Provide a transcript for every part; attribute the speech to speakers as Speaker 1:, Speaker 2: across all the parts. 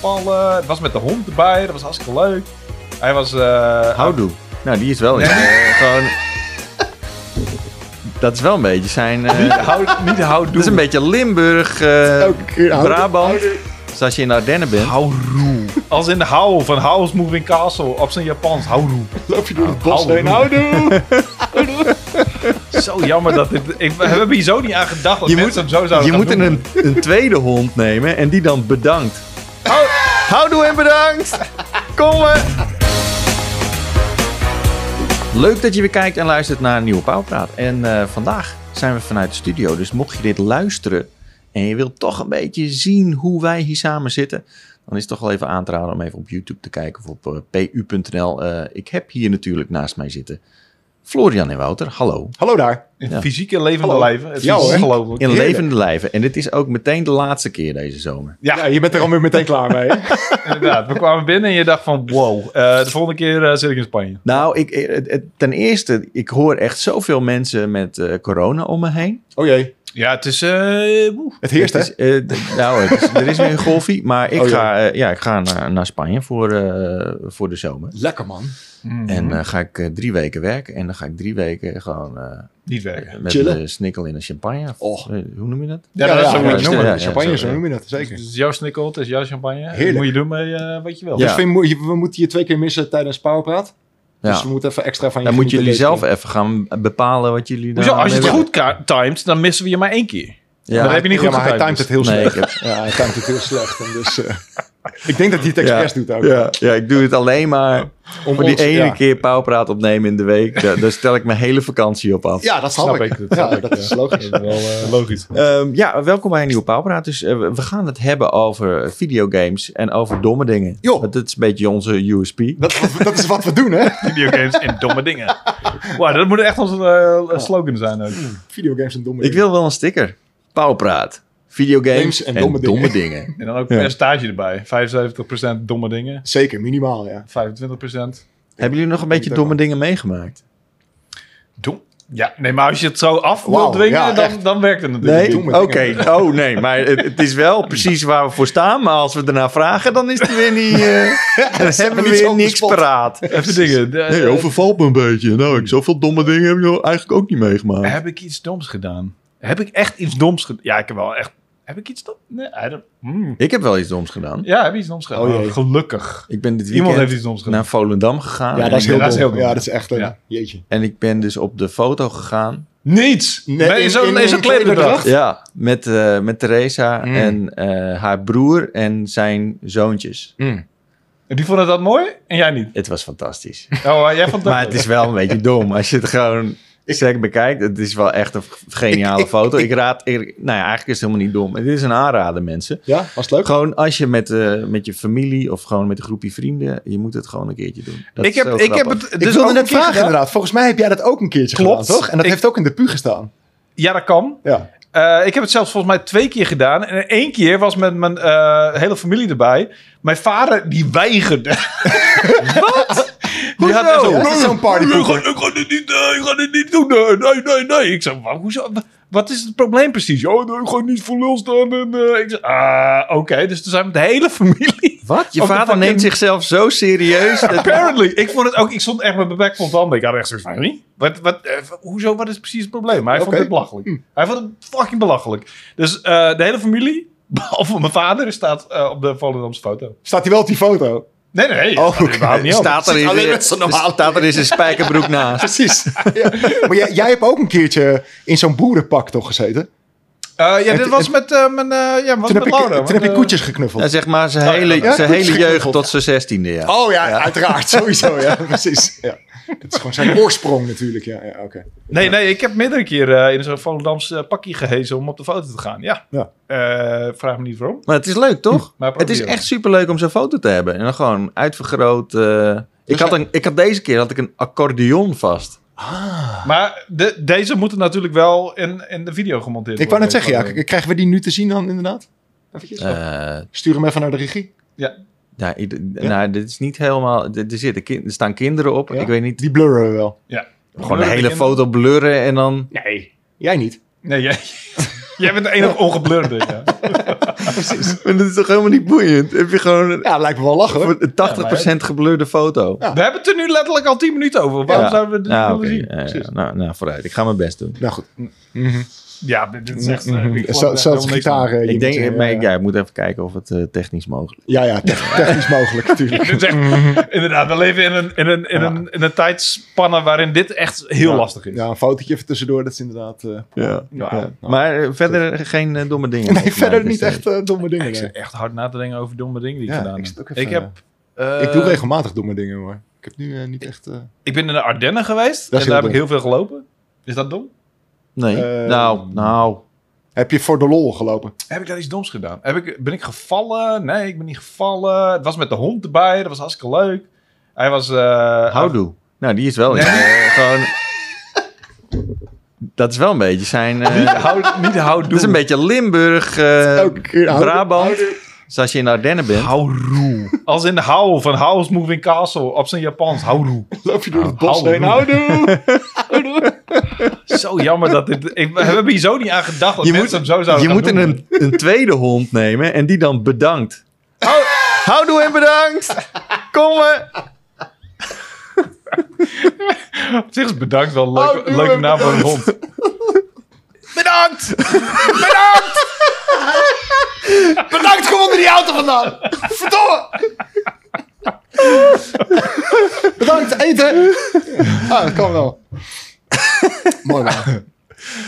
Speaker 1: voetballen. Het was met de hond erbij, dat was hartstikke leuk. Hij was... eh,
Speaker 2: Houdoe. Nou, die is wel in. eh, gewoon... Dat is wel een beetje zijn... eh,
Speaker 1: Niet houd, niet houd
Speaker 2: dat is een beetje Limburg, eh,
Speaker 3: Elke keer Houdoe,
Speaker 2: Brabant. Dus als je in Ardennen bent...
Speaker 1: Hauru. Als in de hou van House Moving Castle op zijn Japans. Hauru.
Speaker 3: Loop je door het bos
Speaker 1: Houdoe.
Speaker 3: heen. Houdoe!
Speaker 1: Zo jammer dat dit. Ik, we hebben hier zo niet aan gedacht. Oh, Dat
Speaker 2: Je
Speaker 1: mensen
Speaker 2: moet-
Speaker 1: hem zo zouden
Speaker 2: Je
Speaker 1: gaan
Speaker 2: moet
Speaker 1: noemen.
Speaker 2: een, een tweede hond nemen en die dan bedankt. Hou- Houdoe en bedankt! Kom maar! Leuk dat je weer kijkt en luistert naar een nieuwe Pauwpraat. En eh, vandaag zijn we vanuit de studio, dus mocht je dit luisteren en je wilt toch een beetje zien hoe wij hier samen zitten, dan is het toch wel even aan te raden om even op YouTube te kijken of op eh, pu.nl. Eh, ik heb hier natuurlijk naast mij zitten Florian en Wouter. Hallo.
Speaker 3: Hallo daar.
Speaker 1: In
Speaker 2: ja.
Speaker 1: Fysiek en levende
Speaker 3: Hallo.
Speaker 1: lijven. Het
Speaker 3: Ja,
Speaker 1: is
Speaker 3: hoor.
Speaker 1: ongelooflijk.
Speaker 2: In
Speaker 3: Heerlijk.
Speaker 2: levende lijven. En dit is ook meteen de laatste keer deze zomer.
Speaker 3: Ja. je bent er alweer meteen klaar mee. hè?
Speaker 1: Inderdaad. We kwamen binnen en je dacht van wow. eh, de volgende keer eh, zit ik in Spanje.
Speaker 2: Nou, ik, eh, het- het- ten eerste, ik hoor echt zoveel mensen met eh, corona om me heen.
Speaker 3: Oh jee.
Speaker 1: Ja, het is... eh, woe.
Speaker 3: Het heerst, hè?
Speaker 2: Het is, eh, d- nou, het is- er is weer een golfie, maar ik
Speaker 3: Oh, ja.
Speaker 2: ga, eh, ja, ik ga naar, naar Spanje voor, eh, voor de zomer.
Speaker 3: Lekker, man. Mhm.
Speaker 2: En eh, ga ik eh, drie weken werken en dan ga ik drie weken gewoon eh,
Speaker 1: niet werken.
Speaker 2: met
Speaker 3: Chillen.
Speaker 2: de snikkel in een champagne. Of,
Speaker 3: Och.
Speaker 2: eh, hoe noem je dat?
Speaker 1: Ja, dat is zo
Speaker 2: ja,
Speaker 1: moet je
Speaker 2: ja,
Speaker 1: het noemen.
Speaker 2: ja,
Speaker 1: Dus
Speaker 2: ja.
Speaker 3: Champagne,
Speaker 2: zo,
Speaker 3: zo noem je dat, zeker.
Speaker 1: Het is jouw snikkel, het is jouw champagne.
Speaker 3: Heerlijk.
Speaker 1: Moet je doen mee, eh weet je wel.
Speaker 2: Ja.
Speaker 3: Dus vind je moe- je- we moeten je twee keer missen tijdens Pauwpraat.
Speaker 2: Ja.
Speaker 3: Dus we moeten even extra van je
Speaker 2: Dan moeten
Speaker 3: genieten
Speaker 2: jullie zelf
Speaker 3: deze
Speaker 2: even gaan bepalen wat jullie
Speaker 1: Hoezo?
Speaker 2: daar
Speaker 1: Als je het
Speaker 2: mee
Speaker 1: goed ka- timed, dan missen we je maar één keer.
Speaker 2: willen.
Speaker 1: Dan
Speaker 2: Ja.
Speaker 1: heb je niet
Speaker 3: keer.
Speaker 1: goed
Speaker 3: Ja, maar hij
Speaker 1: getimed.
Speaker 3: timed het heel
Speaker 2: dus? Nee, ik
Speaker 3: slecht.
Speaker 2: heb,
Speaker 3: Ja, hij timed het heel slecht. En dus, eh, ik denk dat hij het expres doet ook.
Speaker 2: Ja, ja, ik doe het alleen maar om die
Speaker 3: ons-
Speaker 2: ene
Speaker 3: ja.
Speaker 2: keer pauwpraat opnemen in de week. Daar, daar stel ik mijn hele vakantie op af.
Speaker 3: Ja, dat snap,
Speaker 1: Snap
Speaker 3: ik.
Speaker 1: ik, dat
Speaker 3: ja,
Speaker 1: snap ik,
Speaker 3: dat is logisch.
Speaker 1: Dat is wel eh, logisch.
Speaker 2: Ehm, ja, welkom bij een nieuwe pauwpraat. Dus eh, we gaan het hebben over videogames en over domme dingen.
Speaker 3: Joh.
Speaker 2: Want Dat is een beetje onze USP.
Speaker 3: Dat, dat is wat we doen, hè?
Speaker 1: Videogames en domme dingen. Wow, dat moet echt onze eh, slogan zijn ook.
Speaker 3: Hmm. Videogames en domme
Speaker 2: Ik wil wel een sticker. Pauwpraat. Videogames
Speaker 3: Games
Speaker 2: en,
Speaker 3: en
Speaker 2: domme,
Speaker 3: domme
Speaker 2: dingen.
Speaker 1: En dan ook
Speaker 2: Ja.
Speaker 1: percentage erbij. 75% domme dingen.
Speaker 3: Zeker, minimaal, ja.
Speaker 1: 25%.
Speaker 2: Hebben jullie nog een beetje
Speaker 3: dat
Speaker 2: domme
Speaker 3: wel.
Speaker 2: dingen meegemaakt?
Speaker 1: Dom. Ja, nee, maar als je het zo af wil
Speaker 3: Wauw,
Speaker 1: dwingen,
Speaker 3: ja,
Speaker 1: dan,
Speaker 3: echt.
Speaker 1: dan werkt het natuurlijk
Speaker 2: Nee?
Speaker 1: niet.
Speaker 2: Oké.
Speaker 3: domme
Speaker 2: Oh, nee. Maar het, het is wel precies waar we voor staan. Maar als we daarna vragen, dan is het weer niet... eh, dan hebben we
Speaker 3: niet
Speaker 2: weer
Speaker 3: op de
Speaker 2: niks
Speaker 3: spot.
Speaker 2: paraat.
Speaker 1: Even dingen. De- eh,
Speaker 2: Nee, overvalt me een beetje. Nou, ik, zoveel domme dingen heb ik nou eigenlijk ook niet meegemaakt.
Speaker 1: Heb ik iets doms gedaan? Heb ik echt iets doms gedaan? Ja, ik heb wel echt... Heb ik iets doms? Nee, I don't- Hmm.
Speaker 2: Ik heb wel iets doms gedaan.
Speaker 1: Ja, heb ik iets doms gedaan?
Speaker 3: Oh, jee.
Speaker 1: gelukkig.
Speaker 2: Ik ben dit
Speaker 1: Iemand
Speaker 2: weekend
Speaker 1: heeft iets doms gedaan.
Speaker 2: naar Volendam
Speaker 1: Ah,
Speaker 2: gegaan.
Speaker 3: Ja, dat is
Speaker 2: en,
Speaker 3: heel
Speaker 1: dat
Speaker 2: ik
Speaker 3: dom.
Speaker 1: is heel dom.
Speaker 3: Ja, dat is echt een
Speaker 1: Ja.
Speaker 3: jeetje.
Speaker 2: ben, en ik ben dus op de foto gegaan.
Speaker 1: Niets!
Speaker 3: Nou. Nee,
Speaker 1: ben je
Speaker 3: in-
Speaker 1: zo'n
Speaker 3: in-
Speaker 1: in,
Speaker 3: in
Speaker 1: zo'n
Speaker 3: klederdracht?
Speaker 1: klederdracht?
Speaker 2: Ja, met, eh, met Theresa
Speaker 3: Mm.
Speaker 2: en eh, haar broer en zijn zoontjes.
Speaker 1: Mm. En Die vonden dat mooi en jij niet.
Speaker 2: Het was fantastisch.
Speaker 1: Oh, eh, jij vond dat
Speaker 2: maar het is wel een beetje dom. Als je het gewoon zeker bekijkt, het is wel echt een geniale
Speaker 3: Ik- ik-
Speaker 2: foto. Ik,
Speaker 3: ik-
Speaker 2: raad... Ik, nou ja, eigenlijk is het helemaal niet dom. Het is een aanrader, mensen.
Speaker 3: Ja, was het leuk?
Speaker 2: Gewoon als je met, eh, met je familie of gewoon met een groepje vrienden, je moet het gewoon een keertje doen. Dat
Speaker 1: ik
Speaker 2: is
Speaker 1: heb,
Speaker 2: zo
Speaker 1: ik heb
Speaker 2: grappig.
Speaker 1: het dus
Speaker 3: ik
Speaker 1: ook
Speaker 3: wilde
Speaker 1: een
Speaker 3: net
Speaker 1: keer
Speaker 3: vragen
Speaker 1: gedaan.
Speaker 3: inderdaad. Volgens mij heb jij dat ook een keertje
Speaker 1: Klopt.
Speaker 3: gedaan, toch? En dat
Speaker 1: Ik-
Speaker 3: heeft ook in de pu gestaan.
Speaker 1: Ja, dat kan.
Speaker 3: Ja.
Speaker 1: Eh, ik heb het zelfs volgens mij twee keer gedaan. En één keer was met mijn eh, hele familie erbij. Mijn vader, die weigerde. Wat? Die had echt
Speaker 2: Hoezo?
Speaker 1: zo'n-
Speaker 3: Ja, is zo'n
Speaker 1: ik, ga,
Speaker 3: partypoeper.
Speaker 1: ik, ga dit niet, eh, ik ga dit niet doen. Nee, nee, nee. nee. Ik zei, "Wa- hoezo? Wa- Wat is het probleem precies? Oh, nee, ik ga niet voor lul staan. En, eh, ik zei, ah, oké. Dus toen zijn we met de hele familie.
Speaker 2: Wat? Je
Speaker 1: Ook de
Speaker 2: vader
Speaker 1: fucking-
Speaker 2: neemt zichzelf zo serieus. dat-
Speaker 1: Apparently. Ik vond het ook, ik stond echt met mijn bek vol tanden. Ik had echt zoiets van, "Hé? wat, wat, eh, hoezo, wat is precies het probleem? Hij vond
Speaker 3: Oké. Hm.
Speaker 1: het belachelijk. Hij vond het fucking belachelijk. Dus eh, de hele familie, behalve mijn vader, staat eh, op de Volendamse foto.
Speaker 3: Staat hij wel op die foto?
Speaker 1: Nee, nee, nee.
Speaker 3: Oh,
Speaker 1: dat
Speaker 3: oké.
Speaker 1: überhaupt niet op.
Speaker 2: staat er
Speaker 3: Zit
Speaker 2: in
Speaker 3: alleen
Speaker 2: weer-
Speaker 3: met zo'n normale-
Speaker 2: staat er in zijn spijkerbroek naast.
Speaker 3: Precies. ja. Maar jij, jij hebt ook een keertje in zo'n boerenpak toch gezeten?
Speaker 1: Eh, ja, dit
Speaker 3: Het-
Speaker 1: was met, eh, mijn, eh, ja, was
Speaker 3: Toen heb,
Speaker 1: met
Speaker 3: ik,
Speaker 1: Laura.
Speaker 3: toen heb je
Speaker 1: eh,
Speaker 3: koetjes
Speaker 2: Ja,
Speaker 3: geknuffeld.
Speaker 2: zeg maar zijn
Speaker 1: Ja,
Speaker 2: hele,
Speaker 1: ja,
Speaker 2: zijn
Speaker 3: goed
Speaker 2: hele
Speaker 3: geregeld.
Speaker 2: jeugd tot zijn zestiende jaar.
Speaker 3: Oh ja, uiteraard. Sowieso, ja. Precies. Ja. Dat is gewoon zijn oorsprong natuurlijk. Ja, ja oké.
Speaker 1: Nee, nee, ik heb meerdere keer eh, in zo'n Volendams eh, pakje gehezen om op de foto te gaan. Ja.
Speaker 3: Ja.
Speaker 1: Eh, vraag me niet waarom.
Speaker 2: Maar het is leuk, toch?
Speaker 1: Maar
Speaker 2: Het is
Speaker 1: probeer.
Speaker 2: echt superleuk om zo'n foto te hebben. En dan gewoon uitvergroot. eh. ik,
Speaker 3: Dus
Speaker 2: had
Speaker 3: hij-
Speaker 2: een, ik had deze keer had ik een accordeon vast.
Speaker 3: Ah.
Speaker 1: Maar de, deze moeten natuurlijk wel in, in de video gemonteerd
Speaker 3: Ik wou
Speaker 1: worden. Eh,
Speaker 3: net zeggen, ja, k- krijgen we die nu te zien dan inderdaad? Eventjes.
Speaker 2: Eh,
Speaker 3: Stuur hem even naar de regie.
Speaker 2: nou, ieder- nou, dit is niet helemaal... Er, er zitten, kin- er staan kinderen op.
Speaker 3: Ja?
Speaker 2: Ik weet niet.
Speaker 3: Die blurren we wel.
Speaker 2: Gewoon de
Speaker 1: Blurren
Speaker 2: hele
Speaker 1: kinderen?
Speaker 2: foto blurren en dan...
Speaker 3: Nee. Jij niet.
Speaker 1: Nee, jij, jij bent de enige ongeblurde. Ja.
Speaker 3: precies.
Speaker 2: Maar dat is toch helemaal niet boeiend? Heb je gewoon een-
Speaker 3: Ja, lijkt me wel lachen hoor.
Speaker 2: voor een 80% geblurde foto?
Speaker 3: Ja.
Speaker 1: We hebben het er nu letterlijk al 10 minuten over. Waarom
Speaker 2: Ja.
Speaker 1: zouden we dit willen
Speaker 2: Ja, oké.
Speaker 1: zien?
Speaker 2: Ja, ja.
Speaker 1: Precies.
Speaker 2: nou, nou, vooruit. Ik ga mijn best doen.
Speaker 3: Nou goed.
Speaker 1: Ja, dit dit is echt... eh, ik geloof er echt
Speaker 3: Mhm. Zelfs
Speaker 1: helemaal niks van.
Speaker 3: gitaar. eh,
Speaker 2: Ik
Speaker 3: je
Speaker 2: denk,
Speaker 3: moet,
Speaker 2: maar
Speaker 3: eh,
Speaker 2: ik, ja, ik moet even kijken of het eh, technisch mogelijk is.
Speaker 3: Ja, ja, te- technisch mogelijk natuurlijk.
Speaker 1: Dit is echt- Inderdaad, we leven in een, in, een, in, een, in een tijdspanne waarin dit echt heel
Speaker 3: Ja.
Speaker 1: lastig is.
Speaker 3: Ja, een fotootje even tussendoor, dat is inderdaad... eh,
Speaker 2: Ja.
Speaker 1: Ja.
Speaker 2: Maar eh, verder geen eh, domme dingen.
Speaker 3: nee,
Speaker 2: volgens mij,
Speaker 3: verder
Speaker 2: dus,
Speaker 3: niet
Speaker 2: eh,
Speaker 3: echt eh, domme dingen.
Speaker 1: Ik
Speaker 3: nee.
Speaker 1: zit echt hard na te denken over domme dingen die ik
Speaker 3: Ja,
Speaker 1: gedaan
Speaker 3: ik
Speaker 1: heb.
Speaker 3: zit ook
Speaker 1: Ik,
Speaker 3: even-
Speaker 1: heb,
Speaker 3: ik
Speaker 1: eh,
Speaker 3: doe regelmatig domme dingen, hoor. Ik heb nu eh, niet echt... eh,
Speaker 1: ik ben in de Ardennen geweest
Speaker 3: heel
Speaker 1: en daar heb ik
Speaker 3: dom.
Speaker 1: heel veel gelopen. Is dat dom?
Speaker 2: Nee.
Speaker 3: Eh,
Speaker 2: nou, nou.
Speaker 3: Heb je voor de lol gelopen?
Speaker 1: Heb ik daar iets doms gedaan? Heb ik, ben ik gevallen? Nee, ik ben niet gevallen. Het was met de hond erbij. Dat was hartstikke leuk. Hij was... eh
Speaker 2: Houdoe. Nou, die is wel. in. Eh, gewoon. Dat is wel een beetje zijn. eh,
Speaker 1: Niet hou- niet houdoe.
Speaker 2: dat is een beetje Limburg, eh,
Speaker 3: Elke keer houdoe,
Speaker 2: Brabant. Dus als je in Ardennen bent.
Speaker 1: Houroe. Als in de hou van House Moving Castle op zijn Japans. Houroe.
Speaker 3: Loop je door het
Speaker 1: bos
Speaker 3: bos
Speaker 1: heen?
Speaker 3: heen? Houdoe!
Speaker 1: Zo jammer dat dit... Ik, we hebben hier zo niet aan gedacht dat
Speaker 2: Je
Speaker 1: mensen
Speaker 2: moet-
Speaker 1: hem zo zouden
Speaker 2: je
Speaker 1: gaan
Speaker 2: moet
Speaker 1: noemen.
Speaker 2: een, een tweede hond nemen en die dan bedankt. Hou, houdoe en bedankt. Kom maar.
Speaker 1: Op zich is bedankt wel een
Speaker 2: Oh,
Speaker 1: leuk,
Speaker 3: Houdoe
Speaker 1: leuke
Speaker 3: en
Speaker 1: naam voor een hond. Bedankt! Bedankt!
Speaker 3: Bedankt, kom onder die auto vandaan! Verdomme! Bedankt, eten! Ah, dat kan wel. Mooi man.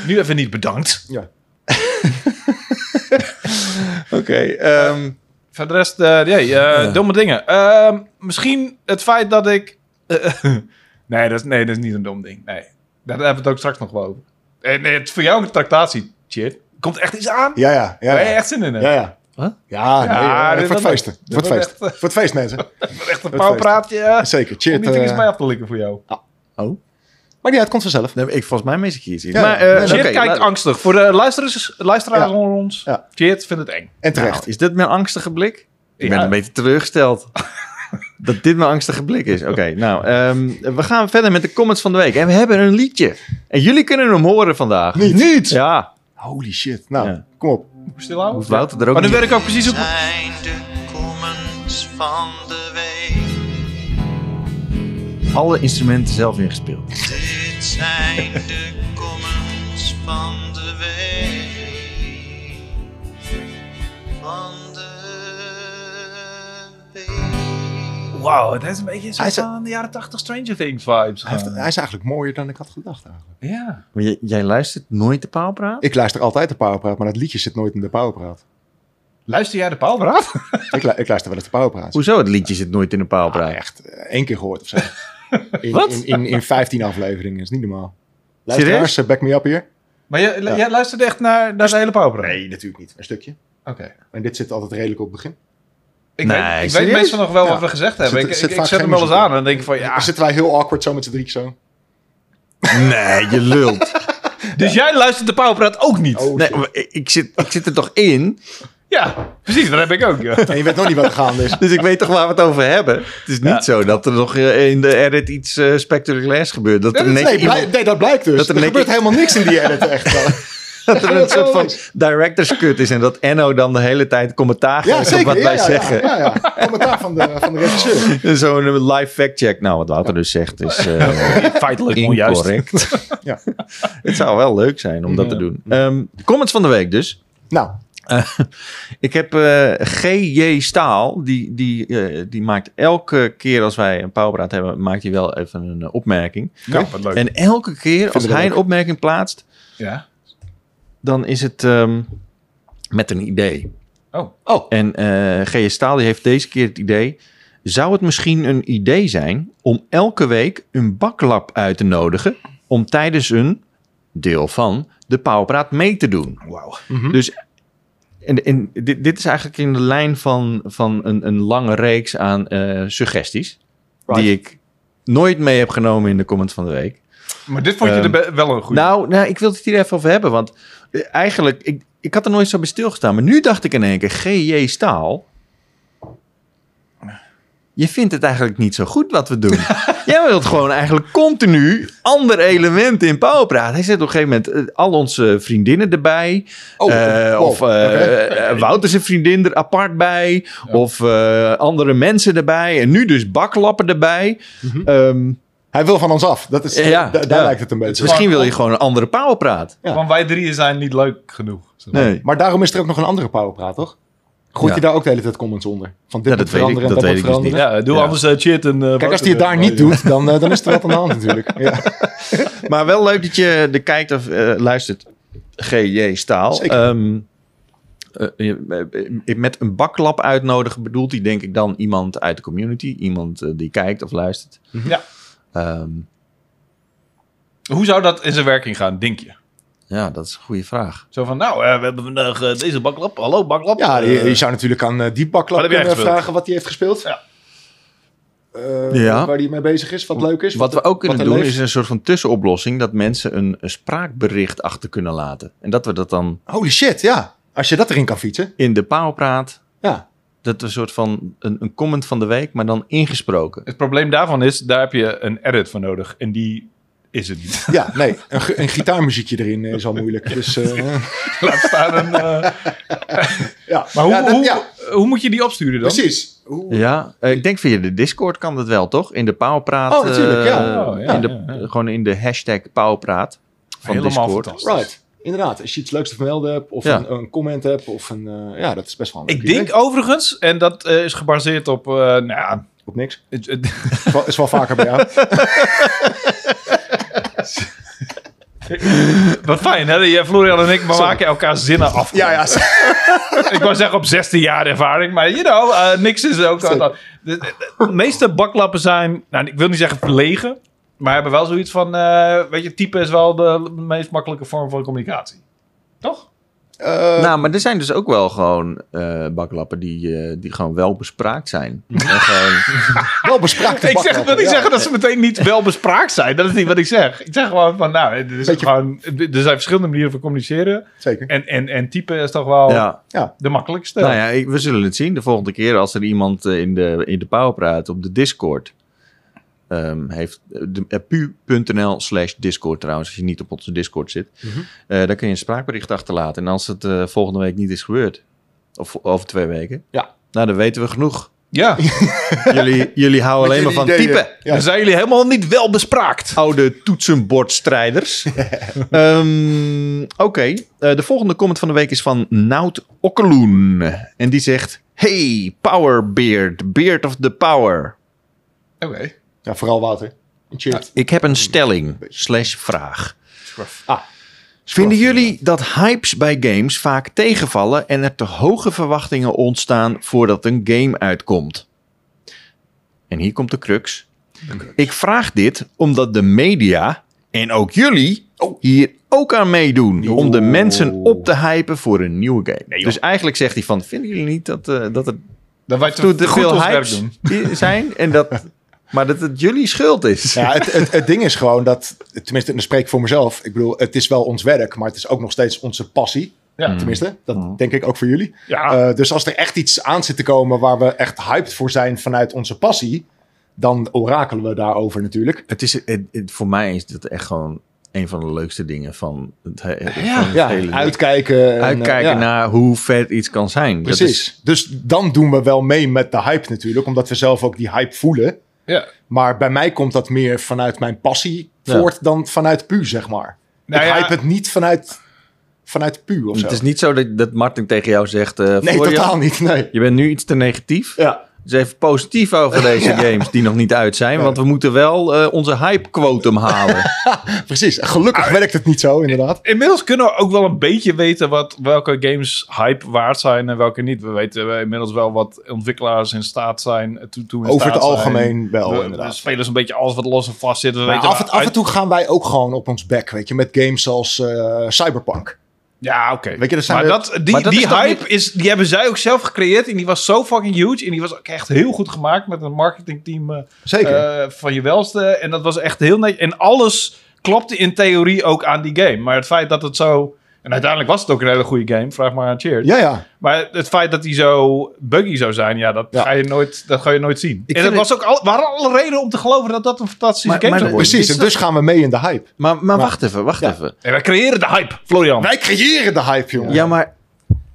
Speaker 1: Nu even niet bedankt.
Speaker 3: Ja.
Speaker 2: Oké. ehm,
Speaker 1: Voor de rest, eh, nee, eh, domme dingen. Ehm, misschien het feit dat ik... nee, dat is, nee, dat is niet een dom ding. Nee, daar hebben we het ook straks nog wel over. En eh, het is voor jou een tractatie, shit. Komt er echt iets aan?
Speaker 3: Ja, ja, ja.
Speaker 1: Waar je
Speaker 3: ja.
Speaker 1: echt zin in hebt?
Speaker 3: Ja, ja.
Speaker 2: Huh?
Speaker 3: Ja, nee,
Speaker 1: Ja,
Speaker 3: eh,
Speaker 1: dit-
Speaker 3: voor het
Speaker 1: dat-
Speaker 3: feesten.
Speaker 1: dat
Speaker 3: Voor het
Speaker 1: wordt
Speaker 3: feest. Voor het feest, mensen.
Speaker 1: Echt een
Speaker 3: Het
Speaker 1: pauw
Speaker 3: feest.
Speaker 1: praatje. eh,
Speaker 3: Zeker,
Speaker 1: Om
Speaker 3: cheers.
Speaker 1: niet er iets
Speaker 3: eh.
Speaker 1: mee af te likken voor jou.
Speaker 2: oh.
Speaker 3: Maar ja, het komt vanzelf.
Speaker 2: Nee, ik, volgens mij mis ik hier iets.
Speaker 3: Ja, Nou,
Speaker 2: maar,
Speaker 3: ja.
Speaker 2: eh,
Speaker 1: Chit
Speaker 2: oké,
Speaker 1: kijkt
Speaker 2: laat-
Speaker 1: angstig. Voor de luisteraars, luisteraars
Speaker 3: Ja.
Speaker 1: onder ons.
Speaker 3: Ja.
Speaker 1: Chit vindt het eng.
Speaker 3: En terecht.
Speaker 2: Nou, is dit mijn angstige blik? Ik ben
Speaker 1: Ja.
Speaker 2: een beetje teleurgesteld. dat dit mijn angstige blik is. Oké, nou, ehm, we gaan verder met de comments van de week. En we hebben een liedje. En jullie kunnen hem horen vandaag.
Speaker 3: Niet.
Speaker 2: Ja,
Speaker 3: Holy shit. Nou,
Speaker 2: Ja.
Speaker 3: kom op.
Speaker 1: Stil
Speaker 2: hoeft Wouter er ook
Speaker 1: Maar nu
Speaker 2: niet-
Speaker 1: werd ik ook precies op.
Speaker 4: zijn de comments van de week.
Speaker 2: alle instrumenten zelf ingespeeld.
Speaker 4: Dit zijn de comments van de week. Van de week.
Speaker 1: Wauw, het is een beetje zo
Speaker 3: Hij is-
Speaker 1: aan de jaren 80 Stranger Things vibes.
Speaker 3: Hij, heeft-
Speaker 2: Eh.
Speaker 1: gaan.
Speaker 3: hij is eigenlijk mooier dan ik had gedacht eigenlijk.
Speaker 1: Ja.
Speaker 2: Maar jij, jij luistert nooit de paalpraat?
Speaker 3: Ik luister altijd de Powerpraat, maar dat liedje zit nooit in de Powerpraat.
Speaker 1: Luister jij de paalpraat?
Speaker 3: ik, lu- ik luister wel eens de Powerpraat.
Speaker 2: Hoezo het liedje zit nooit in de paalpraat?
Speaker 3: Ah, echt eh, één keer gehoord of zo. In,
Speaker 2: Wat?
Speaker 3: In, in, in 15 afleveringen, is niet normaal. Luisteraars, eh, back me up hier.
Speaker 1: Maar jij,
Speaker 3: Ja.
Speaker 1: jij luisterde echt naar, naar de hele paalpraat?
Speaker 3: natuurlijk niet. Een stukje.
Speaker 1: Oké.
Speaker 3: En dit zit altijd redelijk op het begin.
Speaker 1: Ik,
Speaker 2: Nee,
Speaker 1: weet, ik weet
Speaker 2: serieus?
Speaker 1: meestal nog wel wat
Speaker 3: Ja.
Speaker 1: we gezegd hebben.
Speaker 3: Zit-
Speaker 1: ik
Speaker 3: zit
Speaker 1: ik, ik
Speaker 3: vaak
Speaker 1: zet hem
Speaker 3: geen
Speaker 1: wel eens
Speaker 3: muziek
Speaker 1: aan en denk van ja.
Speaker 3: Dan zitten wij heel awkward zo met z'n drie zo.
Speaker 2: Nee, je lult.
Speaker 1: Dus jij luistert de paalpraat ook niet?
Speaker 3: Oh,
Speaker 2: Nee,
Speaker 3: shit.
Speaker 2: maar ik, ik zit, ik zit er toch in?
Speaker 1: Ja, precies. Dat heb ik ook. ja.
Speaker 3: En je weet nog niet wat er gaande is.
Speaker 2: Dus ik weet toch waar we het over hebben. Het is niet
Speaker 1: Ja.
Speaker 2: zo dat er nog eh, in de edit iets eh, spectaculairs gebeurt. Dat er
Speaker 3: Nee,
Speaker 2: ineens iemand-
Speaker 3: blij- nee, dat blijkt dus.
Speaker 2: Dat er
Speaker 3: er
Speaker 2: niks-
Speaker 3: gebeurt helemaal niks in die edit echt.
Speaker 2: Dat er een
Speaker 3: dat
Speaker 2: soort
Speaker 3: wel
Speaker 2: van director's cut is en dat Enno dan de hele tijd commentaar
Speaker 3: Ja,
Speaker 2: geeft op
Speaker 3: zeker.
Speaker 2: wat
Speaker 3: ja,
Speaker 2: wij
Speaker 3: ja,
Speaker 2: zeggen.
Speaker 3: Ja, ja, ja. Commentaar van de, van de regisseur.
Speaker 2: Zo'n live fact-check. Nou, wat Wouter dus zegt is eh
Speaker 1: Feitelijk onjuist.
Speaker 2: incorrect.
Speaker 3: Ja.
Speaker 2: Het zou wel leuk zijn om dat te doen. Ehm, de comments van de week dus.
Speaker 3: Nou,
Speaker 2: Ik heb eh, G.J. Staal, die, die, eh, die maakt elke keer als wij een powerpraat hebben, maakt hij wel even een eh, opmerking.
Speaker 1: Ja, wat leuk.
Speaker 2: En elke keer als
Speaker 3: ik
Speaker 2: hij
Speaker 3: leuk.
Speaker 2: een opmerking plaatst,
Speaker 1: Ja.
Speaker 2: dan is het ehm, met een idee.
Speaker 1: Oh.
Speaker 2: oh. En eh G.S. Staal die heeft deze keer het idee... zou het misschien een idee zijn om elke week een baklap uit te nodigen... om tijdens een deel van de Pauwpraat mee te doen?
Speaker 1: Wauw.
Speaker 2: Dus en, en dit, dit is eigenlijk in de lijn van, van een, een lange reeks aan eh, suggesties...
Speaker 3: Right.
Speaker 2: die ik nooit mee heb genomen in de comment van de week.
Speaker 1: Maar dit vond je
Speaker 2: Ehm,
Speaker 1: er be- wel een goede.
Speaker 2: Nou, nou, ik wil het hier even over hebben, want eh, eigenlijk, ik, ik had er nooit zo bij stilgestaan. Maar nu dacht ik in één keer, G.J. Staal. je vindt het eigenlijk niet zo goed wat we doen. Jij wilt gewoon eigenlijk continu ander element in Pauwpraat. Hij zet op een gegeven moment eh, al onze vriendinnen erbij.
Speaker 3: Oh,
Speaker 2: Eh,
Speaker 3: wow,
Speaker 2: Of eh
Speaker 3: oké.
Speaker 2: eh, Wouter zijn vriendin er apart bij. Of eh, andere mensen erbij. En nu dus baklappen erbij.
Speaker 3: Mhm.
Speaker 2: Ehm,
Speaker 3: Hij wil van ons af. Dat is,
Speaker 2: Ja,
Speaker 3: da- daar
Speaker 2: ja.
Speaker 3: lijkt het een beetje.
Speaker 2: misschien wil je gewoon een andere Pauwpraat.
Speaker 3: Ja.
Speaker 1: Want wij drieën zijn niet leuk genoeg. zeg
Speaker 3: Nou,
Speaker 1: maar.
Speaker 2: Nee.
Speaker 3: Maar daarom is er ook nog een andere powerpraat, toch? Gooit
Speaker 2: Ja.
Speaker 3: je daar ook de hele tijd comments onder? Van dit
Speaker 2: Ja, dat
Speaker 3: moet
Speaker 2: weet ik-
Speaker 3: veranderen en
Speaker 2: dat
Speaker 3: dat,
Speaker 2: weet
Speaker 3: moet
Speaker 2: ik dus niet.
Speaker 3: veranderen.
Speaker 1: Ja, doe
Speaker 2: Ja.
Speaker 1: anders eh, shit en... eh,
Speaker 3: Kijk, als hij het daar
Speaker 1: Wouter,
Speaker 3: niet
Speaker 1: eh,
Speaker 3: doet, dan, eh, dan is er wat aan de hand natuurlijk. Ja.
Speaker 2: Maar wel leuk dat je de kijkt of eh, luistert. G.J. Staal.
Speaker 3: Zeker.
Speaker 2: Ehm, eh, je- eh, met een baklap uitnodigen bedoelt hij denk ik dan iemand uit de community. Iemand eh, die kijkt of luistert.
Speaker 1: Ja.
Speaker 2: Ehm,
Speaker 1: Hoe zou dat in zijn werking gaan, denk je?
Speaker 2: ja, dat is een goede vraag.
Speaker 1: Zo van, nou, eh, we hebben vandaag eh, deze baklap. Hallo, baklap.
Speaker 3: Ja,
Speaker 1: Eh,
Speaker 3: je, je zou natuurlijk aan eh, die
Speaker 1: Wat
Speaker 3: baklap
Speaker 1: heb jij
Speaker 3: kunnen
Speaker 1: gespeeld?
Speaker 3: vragen wat hij heeft gespeeld.
Speaker 1: Ja.
Speaker 3: Eh,
Speaker 2: Ja.
Speaker 3: Waar hij mee bezig is, wat leuk is.
Speaker 2: Wat we ook kunnen
Speaker 3: er
Speaker 2: doen
Speaker 3: leeft.
Speaker 2: is een soort van tussenoplossing dat mensen een, een spraakbericht achter kunnen laten. En dat we dat dan
Speaker 3: Holy shit, ja. Als je dat erin kan fietsen.
Speaker 2: in de pauwpraat,
Speaker 3: Ja.
Speaker 2: dat we een soort van een, een comment van de week, maar dan ingesproken.
Speaker 1: Het probleem daarvan is, daar heb je een edit voor nodig. En die is het niet.
Speaker 3: Ja, nee. Een, ge- een gitaarmuziekje erin eh, is al moeilijk. Dus, eh,
Speaker 1: Laat staan een... eh,
Speaker 3: ja.
Speaker 1: Maar hoe,
Speaker 3: Ja, dat-
Speaker 1: hoe,
Speaker 3: ja,
Speaker 1: hoe moet je die opsturen dan?
Speaker 3: precies. Hoe,
Speaker 2: Ja, eh, ik denk via de Discord kan dat wel, toch? In de Pauwpraat.
Speaker 3: Oh, natuurlijk, ja.
Speaker 2: eh,
Speaker 1: Oh, ja,
Speaker 2: in de,
Speaker 1: ja, ja.
Speaker 2: Gewoon in de hashtag Pauwpraat van
Speaker 1: Helemaal
Speaker 2: Discord.
Speaker 1: fantastisch.
Speaker 3: Right. Inderdaad, als je iets leuks te vermelden hebt, of
Speaker 2: Ja.
Speaker 3: een, een comment hebt, of een... eh, ja, dat is best wel een leuk
Speaker 1: Ik denk
Speaker 3: idee.
Speaker 1: overigens, en dat eh, is gebaseerd op... eh, nou ja,
Speaker 3: Op niks.
Speaker 1: het- het-
Speaker 3: Is wel, is wel vaker bij jou.
Speaker 1: wat fijn, hè? Je, Florian en ik we maken elkaar zinnen af. ik wou zeggen op 16 jaar ervaring, maar you know, eh, niks is ook.
Speaker 3: Zeker.
Speaker 1: De, de- de meeste baklappen zijn, nou, ik wil niet zeggen verlegen, maar hebben wel zoiets van, eh, weet je, type is wel de meest makkelijke vorm van communicatie. Toch?
Speaker 3: Eh,
Speaker 2: nou, maar er zijn dus ook wel gewoon eh, baklappen die, eh, die gewoon wel bespraakt zijn. En gewoon-
Speaker 3: wel bespraakte
Speaker 1: Ik zeg, wil
Speaker 3: bakklappen,
Speaker 1: niet
Speaker 3: ja.
Speaker 1: zeggen dat ze meteen niet wel bespraakt zijn. Dat is niet wat ik zeg. Ik zeg gewoon van, nou, dit is
Speaker 3: Beetje-
Speaker 1: gewoon, er zijn verschillende manieren van communiceren.
Speaker 3: Zeker.
Speaker 1: En, en, en type is toch wel
Speaker 2: ja.
Speaker 1: de makkelijkste.
Speaker 2: Nou ja, ik- we zullen het zien. De volgende keer als er iemand eh, in de, in de Pauwpraat op de Discord ehm, heeft. eh, de- eh, pu.nl slash Discord trouwens, als je niet op onze Discord zit.
Speaker 3: Mhm.
Speaker 2: Eh, daar kun je een spraakbericht achterlaten. En als het eh, volgende week niet is gebeurd, of vo- over twee weken.
Speaker 3: Ja.
Speaker 2: Nou, dan weten we genoeg.
Speaker 1: Ja. Dus
Speaker 2: Jullie, jullie houden alleen maar van
Speaker 3: Met jullie
Speaker 2: typen.
Speaker 3: ideeën. Ja.
Speaker 1: Dan zijn jullie helemaal niet wel bespraakt.
Speaker 2: Oude toetsenbordstrijders. Ehm, Oké, eh, de volgende comment van de week is van Nout Okkeloen. En die zegt... Hey, Powerbeard, Beard of the Power.
Speaker 1: Oké.
Speaker 3: Ja, vooral Wouter. Een cheer.
Speaker 2: Ik heb een stelling slash vraag.
Speaker 3: Ah.
Speaker 2: Vinden jullie dat hypes bij games vaak tegenvallen... en er te hoge verwachtingen ontstaan voordat een game uitkomt? En hier komt de crux. Ik vraag dit omdat de media en ook jullie
Speaker 1: Oh.
Speaker 2: hier ook aan meedoen. Om de
Speaker 3: Oeh.
Speaker 2: mensen op te hypen voor een nieuwe game.
Speaker 1: Nee, joh.
Speaker 2: dus eigenlijk zegt hij van, vinden jullie niet dat, eh, dat er
Speaker 1: Dan wij te,
Speaker 2: toe
Speaker 1: te
Speaker 2: te
Speaker 1: goed
Speaker 2: veel
Speaker 1: ons werk
Speaker 2: hypes
Speaker 1: doen.
Speaker 2: i- zijn? En dat, maar dat het jullie schuld is.
Speaker 3: Ja, het, het, het ding is gewoon dat, tenminste, en dan spreek ik voor mezelf. Ik bedoel, het is wel ons werk, maar het is ook nog steeds onze passie.
Speaker 1: Ja. Mm.
Speaker 3: Tenminste, dat denk ik ook voor jullie.
Speaker 1: Ja.
Speaker 3: Eh, dus als er echt iets aan zit te komen waar we echt hyped voor zijn vanuit onze passie, dan orakelen we daarover natuurlijk.
Speaker 2: Het is, het, het- voor mij is dat echt gewoon een van de leukste dingen van het, he- van het
Speaker 3: Ja,
Speaker 2: hele...
Speaker 3: uitkijken. en, eh,
Speaker 2: uitkijken
Speaker 3: ja.
Speaker 2: naar hoe vet iets kan zijn. Dat
Speaker 3: Precies.
Speaker 2: is-
Speaker 3: Dus dan doen we wel mee met de hype natuurlijk, omdat we zelf ook die hype voelen.
Speaker 1: Ja.
Speaker 3: Maar bij mij komt dat meer vanuit mijn passie
Speaker 2: Ja.
Speaker 3: voort dan vanuit pu, zeg maar.
Speaker 1: Nou
Speaker 3: ik
Speaker 1: ja.
Speaker 3: hype het niet vanuit, vanuit pu of zo.
Speaker 2: het is niet zo dat, dat Martin tegen jou zegt... eh,
Speaker 3: nee,
Speaker 2: Florian,
Speaker 3: totaal niet. Nee.
Speaker 2: Je bent nu iets te negatief.
Speaker 3: Ja.
Speaker 2: Dus even positief over deze games die nog niet uit zijn. Want we moeten wel eh, onze hype-quotum halen.
Speaker 3: Precies. Gelukkig werkt het niet zo, inderdaad.
Speaker 1: Inmiddels kunnen Ah, we ook wel een beetje weten wat, welke games hype waard zijn en welke niet. We weten eh, inmiddels wel wat ontwikkelaars in staat zijn. eh, Toe, toe in
Speaker 3: Over het
Speaker 1: staat zijn.
Speaker 3: algemeen wel,
Speaker 1: We- We,
Speaker 3: inderdaad.
Speaker 1: spelen zo'n beetje alles wat los en vast zit. We
Speaker 3: Maar
Speaker 1: weten
Speaker 3: af, en,
Speaker 1: waar-
Speaker 3: af en toe gaan wij ook gewoon op ons bek, weet je, met games als eh, Cyberpunk.
Speaker 1: Ja, oké.
Speaker 3: Weet je, dat zijn
Speaker 1: Maar
Speaker 3: de-
Speaker 1: dat, die,
Speaker 2: maar dat
Speaker 1: die
Speaker 2: is toch
Speaker 1: hype is, die hebben zij ook zelf gecreëerd. En die was zo fucking huge. En die was ook echt heel goed gemaakt met een marketingteam eh,
Speaker 3: Zeker.
Speaker 1: eh, van je welste. En dat was echt heel net. En alles klopte in theorie ook aan die game. Maar het feit dat het zo... En uiteindelijk was het ook een hele goede game. Vraag maar aan Cheers.
Speaker 3: Ja, ja.
Speaker 1: Maar het feit dat hij zo buggy zou zijn, ja, dat,
Speaker 3: Ja.
Speaker 1: Ga, je nooit, dat ga je nooit zien.
Speaker 2: Ik
Speaker 1: en
Speaker 2: vind
Speaker 1: het was ook al, waren alle redenen om te geloven dat dat een fantastische
Speaker 2: Maar-
Speaker 1: game
Speaker 2: maar
Speaker 1: zou
Speaker 2: de-
Speaker 1: worden.
Speaker 3: Precies,
Speaker 2: Is
Speaker 3: en
Speaker 2: dat-
Speaker 3: dus gaan we mee in de hype.
Speaker 2: Maar, maar wacht even, wacht
Speaker 3: Ja.
Speaker 2: even.
Speaker 1: En wij creëren de hype, Florian.
Speaker 3: Wij creëren de hype, jongen.
Speaker 2: Ja, maar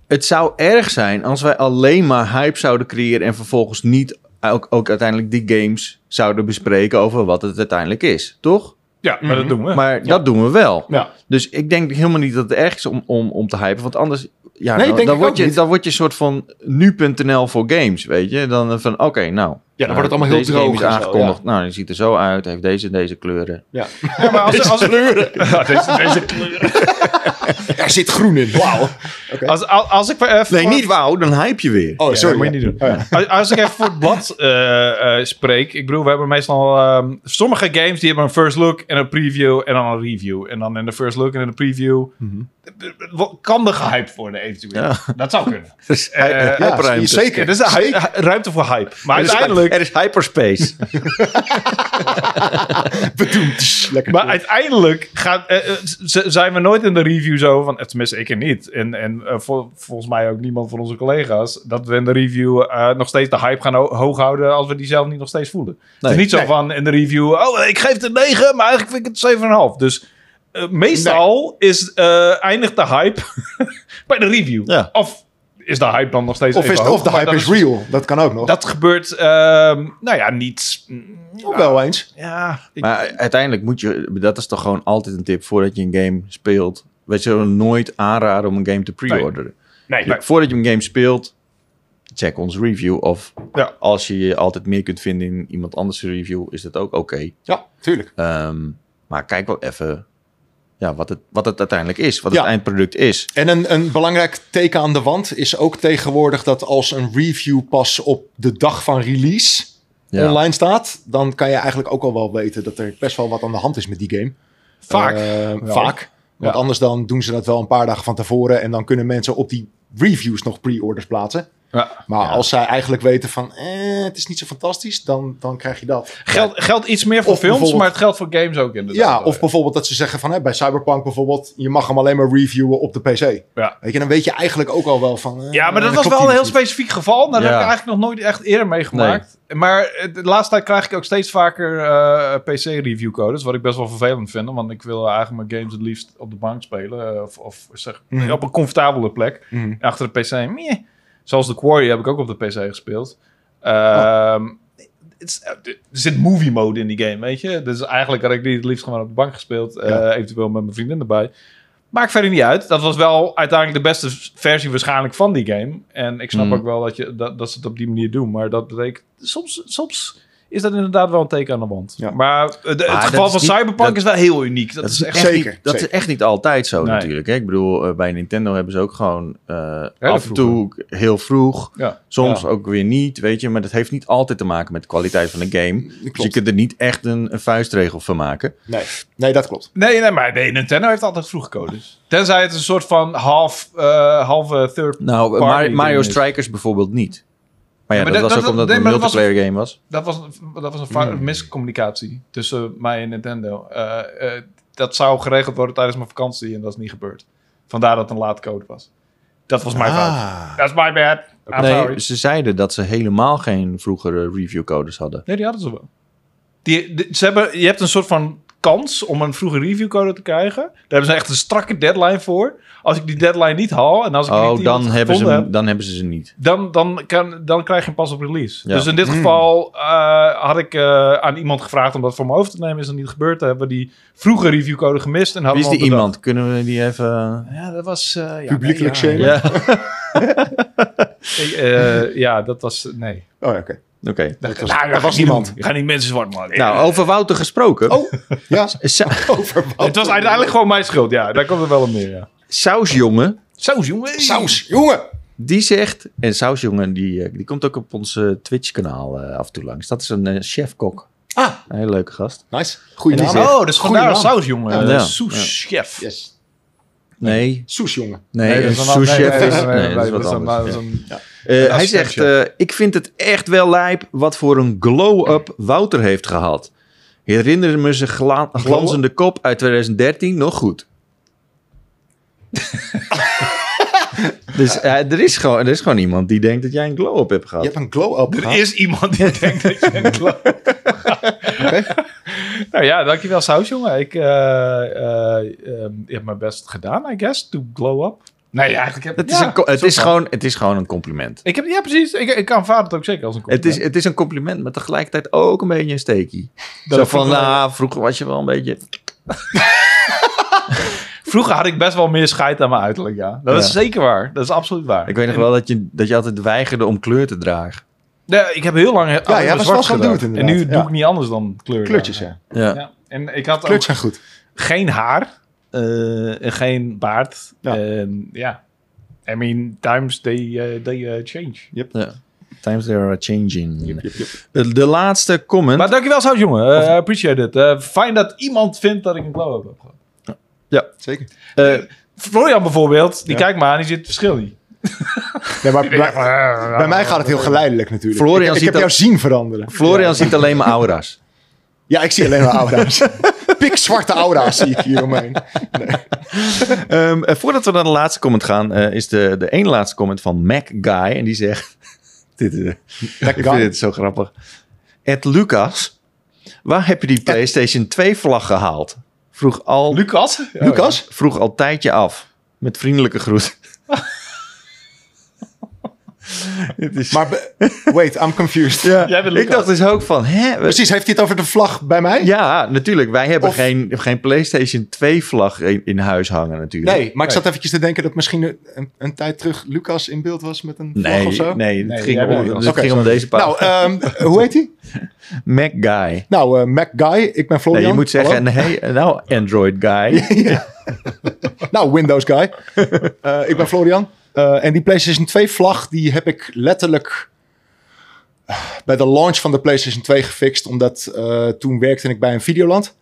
Speaker 2: het zou erg zijn als wij alleen maar hype zouden creëren en vervolgens niet ook, ook uiteindelijk die games zouden bespreken over wat het uiteindelijk is, toch?
Speaker 1: Ja, maar dat doen we.
Speaker 2: Mhm. Maar dat doen we wel.
Speaker 3: Ja.
Speaker 2: Dus ik denk helemaal niet dat het erg is om, om, om te hypen, want anders ja,
Speaker 3: Nee,
Speaker 2: dan,
Speaker 3: denk
Speaker 2: dan
Speaker 3: ik
Speaker 2: word
Speaker 3: ook
Speaker 2: je,
Speaker 3: niet.
Speaker 2: dan word je een soort van nu.nl voor games, weet je? Dan eh, van oké, nou.
Speaker 3: Ja, dan wordt het allemaal heel
Speaker 2: deze
Speaker 3: droog
Speaker 2: game is
Speaker 3: en zo,
Speaker 2: aangekondigd. Nou, die ziet er zo uit, heeft deze en deze kleuren.
Speaker 1: Ja, maar als, als, Ja, deze- deze-
Speaker 3: Er zit groen in. Wauw.
Speaker 1: als, als, als ik even
Speaker 2: Nee,
Speaker 1: voor-
Speaker 2: niet wauw, dan hype je weer.
Speaker 3: Oh,
Speaker 1: Ja,
Speaker 3: sorry.
Speaker 1: dat moet je
Speaker 3: ja.
Speaker 1: niet doen.
Speaker 3: Oh, ja.
Speaker 1: Als, als ik even voor het blad eh, eh, spreek. Ik bedoel, we hebben meestal... ehm, sommige games die hebben een first look en een preview en dan een review. En dan in de first look en in de preview... Kan er gehyped worden eventueel?
Speaker 2: Mhm. Ja.
Speaker 1: Dat zou kunnen.
Speaker 2: Dus,
Speaker 1: Eh,
Speaker 2: eh,
Speaker 3: Ja, dus,
Speaker 2: hyperuimte.
Speaker 1: Ja,
Speaker 3: zeker.
Speaker 1: er is een hy-
Speaker 3: Zeker.
Speaker 1: ruimte voor hype. Maar
Speaker 3: Dus-
Speaker 2: Er is-
Speaker 1: uiteindelijk...
Speaker 2: Er is hyperspace.
Speaker 3: Lekker.
Speaker 1: Maar uiteindelijk gaat, eh, eh, z- zijn we nooit in de review zo van, eh, tenminste ik er niet, en, en eh, vol- volgens mij ook niemand van onze collega's, dat we in de review eh, nog steeds de hype gaan ho- hoog houden als we die zelf niet nog steeds voelen. het
Speaker 2: Nee.
Speaker 1: is niet zo
Speaker 3: Nee.
Speaker 1: van in de review, oh ik geef het een 9, maar eigenlijk vind ik het een 7,5. Dus eh, meestal is, eh, eindigt de hype bij de review.
Speaker 2: Ja.
Speaker 1: Of is de hype dan nog steeds
Speaker 3: of,
Speaker 1: even
Speaker 3: is,
Speaker 1: hoog,
Speaker 3: of de
Speaker 1: maar
Speaker 3: hype
Speaker 1: dat
Speaker 3: is real. Dat kan ook nog.
Speaker 1: Dat gebeurt, ehm, nou ja, niet...
Speaker 3: Ook wel eens.
Speaker 1: Ja, ik-
Speaker 2: Maar uiteindelijk moet je, dat is toch gewoon altijd een tip voordat je een game speelt. Wij zullen nooit aanraden om een game te pre-orderen.
Speaker 1: nee, nee.
Speaker 2: Dus Voordat je een game speelt, check ons review. Of
Speaker 1: Ja.
Speaker 2: als je je altijd meer kunt vinden in iemand anders review, is dat ook oké.
Speaker 3: Ja, tuurlijk.
Speaker 2: Ehm, maar kijk wel even ja, wat, het, wat het uiteindelijk is, wat
Speaker 3: Ja.
Speaker 2: het eindproduct is.
Speaker 3: En een, een belangrijk teken aan de wand is ook tegenwoordig dat als een review pas op de dag van release
Speaker 2: Ja.
Speaker 3: online staat, dan kan je eigenlijk ook al wel weten dat er best wel wat aan de hand is met die game.
Speaker 1: vaak.
Speaker 3: Eh,
Speaker 1: wel.
Speaker 3: vaak. Want
Speaker 1: Ja.
Speaker 3: anders dan doen ze dat wel een paar dagen van tevoren en dan kunnen mensen op die reviews nog pre-orders plaatsen.
Speaker 1: Ja.
Speaker 3: Maar
Speaker 2: Ja.
Speaker 3: als zij eigenlijk weten van eh, het is niet zo fantastisch, dan, dan krijg je dat.
Speaker 1: Geld, geldt iets meer voor
Speaker 3: Of
Speaker 1: films,
Speaker 3: bijvoorbeeld-
Speaker 1: maar het geldt voor games ook inderdaad.
Speaker 3: Ja, of bijvoorbeeld dat ze zeggen van hè, bij Cyberpunk bijvoorbeeld, je mag hem alleen maar reviewen op de PC.
Speaker 1: Ja.
Speaker 3: Weet je, dan weet je eigenlijk ook al wel van. eh,
Speaker 1: ja maar dat was
Speaker 3: klopt
Speaker 1: wel een
Speaker 3: die
Speaker 1: heel
Speaker 3: misschien.
Speaker 1: specifiek geval. Daar heb
Speaker 2: Ja.
Speaker 1: ik eigenlijk nog nooit echt eerder meegemaakt. Maar eh, de laatste tijd krijg ik ook steeds vaker eh, PC-review codes. Wat ik best wel vervelend vind. Want ik wil eigenlijk mijn games het liefst op de bank spelen. eh, of of zeg,
Speaker 3: Mhm.
Speaker 1: op een comfortabele plek.
Speaker 3: Mhm.
Speaker 1: Achter de PC. Meh. Zoals The Quarry heb ik ook op de PC gespeeld. Ehm, het is- eh, er zit movie mode in die game, weet je. Dus eigenlijk had ik die het liefst gewoon op de bank gespeeld. eh,
Speaker 3: Ja.
Speaker 1: eventueel met mijn vriendin erbij. Maakt verder niet uit. Dat was wel uiteindelijk de beste versie waarschijnlijk van die game. En ik snap
Speaker 2: Mm.
Speaker 1: ook wel dat, je, dat, dat ze het op die manier doen. Maar dat betekent... Soms, soms is dat inderdaad wel een teken aan de wand.
Speaker 3: Ja.
Speaker 1: Maar eh, de-
Speaker 2: Maar
Speaker 1: het
Speaker 2: dat
Speaker 1: geval
Speaker 2: is
Speaker 1: van
Speaker 2: niet-
Speaker 1: Cyberpunk
Speaker 2: dat-
Speaker 1: is wel heel uniek. Dat,
Speaker 2: Dat
Speaker 1: is echt...
Speaker 3: zeker,
Speaker 2: niet, dat
Speaker 3: zeker.
Speaker 2: is echt niet altijd zo
Speaker 1: Nee.
Speaker 2: natuurlijk. Hè? Ik bedoel, eh, bij Nintendo hebben ze ook gewoon eh, af en
Speaker 1: vroeg,
Speaker 2: toe heel vroeg.
Speaker 1: Ja.
Speaker 2: Soms
Speaker 1: Ja.
Speaker 2: ook weer niet, weet je. Maar dat heeft niet altijd te maken met de kwaliteit van de game. Dus je kunt er niet echt een, een vuistregel van maken.
Speaker 3: Nee, nee, dat klopt.
Speaker 1: Nee, nee, maar nee, Nintendo heeft altijd vroeg codes. Tenzij het een soort van half, eh, halve third...
Speaker 2: Nou,
Speaker 1: Party
Speaker 2: Mar-
Speaker 1: ding
Speaker 2: Mario
Speaker 1: is.
Speaker 2: Strikers bijvoorbeeld niet. Maar ja,
Speaker 1: Ja, maar
Speaker 2: dat,
Speaker 1: dat-
Speaker 2: was
Speaker 1: dat-
Speaker 2: ook omdat
Speaker 1: nee,
Speaker 2: het een
Speaker 1: maar dat
Speaker 2: multiplayer game was.
Speaker 1: Dat was, dat was een va-
Speaker 2: Hmm.
Speaker 1: miscommunicatie tussen mij en Nintendo. Eh, eh, dat zou geregeld worden tijdens mijn vakantie en dat is niet gebeurd. Vandaar dat het een laat code was. Dat was mijn fout. Dat is my bad. I'm
Speaker 2: Ah. Nee,
Speaker 1: Ah, sorry.
Speaker 2: ze zeiden dat ze helemaal geen vroegere reviewcodes hadden.
Speaker 1: Nee, die hadden ze wel. Die, die- ze hebben, je hebt een soort van kans om een vroege reviewcode te krijgen. Daar hebben ze echt een strakke deadline voor. Als ik die deadline niet haal en als ik
Speaker 2: Oh,
Speaker 1: niet
Speaker 2: dan
Speaker 1: iemand
Speaker 2: hebben, ze,
Speaker 1: gevonden
Speaker 2: hem-
Speaker 1: heb,
Speaker 2: dan hebben ze ze niet.
Speaker 1: dan, dan, kan, dan krijg je hem pas op release.
Speaker 2: Ja.
Speaker 1: Dus in dit geval eh, had ik eh, aan iemand gevraagd om dat voor mijn hoofd te nemen. Is dat niet gebeurd? Dan hebben we die vroege reviewcode gemist. En
Speaker 2: Wie
Speaker 1: hadden
Speaker 2: is
Speaker 1: we
Speaker 2: die
Speaker 1: hem
Speaker 2: iemand? Kunnen we die even...
Speaker 1: bedacht. Ja, dat was... eh, ja,
Speaker 3: Publiekelijk
Speaker 1: nee, ja.
Speaker 3: shamen?
Speaker 2: Ja, oké.
Speaker 1: Ik, eh, ja, dat was... Nee.
Speaker 3: Oh, oké.
Speaker 1: Dat Nou
Speaker 3: was- dat was niemand.
Speaker 1: Ik ga niet mensen zwart maken.
Speaker 2: Nou, over Wouter gesproken.
Speaker 3: Oh, ja.
Speaker 2: Sa-
Speaker 3: Over wat?
Speaker 1: het was uiteindelijk gewoon mijn schuld. Ja, daar komt het wel op neer, ja.
Speaker 2: Sausjongen,
Speaker 1: Saus, jongen.
Speaker 3: Saus, jongen.
Speaker 2: die zegt... En Sausjongen, die, eh, die komt ook op ons eh, Twitch-kanaal eh, af en toe langs. Dat is een eh, chef-kok.
Speaker 3: Ah.
Speaker 2: Een hele leuke gast.
Speaker 3: Nice. Goeie
Speaker 2: En
Speaker 3: naam.
Speaker 2: die
Speaker 1: Oh, dus vandaar
Speaker 3: Goeie
Speaker 1: een
Speaker 3: naam.
Speaker 1: saus, jongen.
Speaker 2: Ja.
Speaker 1: Eh, Soes, chef.
Speaker 3: Yes.
Speaker 2: Nee,
Speaker 3: Soes, jongen.
Speaker 2: nee,
Speaker 1: dat
Speaker 2: een
Speaker 1: is een ander-
Speaker 2: sous-chef
Speaker 1: nee,
Speaker 2: is...
Speaker 1: nee,
Speaker 2: Nee,
Speaker 1: nee,
Speaker 2: dat is wat
Speaker 1: een-
Speaker 2: anders.
Speaker 1: dat is een-
Speaker 2: Eh, hij
Speaker 1: assistent,
Speaker 2: zegt, eh, ik vind het echt wel lijp wat voor een glow-up Wouter heeft gehad. Herinner me zijn gla- glanzende kop uit 2013 nog goed. Dus eh, er, is gewoon, er is gewoon iemand die denkt dat jij een glow-up hebt
Speaker 3: Je
Speaker 2: gehad.
Speaker 3: hebt een glow-up
Speaker 1: Er
Speaker 3: gehad.
Speaker 1: is iemand die denkt dat je een kloof Nou ja, dankjewel Saus, jongen. Ik eh eh, ehm, ik heb mijn best gedaan, I guess, to glow up. Nee, eigenlijk heb
Speaker 2: Het,
Speaker 1: ja,
Speaker 2: is, een, co- het,
Speaker 1: soort
Speaker 2: is,
Speaker 1: van.
Speaker 2: gewoon, het is gewoon een compliment.
Speaker 1: Ik heb, ja, precies. Ik, ik aanvaard het ook zeker als een
Speaker 2: Het is, het is een compliment, maar tegelijkertijd ook een beetje een steekie.
Speaker 1: Dat
Speaker 2: Zo
Speaker 1: ik
Speaker 2: van,
Speaker 1: vroeger-
Speaker 2: nou, vroeger was je wel een beetje...
Speaker 1: Vroeger had ik best wel meer scheid aan mijn uiterlijk, ja. Dat
Speaker 2: Ja.
Speaker 1: is zeker waar. Dat is absoluut waar.
Speaker 2: Ik weet nog wel dat je, dat je altijd weigerde om kleur te dragen.
Speaker 1: Nee, ik heb heel lang ja,
Speaker 3: jij was wel zo'n
Speaker 1: gedaan.
Speaker 3: dude
Speaker 1: En
Speaker 3: inderdaad,
Speaker 1: nu doe
Speaker 3: ja.
Speaker 1: ik niet anders dan kleur.
Speaker 3: Kleurtjes,
Speaker 1: dragen.
Speaker 3: ja.
Speaker 2: Ja.
Speaker 1: Ja. En ik had
Speaker 3: Kleurtjes
Speaker 1: ook
Speaker 3: zijn goed.
Speaker 1: geen haar eh, en geen baard.
Speaker 3: Ja.
Speaker 1: En ja, I mean, times they, eh, they eh, change.
Speaker 2: Ja. Times they are changing. Eh,
Speaker 3: Jup, jup, jup.
Speaker 2: De, de laatste comment.
Speaker 1: Maar dankjewel Saus, jongen. Eh, I appreciate it. Eh, fijn dat iemand vindt dat ik een glow-up heb gehad.
Speaker 3: Zeker.
Speaker 2: Eh,
Speaker 1: Florian bijvoorbeeld, die
Speaker 3: Ja.
Speaker 1: kijkt me aan, die zit het verschil niet.
Speaker 3: Nee, maar bij, bij mij gaat het heel geleidelijk natuurlijk.
Speaker 2: Florian
Speaker 3: ik, ik
Speaker 2: ziet
Speaker 3: heb
Speaker 2: dat-
Speaker 3: jou zien veranderen.
Speaker 2: Florian ziet alleen maar aura's.
Speaker 3: Ja, ik zie alleen maar aura's. Pikzwarte aura's zie ik hier omheen.
Speaker 2: Ehm, eh, voordat we naar de laatste comment gaan, eh, is de, de ene laatste comment van Mac Guy. En die zegt: dit, is-
Speaker 3: Mac
Speaker 2: Ik
Speaker 3: Guy.
Speaker 2: vind dit zo grappig. Ed Lucas, waar heb je die PlayStation 2 vlag gehaald? Vroeg al,
Speaker 1: Lucas? Ja,
Speaker 3: Lucas?
Speaker 2: Oh, vroeg al tijdje af. Met vriendelijke groet. Het is,
Speaker 3: Maar be- wait, I'm confused.
Speaker 2: ja,
Speaker 1: Jij bent
Speaker 2: ik
Speaker 1: Lucas.
Speaker 2: dacht dus ook van: hè? we-
Speaker 3: Precies, heeft hij het over de vlag bij mij?
Speaker 2: Ja, natuurlijk. Wij hebben
Speaker 3: Of-
Speaker 2: geen, geen PlayStation 2 vlag in, in huis hangen, natuurlijk.
Speaker 3: Nee, maar ik zat eventjes te denken dat misschien een- een, een tijd terug Lucas in beeld was met een vlag
Speaker 2: Nee,
Speaker 3: of zo.
Speaker 2: nee, het
Speaker 1: Nee,
Speaker 2: ging,
Speaker 1: jij bent
Speaker 2: om,
Speaker 1: Lucas.
Speaker 2: het
Speaker 3: Oké,
Speaker 2: ging om
Speaker 3: sorry.
Speaker 2: deze paar.
Speaker 3: Nou, ehm, hoe heet hij?
Speaker 2: Mac Guy.
Speaker 3: Nou, eh, Mac Guy, ik ben Florian.
Speaker 2: Nee, je moet zeggen,
Speaker 3: Hallo.
Speaker 2: hey, nou, Android guy.
Speaker 3: Nou, Windows Guy. Eh, ik ben Florian. Eh, en die PlayStation 2 vlag, die heb ik letterlijk eh, bij de launch van de PlayStation 2 gefixt. Omdat eh, toen werkte ik bij een Videoland.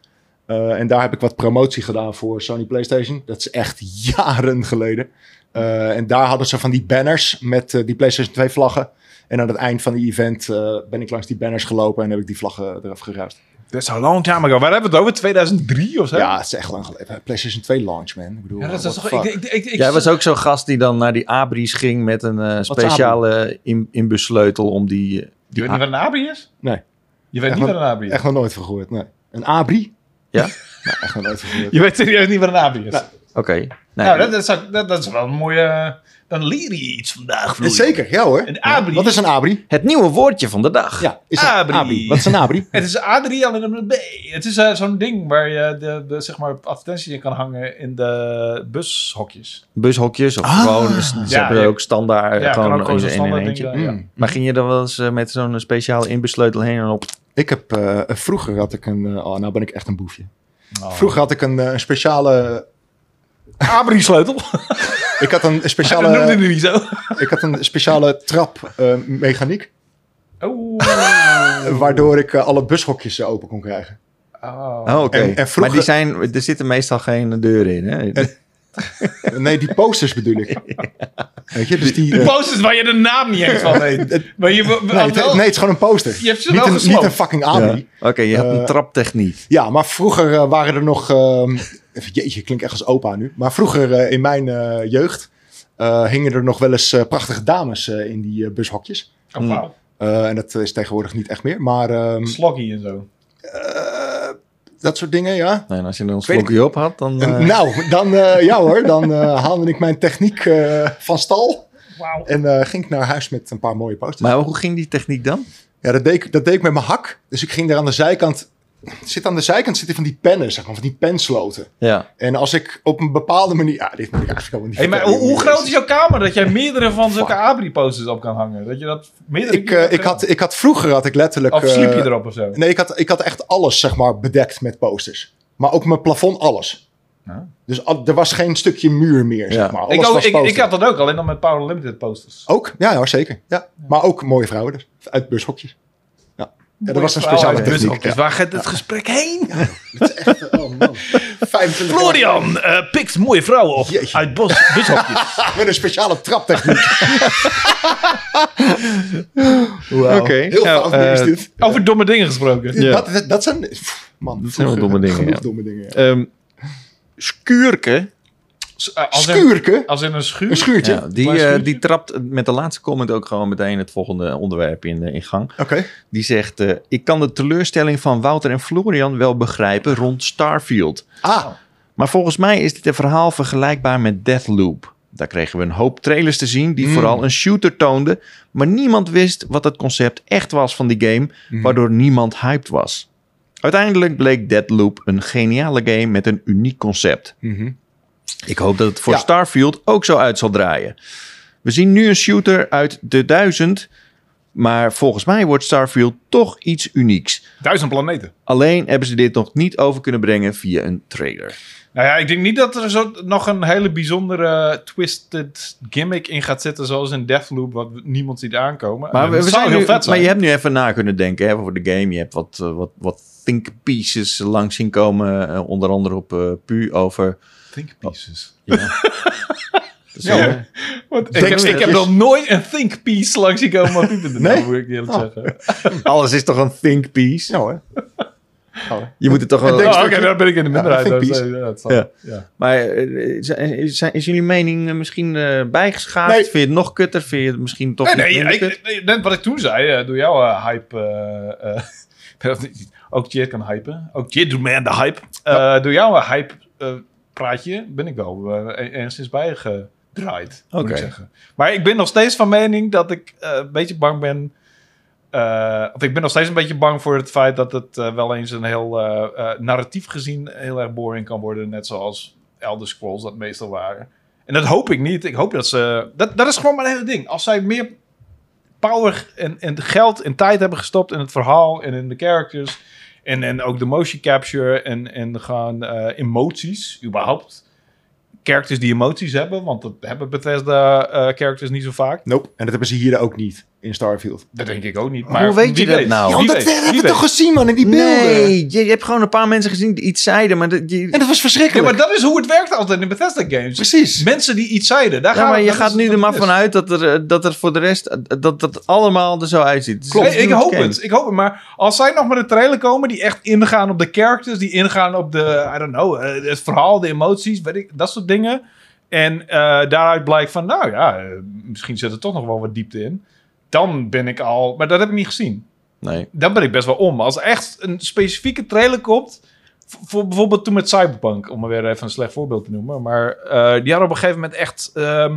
Speaker 3: Eh, en daar heb ik wat promotie gedaan voor Sony PlayStation. Dat is echt jaren geleden. Eh, en daar hadden ze van die banners met eh, die PlayStation 2 vlaggen. En aan het eind van die event eh, ben ik langs die banners gelopen en heb ik die vlaggen eraf geruist.
Speaker 1: That's a long time ago. Waar hebben we het over? 2003 of zo?
Speaker 3: Ja, het is echt lang geleden. Eh, PlayStation 2 launch, man. Ik bedoel,
Speaker 1: Ja, dat is
Speaker 3: what
Speaker 1: toch...
Speaker 3: the fuck?
Speaker 1: Ik, ik, ik, ik-
Speaker 2: Jij was ook zo'n gast die dan naar die Abris ging met een eh,
Speaker 3: is
Speaker 2: speciale in, inbussleutel om die... eh,
Speaker 1: Je
Speaker 2: die
Speaker 1: weet niet wat een abi is?
Speaker 3: Ah. Nee.
Speaker 1: Je weet
Speaker 3: Echt
Speaker 1: niet
Speaker 3: wel-
Speaker 1: wat een abi is?
Speaker 3: Echt nog nooit van gehoord, nee. Een abri?
Speaker 2: Ja?
Speaker 3: Nee, echt nog nooit van gehoord.
Speaker 1: Je weet serieus niet wat een abi is?
Speaker 2: Oké. Nee.
Speaker 1: Nou, dat, dat, zou- dat, dat is wel een mooie... eh, Dan leer je iets vandaag,
Speaker 3: Eh,
Speaker 1: Florian.
Speaker 3: Zeker, ja hoor.
Speaker 1: Een abri?
Speaker 3: Wat is een abri?
Speaker 2: Het nieuwe woordje van de dag.
Speaker 3: Ja, is een
Speaker 1: Abri.
Speaker 3: abri. Wat is een abri?
Speaker 1: Het is A3 alleen een B. Het is eh, zo'n ding waar je de, de, zeg maar, advertenties in kan hangen in de bushokjes.
Speaker 2: Bushokjes of
Speaker 3: Ah.
Speaker 2: gewoon... dus Ze
Speaker 1: Ja,
Speaker 2: hebben er
Speaker 1: ja.
Speaker 2: ook standaard
Speaker 1: Ja,
Speaker 2: gewoon,
Speaker 1: kan ook gewoon
Speaker 2: in-
Speaker 1: zo'n
Speaker 2: in een
Speaker 1: standaard ding.
Speaker 2: eentje.
Speaker 1: eh, ja.
Speaker 3: Mm.
Speaker 2: Maar ging je er wel eens eh, met zo'n speciale inbussleutel heen en op...
Speaker 3: Ik heb, eh, vroeger had ik een, eh, oh nou ben ik echt een boefje.
Speaker 1: Oh.
Speaker 3: Vroeger had ik een eh, een speciale, eh,
Speaker 1: Abri-sleutel.
Speaker 3: ik
Speaker 1: Dat
Speaker 3: had een
Speaker 1: noemde
Speaker 3: speciale,
Speaker 1: hij niet zo.
Speaker 3: ik had een speciale trap eh, mechaniek.
Speaker 1: Oh.
Speaker 3: eh, Waardoor ik eh, alle bushokjes eh, open kon krijgen.
Speaker 2: Oh, oké.
Speaker 3: En- en
Speaker 2: Maar die
Speaker 3: vroeger-
Speaker 2: zijn, er zitten meestal geen deuren in, hè?
Speaker 3: Eh, Nee, die posters bedoel ik. Weet je, dus die...
Speaker 1: Die
Speaker 3: eh,
Speaker 1: posters waar je de naam niet eens van weet. Maar je, we- we-
Speaker 3: nee, het,
Speaker 1: wel-
Speaker 3: nee, het is gewoon een poster.
Speaker 1: Je hebt ze
Speaker 3: niet,
Speaker 1: wel
Speaker 3: een,
Speaker 1: gesloopt.
Speaker 3: niet een fucking abri.
Speaker 2: Ja. Oké, je had een
Speaker 3: Eh,
Speaker 2: traptechniek.
Speaker 3: Ja, maar vroeger eh, waren er nog. ehm, even- jeetje, ik klink echt als opa nu. Maar vroeger eh, in mijn eh, jeugd eh, hingen er nog wel eens eh, prachtige dames eh, in die eh, bushokjes.
Speaker 1: Oh, wauw.
Speaker 3: Eh, en dat is tegenwoordig niet echt meer. Maar ehm,
Speaker 1: Sloggy en zo.
Speaker 3: eh, dat soort dingen, ja.
Speaker 2: Nee, en als je er een
Speaker 3: weet
Speaker 2: slokje op had, dan...
Speaker 3: En
Speaker 2: eh,
Speaker 3: nou, dan, eh, ja hoor, dan eh, haalde ik mijn techniek eh, van stal.
Speaker 1: Wauw.
Speaker 3: En eh, ging ik naar huis met een paar mooie posters.
Speaker 2: Maar hoe ging die techniek dan?
Speaker 3: Ja, dat deed, ik, dat deed ik met mijn hak. Dus ik ging daar aan de zijkant. Zit aan de zijkant zitten van die pennen, zeg maar, van die pensloten.
Speaker 2: Ja.
Speaker 3: En als ik op een bepaalde manier... Ja, dit moet ik eigenlijk helemaal niet
Speaker 1: Hey, maar hoe,
Speaker 3: vertellen,
Speaker 1: hoe
Speaker 3: jongens.
Speaker 1: groot is jouw kamer dat jij meerdere van zulke Abri-posters op kan hangen? Dat je dat meerdere
Speaker 3: Ik,
Speaker 1: keer
Speaker 3: eh,
Speaker 1: hebt
Speaker 3: ik, had, ik had vroeger had ik letterlijk...
Speaker 1: gedaan? Of
Speaker 3: eh,
Speaker 1: sliep je erop of zo?
Speaker 3: Nee, ik had, ik had echt alles, zeg maar, bedekt met posters. Maar ook mijn plafond, alles.
Speaker 1: Ja.
Speaker 3: Dus al- er was geen stukje muur meer,
Speaker 2: Ja.
Speaker 3: zeg maar. Alles
Speaker 1: Ik, ook,
Speaker 3: was
Speaker 1: ik,
Speaker 3: poster.
Speaker 1: ik had dat ook, alleen dan met Power Limited posters.
Speaker 3: Ook? Ja, ja zeker. Ja. Maar ook mooie vrouwen dus. Uit bushokjes. Ja. Ja, dat was een speciale
Speaker 1: Bushokjes.
Speaker 3: techniek. Ja.
Speaker 1: Dus Waar gaat het gesprek heen?
Speaker 3: Dat is echt... Oh man. 25 jaar
Speaker 1: Florian eh, pikt mooie vrouwen op
Speaker 3: Jeetje.
Speaker 1: uit bos, bushokjes.
Speaker 3: Met een speciale traptechniek.
Speaker 2: Oké.
Speaker 3: Heel fout
Speaker 2: Nou,
Speaker 3: is
Speaker 2: eh,
Speaker 3: dit.
Speaker 1: Over domme dingen gesproken.
Speaker 2: Ja.
Speaker 3: Dat, dat, dat zijn... pff, Man,
Speaker 2: zijn wel domme dingen,
Speaker 3: Genoeg
Speaker 2: ja.
Speaker 3: domme dingen, ja.
Speaker 2: ehm, Skuurke
Speaker 1: s- eh, als, in,
Speaker 3: Skuurke?
Speaker 1: als in een schuur.
Speaker 3: Een schuurtje?
Speaker 2: Ja, die,
Speaker 1: Klein
Speaker 2: eh,
Speaker 1: schuurtje.
Speaker 2: die trapt met de laatste comment ook gewoon meteen het volgende onderwerp in, eh, in gang.
Speaker 3: Oké.
Speaker 2: Die zegt: eh, Ik kan de teleurstelling van Wouter en Florian wel begrijpen rond Starfield.
Speaker 3: Ah,
Speaker 2: Maar volgens mij is dit een verhaal vergelijkbaar met Deathloop. Daar kregen we een hoop trailers te zien die
Speaker 3: Mm.
Speaker 2: vooral een shooter toonden. Maar niemand wist wat het concept echt was van die game,
Speaker 3: Mm.
Speaker 2: waardoor niemand hyped was. Uiteindelijk bleek Deathloop een geniale game met een uniek concept.
Speaker 3: Mhm.
Speaker 2: Ik hoop dat het voor
Speaker 3: Ja.
Speaker 2: Starfield ook zo uit zal draaien. We zien nu een shooter uit de duizend, maar volgens mij wordt Starfield toch iets unieks.
Speaker 1: Duizend planeten.
Speaker 2: Alleen hebben ze dit nog niet over kunnen brengen via een trailer.
Speaker 1: Nou ja, ik denk niet dat er zo, nog een hele bijzondere eh, twisted gimmick in gaat zitten. Zoals in Deathloop, wat niemand ziet aankomen.
Speaker 2: Maar,
Speaker 1: Eh,
Speaker 2: we,
Speaker 1: dat
Speaker 2: we
Speaker 1: zou
Speaker 2: zijn
Speaker 1: heel
Speaker 2: nu-
Speaker 1: vet zijn.
Speaker 2: maar je hebt nu even na kunnen denken hè, voor de game. Je hebt wat, eh, wat, wat think pieces langs zien komen. eh, onder andere op eh, Pu over...
Speaker 1: Think pieces.
Speaker 2: Dus, eh,
Speaker 1: Ja. Want ik,
Speaker 3: Denk
Speaker 1: heb, ik
Speaker 3: weer.
Speaker 1: heb nog nooit een think piece langs zien komen. op internet.
Speaker 3: Nee? Oh.
Speaker 1: Nou, moet ik eerlijk zeggen.
Speaker 2: alles is toch een think piece?
Speaker 3: ja hoor.
Speaker 2: Je moet het toch wel...
Speaker 3: denk-
Speaker 1: Oh, Oké, daar ben ik in de minderheid.
Speaker 3: think
Speaker 1: dus,
Speaker 3: piece.
Speaker 1: eh, ja, dat zal-
Speaker 2: Ja.
Speaker 1: ja.
Speaker 2: Maar eh, eh, zijn, zijn- is jullie mening eh, misschien eh, bijgeschaafd?
Speaker 3: Nee.
Speaker 2: Vind je het nog kutter? Vind je het misschien toch
Speaker 1: Nee,
Speaker 2: iets
Speaker 1: nee,
Speaker 2: minder kut?
Speaker 1: ik, nee, net wat ik toen zei, eh, door jouw eh, hype. eh, eh, dat niet- ook Jit kan hypen. Ook Jit doet mij aan de hype. Eh, Door jouw eh, hype eh, praatje ben ik wel eh, e- enigszins bijgedraaid. Moet
Speaker 2: Oké.
Speaker 1: ik zeggen. Maar ik ben nog steeds van mening dat ik eh, een beetje bang ben. eh, of ik ben nog steeds een beetje bang voor het feit dat het eh, wel eens een heel eh, eh, narratief gezien heel erg boring kan worden. Net zoals Elder Scrolls dat meestal waren. En dat hoop ik niet. Ik hoop dat ze. Dat, dat is gewoon mijn hele ding. Als zij meer power en, en geld en tijd hebben gestopt in het verhaal en in de characters. En, en ook de motion capture en, en gewoon eh, emoties, überhaupt. Characters die emoties hebben, want dat hebben Bethesda-characters niet zo vaak.
Speaker 3: Nope. En dat hebben ze hier ook niet in Starfield.
Speaker 1: Dat denk ik ook niet. Maar
Speaker 2: Hoe Oh, weet
Speaker 1: wie
Speaker 2: je dat nou?
Speaker 3: Ja,
Speaker 1: Wie
Speaker 3: want dat
Speaker 1: weet?
Speaker 3: hebben
Speaker 1: Wie
Speaker 3: we toch
Speaker 1: weet?
Speaker 3: gezien, man, in die beelden.
Speaker 2: Nee, je, je hebt gewoon een paar mensen gezien die iets zeiden, maar... dat- je,
Speaker 3: En dat was
Speaker 1: Ja,
Speaker 3: verschrikkelijk.
Speaker 1: maar dat is hoe het werkt altijd in Bethesda-games.
Speaker 3: Precies.
Speaker 1: Mensen die iets zeiden. Daar
Speaker 2: Ja,
Speaker 1: gaan
Speaker 2: maar
Speaker 1: we-
Speaker 2: je
Speaker 1: dat
Speaker 2: gaat
Speaker 1: is
Speaker 2: nu
Speaker 1: wat
Speaker 2: er maar
Speaker 1: het is.
Speaker 2: vanuit dat er, eh, dat er voor de rest... eh, dat dat allemaal er zo uitziet. Dus
Speaker 1: Klopt.
Speaker 2: het is
Speaker 1: ik
Speaker 2: niemand
Speaker 1: hoop
Speaker 2: kent.
Speaker 1: het. Ik hoop het. Maar als zij nog met een trailer komen die echt ingaan op de characters, die ingaan op de, I don't know, eh, het verhaal, de emoties, weet ik, dat soort dingen. En eh, daaruit blijkt van, nou ja, eh, misschien zit er toch nog wel wat diepte in. Dan ben ik al, maar dat heb ik niet gezien.
Speaker 2: Nee.
Speaker 1: Dan ben ik best wel om. Als er echt een specifieke trailer komt, v- voor bijvoorbeeld toen met Cyberpunk, om maar weer even een slecht voorbeeld te noemen. Maar eh, die hadden op een gegeven moment echt ehm,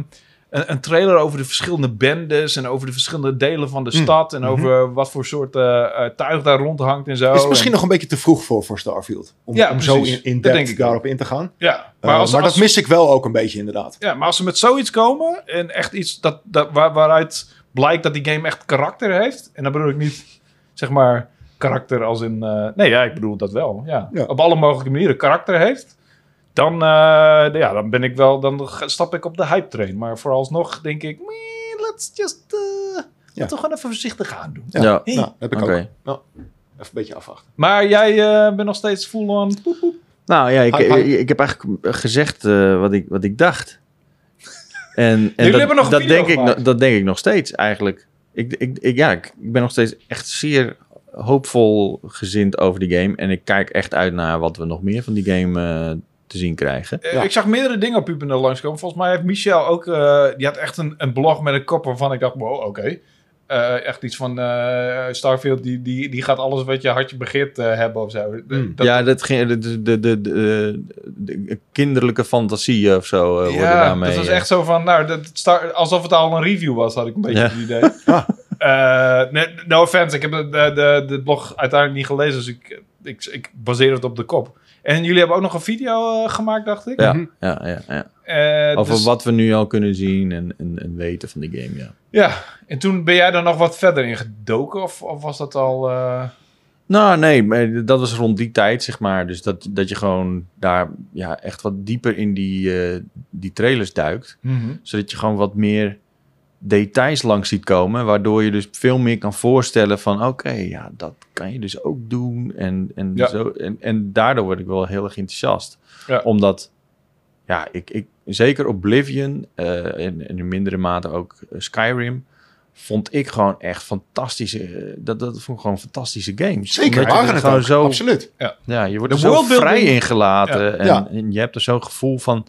Speaker 1: een, een trailer over de verschillende bendes en over de verschillende delen van de
Speaker 3: Hm.
Speaker 1: stad en over wat voor soort eh, eh, tuig daar rondhangt en
Speaker 2: Oh,
Speaker 1: zo.
Speaker 3: Mhm. is misschien
Speaker 1: En-
Speaker 3: nog een beetje te vroeg voor, voor Starfield. Om,
Speaker 1: Ja,
Speaker 3: om zo
Speaker 1: precies.
Speaker 3: in, in
Speaker 1: Dat
Speaker 3: depth
Speaker 1: denk ik ook.
Speaker 3: daarop in te gaan. Uh,
Speaker 1: ja,
Speaker 3: Maar,
Speaker 1: maar als, als,
Speaker 3: dat mis ik wel ook een beetje, inderdaad.
Speaker 1: ja, maar als ze met zoiets komen en echt iets dat, dat, waar- waaruit blijkt dat die game echt karakter heeft, en dan bedoel ik niet zeg maar karakter als in. eh, nee, ja, ik bedoel dat wel. Ja.
Speaker 3: Ja.
Speaker 1: Op alle mogelijke manieren karakter heeft. Dan, eh, ja, dan ben ik wel, dan ga- stap ik op de hype train. Maar vooralsnog denk ik, "Meh, let's just, eh
Speaker 3: Ja.
Speaker 1: laten we gewoon even voorzichtig aan doen.
Speaker 3: Ja,
Speaker 2: Ja.
Speaker 3: Nou, dat heb ik
Speaker 2: Oké.
Speaker 3: ook. Nou, even een beetje afwachten.
Speaker 1: Maar jij eh, bent nog steeds full on. poep, poep.
Speaker 2: Nou ja, ik,
Speaker 3: Hi, hi.
Speaker 2: ik, ik heb eigenlijk eh, gezegd eh, wat, ik, wat ik dacht. En, en
Speaker 1: Jullie
Speaker 2: dat,
Speaker 1: hebben nog een
Speaker 2: dat,
Speaker 1: video
Speaker 2: denk ik,
Speaker 1: gemaakt.
Speaker 2: no- dat denk ik nog steeds eigenlijk. Ik, ik, ik, ja, ik, ik ben nog steeds echt zeer hoopvol gezind over die game. En ik kijk echt uit naar wat we nog meer van die game eh, te zien krijgen.
Speaker 1: Eh,
Speaker 3: Ja.
Speaker 1: Ik zag meerdere dingen op Pupen langskomen. Volgens mij heeft Michel ook... eh, die had echt een, een blog met een kop waarvan ik dacht... Wow, oké. Eh, echt iets van eh, Starfield, die, die, die gaat alles wat je hartje begeert eh, hebben of zo.
Speaker 3: Mm.
Speaker 1: Dat-
Speaker 2: Hmm. ja, dat ging, de, de, de, de, de- de kinderlijke fantasie of zo eh worden
Speaker 1: ja,
Speaker 2: daarmee.
Speaker 1: dat was
Speaker 2: eh,
Speaker 1: echt zo van, nou, dat star, alsof het al een review was, had ik een beetje
Speaker 2: Ja. Ah.
Speaker 1: het idee. Eh, nee, no offense, ik heb de, de, de, de blog uiteindelijk niet gelezen, dus ik, ik, ik baseer het op de kop. En jullie hebben ook nog een video eh, gemaakt, dacht ik.
Speaker 2: Ja,
Speaker 3: Mhm.
Speaker 2: ja, ja, ja.
Speaker 1: Eh,
Speaker 2: Over
Speaker 1: dus-
Speaker 2: wat we nu al kunnen zien en, en, en weten van die game, ja.
Speaker 1: Ja, en toen ben jij daar nog wat verder in gedoken? Of, of was dat al... eh,
Speaker 2: Nou, nee, maar dat was rond die tijd, zeg maar. Dus dat, dat je gewoon daar ja, echt wat dieper in die, eh, die trailers duikt. Zodat je gewoon wat meer details langs ziet komen. Waardoor je dus veel meer kan voorstellen van... Oké, ja, dat kan je dus ook doen. En, en,
Speaker 1: Ja.
Speaker 2: zo, en, en daardoor word ik wel heel erg enthousiast.
Speaker 1: Ja.
Speaker 2: Omdat, ja, ik, ik, zeker Oblivion... eh, en, en in mindere mate ook eh, Skyrim... Vond ik gewoon echt fantastische. eh, Dat, dat vond ik gewoon fantastische games.
Speaker 3: Zeker,
Speaker 2: Omdat je
Speaker 3: waren
Speaker 2: er
Speaker 3: het
Speaker 2: gewoon
Speaker 3: ook.
Speaker 2: zo
Speaker 3: Absoluut.
Speaker 2: ja, je wordt
Speaker 1: De
Speaker 2: er zo
Speaker 1: worldbuilding-
Speaker 2: vrij ingelaten. En,
Speaker 3: Ja.
Speaker 2: en je hebt er zo'n gevoel van...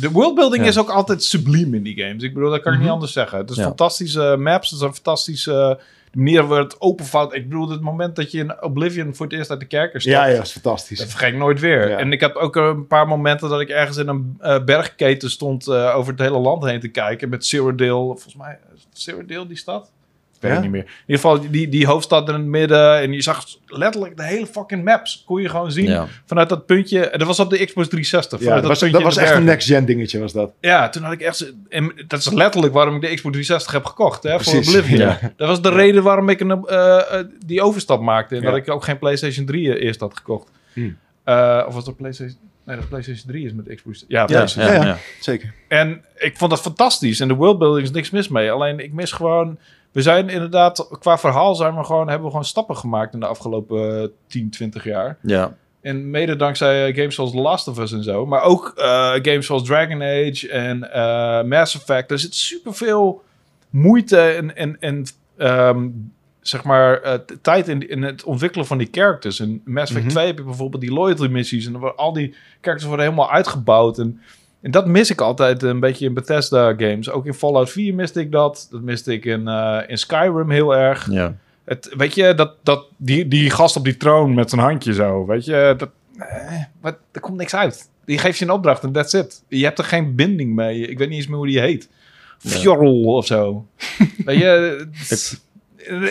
Speaker 1: De worldbuilding
Speaker 2: Ja.
Speaker 1: is ook altijd subliem in die games. Ik bedoel, dat kan ik
Speaker 2: Mhm.
Speaker 1: niet anders zeggen. Het is
Speaker 2: Ja.
Speaker 1: fantastische maps. Het is een fantastische eh, de manier waarop het openvouwt. Ik bedoel, het moment dat je in Oblivion voor het eerst uit de kerker stapt.
Speaker 3: Ja, ja, dat is fantastisch.
Speaker 1: Dat vergeet ik nooit weer.
Speaker 3: Ja.
Speaker 1: En ik had ook een paar momenten dat ik ergens in een eh, bergketen stond eh, over het hele land heen te kijken. Met Cyrodiil, volgens mij, is het Cyrodiil die stad? Ik weet
Speaker 3: Ja?
Speaker 1: het niet meer. In ieder geval die, die hoofdstad in het midden. En je zag letterlijk de hele fucking maps. Kon je gewoon zien
Speaker 2: Ja.
Speaker 1: vanuit dat puntje. En dat was op de Xbox 360.
Speaker 3: ja,
Speaker 1: vanuit
Speaker 3: dat was,
Speaker 1: puntje
Speaker 3: dat
Speaker 1: in de
Speaker 3: was echt een
Speaker 1: bergen.
Speaker 3: next-gen dingetje, was dat.
Speaker 1: Ja, toen had ik echt... zo- En dat is letterlijk waarom ik de Xbox 360 heb gekocht. Hè, voor
Speaker 3: Precies,
Speaker 1: Oblivion.
Speaker 2: ja.
Speaker 1: Dat was de reden waarom ik een, eh, eh, die overstap maakte. En
Speaker 3: Ja.
Speaker 1: dat ik ook geen PlayStation 3 eerst had gekocht.
Speaker 3: Hmm.
Speaker 1: Eh, of was dat PlayStation... Nee, dat PlayStation 3 is met Xbox. Ja,
Speaker 2: Ja,
Speaker 1: PlayStation.
Speaker 2: ja,
Speaker 3: Ja.
Speaker 2: ja.
Speaker 3: Zeker.
Speaker 1: En ik vond dat fantastisch. En de worldbuilding is niks mis mee. Alleen ik mis gewoon... We zijn inderdaad... Qua verhaal zijn we gewoon, hebben we gewoon stappen gemaakt... in de afgelopen eh, 10, 20 jaar.
Speaker 2: Ja.
Speaker 1: En mede dankzij eh, games zoals The Last of Us en zo. Maar ook eh, games zoals Dragon Age en eh, Mass Effect. Er zit superveel moeite en, en, en ehm, zeg maar eh, t- tijd in, in het ontwikkelen van die characters. In Mass Effect
Speaker 3: Mhm.
Speaker 1: 2 heb je bijvoorbeeld die loyalty missies. En dan worden al die characters worden helemaal uitgebouwd. En, en dat mis ik altijd een beetje in Bethesda games. Ook in Fallout 4 miste ik dat. Dat miste ik in, eh, in Skyrim heel erg.
Speaker 2: ja.
Speaker 1: Het, weet je, dat, dat, die, die gast op die troon met zijn handje zo, weet je, dat, eh, wat, er komt niks uit. Die geeft je een opdracht en that's it. Je hebt er geen binding mee. Ik weet niet eens meer hoe die heet.
Speaker 2: Ja.
Speaker 1: Fjorl of zo. weet je, het-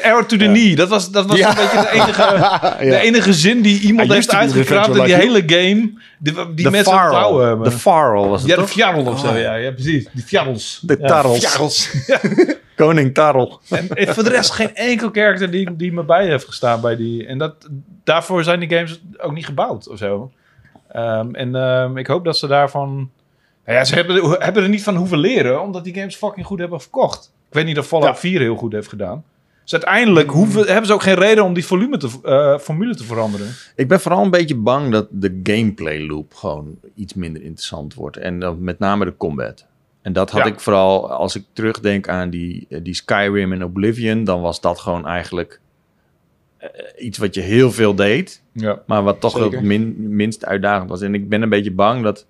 Speaker 1: Arrow to the Knee, dat was, dat was
Speaker 3: Ja.
Speaker 1: een beetje de enige,
Speaker 3: ja.
Speaker 1: de enige zin die iemand
Speaker 3: I
Speaker 1: heeft
Speaker 3: used to be an
Speaker 1: uitgekraamd in die
Speaker 3: adventurer
Speaker 1: hele game. Die, die mensen
Speaker 2: Farrell.
Speaker 1: klauwen hebben.
Speaker 2: De Farrell was het
Speaker 1: ja, de
Speaker 2: toch?
Speaker 1: Fjarl of zo, ja, ja, precies. Die Fjarls.
Speaker 2: De
Speaker 1: Ja.
Speaker 2: Tarrels.
Speaker 3: Charles.
Speaker 2: Koning Tarrel.
Speaker 1: En en voor de rest geen enkel karakter die, die me bij heeft gestaan bij die. En dat, daarvoor zijn die games ook niet gebouwd of zo. Ehm, en ehm, ik hoop dat ze daarvan. Nou ja, ze hebben, er- hebben er niet van hoeven leren, omdat die games fucking goed hebben verkocht. Ik weet niet of Fallout
Speaker 3: Ja.
Speaker 1: 4 heel goed heeft gedaan. Dus uiteindelijk hoeven, hebben ze ook geen reden om die volume te, eh, formule te veranderen.
Speaker 2: Ik ben vooral een beetje bang dat de gameplay loop gewoon iets minder interessant wordt. En dan met name de combat. En dat had
Speaker 1: Ja.
Speaker 2: ik vooral, als ik terugdenk aan die, eh, die Skyrim en Oblivion, dan was dat gewoon eigenlijk eh, iets wat je heel veel deed.
Speaker 1: Ja.
Speaker 2: Maar wat toch
Speaker 3: Zeker.
Speaker 2: het min- minst uitdagend was. En ik ben een beetje bang dat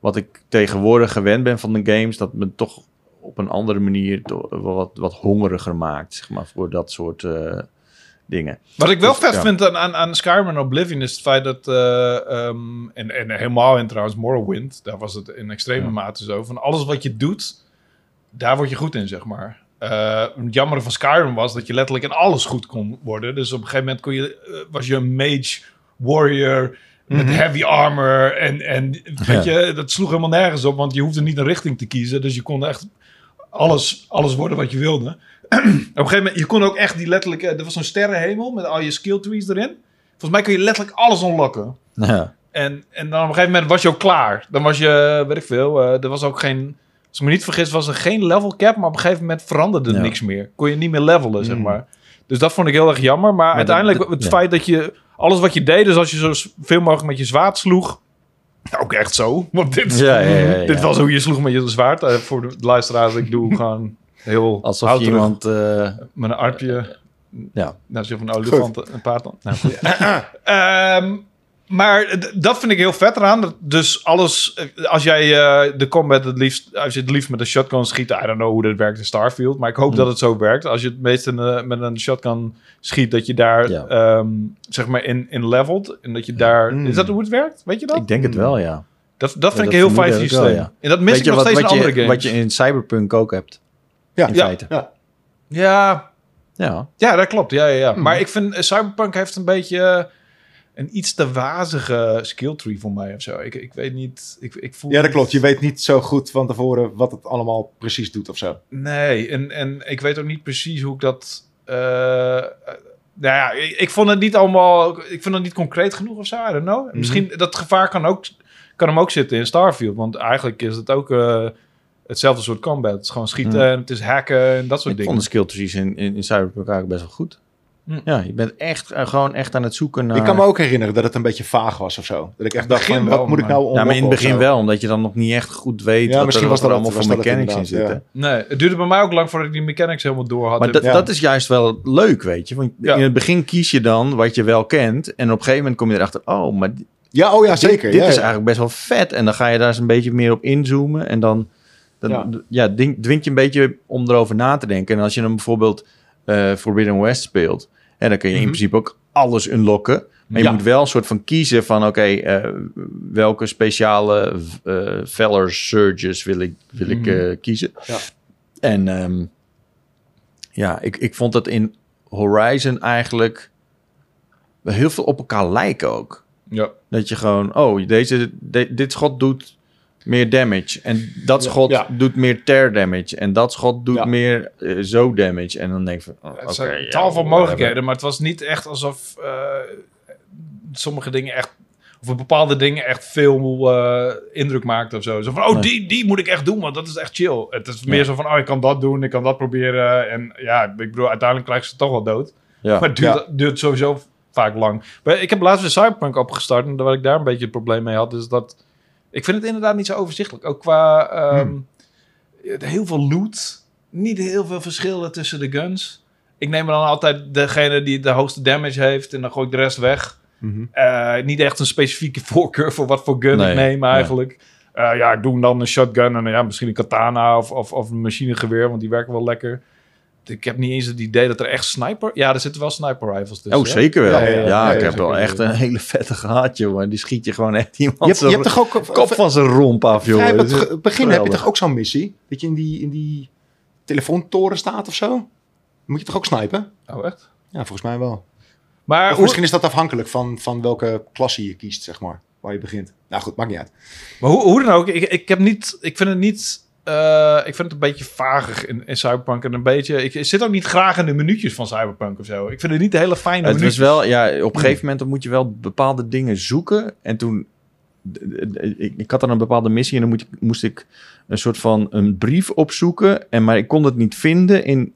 Speaker 2: wat ik tegenwoordig gewend ben van de games, dat me toch op een andere manier to- wel wat, wat hongeriger maakt, zeg maar, voor dat soort eh, dingen.
Speaker 1: Wat ik wel
Speaker 2: Dus,
Speaker 1: vet
Speaker 2: ja.
Speaker 1: vind aan, aan, aan Skyrim en Oblivion is het feit dat... eh, ehm, en, en helemaal in trouwens Morrowind, daar was het in extreme
Speaker 2: Ja.
Speaker 1: mate zo. Van alles wat je doet, daar word je goed in, zeg maar. Eh, het jammer van Skyrim was dat je letterlijk in alles goed kon worden. Dus op een gegeven moment kon je, eh, was je een mage, warrior...
Speaker 2: Mhm.
Speaker 1: Met heavy armor en, en weet je, dat sloeg helemaal nergens op, want je hoefde niet een richting te kiezen. Dus je kon echt alles, alles worden wat je wilde. Op een gegeven moment, je kon ook echt die letterlijk... eh, Er was zo'n sterrenhemel met al je skill trees erin. Volgens mij kun je letterlijk alles unlocken.
Speaker 2: Ja.
Speaker 1: En, en dan op een gegeven moment was je ook klaar. Dan was je, weet ik veel, eh, er was ook geen... Als ik me niet vergis, was er geen level cap. Maar op een gegeven moment veranderde
Speaker 2: Ja.
Speaker 1: niks meer. Kon je niet meer levelen, zeg
Speaker 3: Mm.
Speaker 1: maar. Dus dat vond ik heel erg jammer. Maar,
Speaker 2: dat-
Speaker 1: uiteindelijk,
Speaker 2: dat-
Speaker 1: het
Speaker 2: ja.
Speaker 1: feit dat je... Alles wat je deed, dus als je zo veel mogelijk met je zwaard sloeg... Ook echt zo. Want dit,
Speaker 2: Ja, ja, ja, ja.
Speaker 1: dit was hoe je sloeg met je zwaard. Eh, voor de luisteraars, ik doe gewoon heel...
Speaker 2: Alsof je
Speaker 1: houterig
Speaker 2: iemand... eh,
Speaker 1: met een arpje.
Speaker 2: ja.
Speaker 1: Net als je van een olifant een paard dan. Nou, goed. Ehm, maar d- dat vind ik heel vet eraan. Dat- Dus alles, eh, als jij eh, de combat het liefst, als je het liefst met een shotgun schiet, I don't know hoe dat werkt in Starfield, maar ik
Speaker 2: Mm.
Speaker 1: hoop dat het zo werkt. Als je het meest in, eh, met een shotgun schiet, dat je daar
Speaker 2: Ja.
Speaker 1: ehm, zeg maar in, in levelt en dat je daar,
Speaker 3: Mm.
Speaker 1: is dat hoe het werkt? Weet je dat?
Speaker 2: Ik denk het wel, ja.
Speaker 1: dat, dat vind
Speaker 2: dat
Speaker 1: ik een heel
Speaker 2: vermoeden
Speaker 1: fijn
Speaker 2: heb ik
Speaker 1: systeem.
Speaker 2: wel, ja.
Speaker 1: En dat mis
Speaker 2: Weet
Speaker 1: ik
Speaker 2: je
Speaker 1: nog
Speaker 2: wat,
Speaker 1: steeds
Speaker 2: wat,
Speaker 1: in
Speaker 2: je,
Speaker 1: andere games.
Speaker 2: wat je in Cyberpunk ook hebt,
Speaker 3: Ja.
Speaker 2: in
Speaker 1: Ja.
Speaker 2: feite.
Speaker 3: Ja.
Speaker 1: Ja,
Speaker 2: Ja.
Speaker 1: Ja, dat klopt. Ja, ja, ja. Maar ik vind eh, Cyberpunk heeft een beetje eh, een iets te wazige skill tree voor mij of zo. Ik, ik weet niet. Ik, ik voel
Speaker 3: ja, dat
Speaker 1: niet-
Speaker 3: klopt. Je weet niet zo goed van tevoren wat het allemaal precies doet of zo.
Speaker 1: Nee, en, en ik weet ook niet precies hoe ik dat. eh, eh, nou ja, ik, ik vond het niet allemaal. Ik vond het niet concreet genoeg of zo. I don't know. Misschien dat gevaar kan, ook, kan hem ook zitten in Starfield. Want eigenlijk is het ook eh, hetzelfde soort combat. Het is gewoon schieten, en het is hacken en dat soort
Speaker 2: Ik
Speaker 1: dingen.
Speaker 2: vond de skill trees in, in, in Cyberpunk eigenlijk best wel goed.
Speaker 1: Hm.
Speaker 2: Ja, je bent echt, eh, gewoon echt aan het zoeken naar...
Speaker 3: Ik kan me ook herinneren dat het een beetje vaag was of zo. Dat ik echt dacht,
Speaker 1: begin
Speaker 3: van,
Speaker 1: wel,
Speaker 3: wat moet ik
Speaker 1: maar-
Speaker 3: nou
Speaker 2: Ja, maar in het
Speaker 3: unlocken
Speaker 2: begin
Speaker 3: of zo?
Speaker 2: wel, omdat je dan nog niet echt goed weet
Speaker 3: Ja,
Speaker 2: wat
Speaker 3: misschien
Speaker 2: er,
Speaker 3: was
Speaker 2: wat er
Speaker 3: dat het-
Speaker 2: allemaal voor
Speaker 3: was dat het
Speaker 2: mechanics in
Speaker 3: inderdaad,
Speaker 2: zitten.
Speaker 1: Nee, het duurde bij mij ook lang voordat ik die mechanics helemaal door had.
Speaker 2: Maar dat,
Speaker 3: Ja.
Speaker 2: dat is juist wel leuk, weet je. Want
Speaker 1: Ja.
Speaker 2: in het begin kies je dan wat je wel kent. En op een gegeven moment kom je erachter... Oh, maar
Speaker 3: Ja, oh ja, zeker.
Speaker 2: Dit, dit
Speaker 3: ja,
Speaker 2: is
Speaker 3: ja.
Speaker 2: eigenlijk best wel vet. En dan ga je daar eens een beetje meer op inzoomen. En dan, dan
Speaker 3: Ja.
Speaker 2: ja. dwing- dwingt je een beetje om erover na te denken. En als je hem bijvoorbeeld eh, Forbidden West speelt... En dan kun je in
Speaker 1: Mhm.
Speaker 2: principe ook alles unlocken. Maar je
Speaker 3: Ja.
Speaker 2: moet wel een soort van kiezen van... oké, eh, welke speciale eh Valor Surges wil ik, wil ik
Speaker 1: Mhm.
Speaker 2: eh, kiezen.
Speaker 3: Ja.
Speaker 2: En ehm, ja, ik, ik vond dat in Horizon eigenlijk... wel heel veel op elkaar lijken ook.
Speaker 1: Ja.
Speaker 2: Dat je gewoon, oh, deze, de- dit schot doet meer damage. En dat
Speaker 3: Ja,
Speaker 2: schot
Speaker 3: ja.
Speaker 2: doet meer tear damage. En dat schot doet
Speaker 3: Ja.
Speaker 2: meer eh, zo damage. En dan denk je van, oh,
Speaker 1: Het
Speaker 2: oké.
Speaker 1: zijn
Speaker 2: ja,
Speaker 1: tal van
Speaker 2: whatever.
Speaker 1: mogelijkheden, maar het was niet echt alsof eh, sommige dingen echt, of bepaalde dingen echt veel eh, indruk maakten of zo. Zo van, oh,
Speaker 2: Nee.
Speaker 1: die, die moet ik echt doen, want dat is echt chill. Het is meer
Speaker 2: Ja.
Speaker 1: zo van, oh, ik kan dat doen, ik kan dat proberen. En ja, ik bedoel, uiteindelijk krijg je ze toch wel dood.
Speaker 2: Ja.
Speaker 1: Maar het duurt, duurt sowieso vaak lang. Maar ik heb laatst weer Cyberpunk opgestart. En waar ik daar een beetje het probleem mee had, is dat... Ik vind het inderdaad niet zo overzichtelijk. Ook qua ehm, heel veel loot. Niet heel veel verschillen tussen de guns. Ik neem dan altijd degene die de hoogste damage heeft. En dan gooi ik de rest weg.
Speaker 3: Mhm.
Speaker 1: Eh, niet echt een specifieke voorkeur voor wat voor gun
Speaker 2: Nee,
Speaker 1: ik neem
Speaker 2: nee.
Speaker 1: eigenlijk. Eh, ja, ik doe dan een shotgun en eh, ja, misschien een katana of, of, of een machinegeweer, want die werken wel lekker. Ik heb niet eens het idee dat er echt sniper... Ja, er zitten wel sniper rifles tussen.
Speaker 2: Oh,
Speaker 1: hè?
Speaker 2: zeker wel.
Speaker 3: Ja,
Speaker 2: Ja,
Speaker 3: ja, ja. Ja,
Speaker 2: ik
Speaker 3: ja,
Speaker 2: heb wel
Speaker 1: zeker.
Speaker 2: echt een hele vette gehad, jongen. Die schiet je gewoon echt iemand
Speaker 3: Je hebt, je
Speaker 2: zijn
Speaker 3: hebt toch ook...
Speaker 2: kop van zijn romp af,
Speaker 3: Vrij
Speaker 2: jongen.
Speaker 3: op het
Speaker 2: Dat is-
Speaker 3: ge- begin heb je
Speaker 2: geweldig.
Speaker 3: toch ook zo'n missie? Dat je in die, in die telefoontoren staat of zo? Dan Moet je toch ook snipen?
Speaker 1: Oh, echt?
Speaker 3: Ja, volgens mij wel.
Speaker 1: Maar
Speaker 3: Of
Speaker 1: hoe,
Speaker 3: misschien is dat afhankelijk van, van welke klasse je kiest, zeg maar. Waar je begint. Nou goed, maakt niet uit.
Speaker 1: maar hoe, hoe dan ook, ik, ik, heb niet, ik vind het niet... eh, ik vind het een beetje vagig in, in Cyberpunk. En een beetje... Ik zit ook niet graag in de minuutjes van Cyberpunk of zo. Ik vind het niet de hele fijne
Speaker 2: Het was
Speaker 1: minuutjes.
Speaker 2: wel, ja, op een gegeven moment dan moet je wel bepaalde dingen zoeken. En toen, d- d- ik, ik had dan een bepaalde missie en dan moet, ik- moest ik een soort van een brief opzoeken. En, maar ik kon het niet vinden in,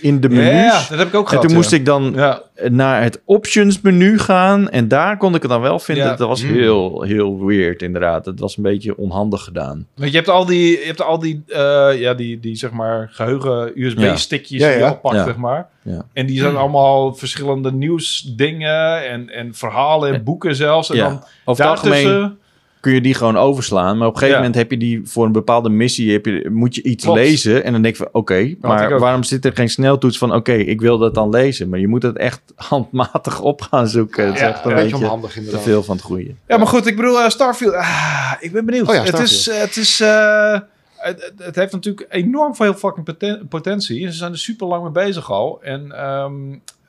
Speaker 2: in de menus.
Speaker 1: Ja, dat heb ik ook
Speaker 2: en
Speaker 1: gehad.
Speaker 2: toen
Speaker 1: ja.
Speaker 2: moest ik dan
Speaker 1: Ja.
Speaker 2: naar het options menu gaan. En daar kon ik het dan wel vinden.
Speaker 1: Ja.
Speaker 2: Dat was
Speaker 3: Mm.
Speaker 2: heel, heel weird inderdaad. Dat was een beetje onhandig gedaan.
Speaker 1: Want je hebt al die, je hebt al die, eh, ja, die, die zeg maar geheugen USB-stickjes
Speaker 3: Ja. Ja,
Speaker 1: die
Speaker 3: ja.
Speaker 1: je oppakt,
Speaker 2: Ja.
Speaker 1: zeg maar.
Speaker 2: Ja.
Speaker 1: En die zijn allemaal verschillende nieuwsdingen en, en verhalen en boeken zelfs. En
Speaker 2: Ja.
Speaker 1: dan
Speaker 2: Over het algemeen
Speaker 1: daartussen...
Speaker 2: kun je die gewoon overslaan. Maar op een gegeven
Speaker 1: Ja.
Speaker 2: moment heb je die voor een bepaalde missie, heb je, moet je iets
Speaker 1: Klopt.
Speaker 2: lezen. En dan denk je van oké,
Speaker 1: ik ook.
Speaker 2: maar waarom zit er geen sneltoets van oké, ik wil dat dan lezen. Maar je moet het echt handmatig op gaan zoeken. Het is
Speaker 1: Ja,
Speaker 2: echt
Speaker 3: Een
Speaker 2: een
Speaker 3: beetje
Speaker 2: beetje
Speaker 3: onhandig
Speaker 2: te
Speaker 3: inderdaad.
Speaker 2: veel van het goede.
Speaker 1: Ja, maar goed, ik bedoel, eh, Starfield. Ah, ik ben benieuwd.
Speaker 3: Oh ja,
Speaker 1: het is,
Speaker 3: Starfield.
Speaker 1: eh, het is, eh, het, het- het heeft natuurlijk enorm veel fucking poten- potentie. En ze zijn er super lang mee bezig al. En ehm,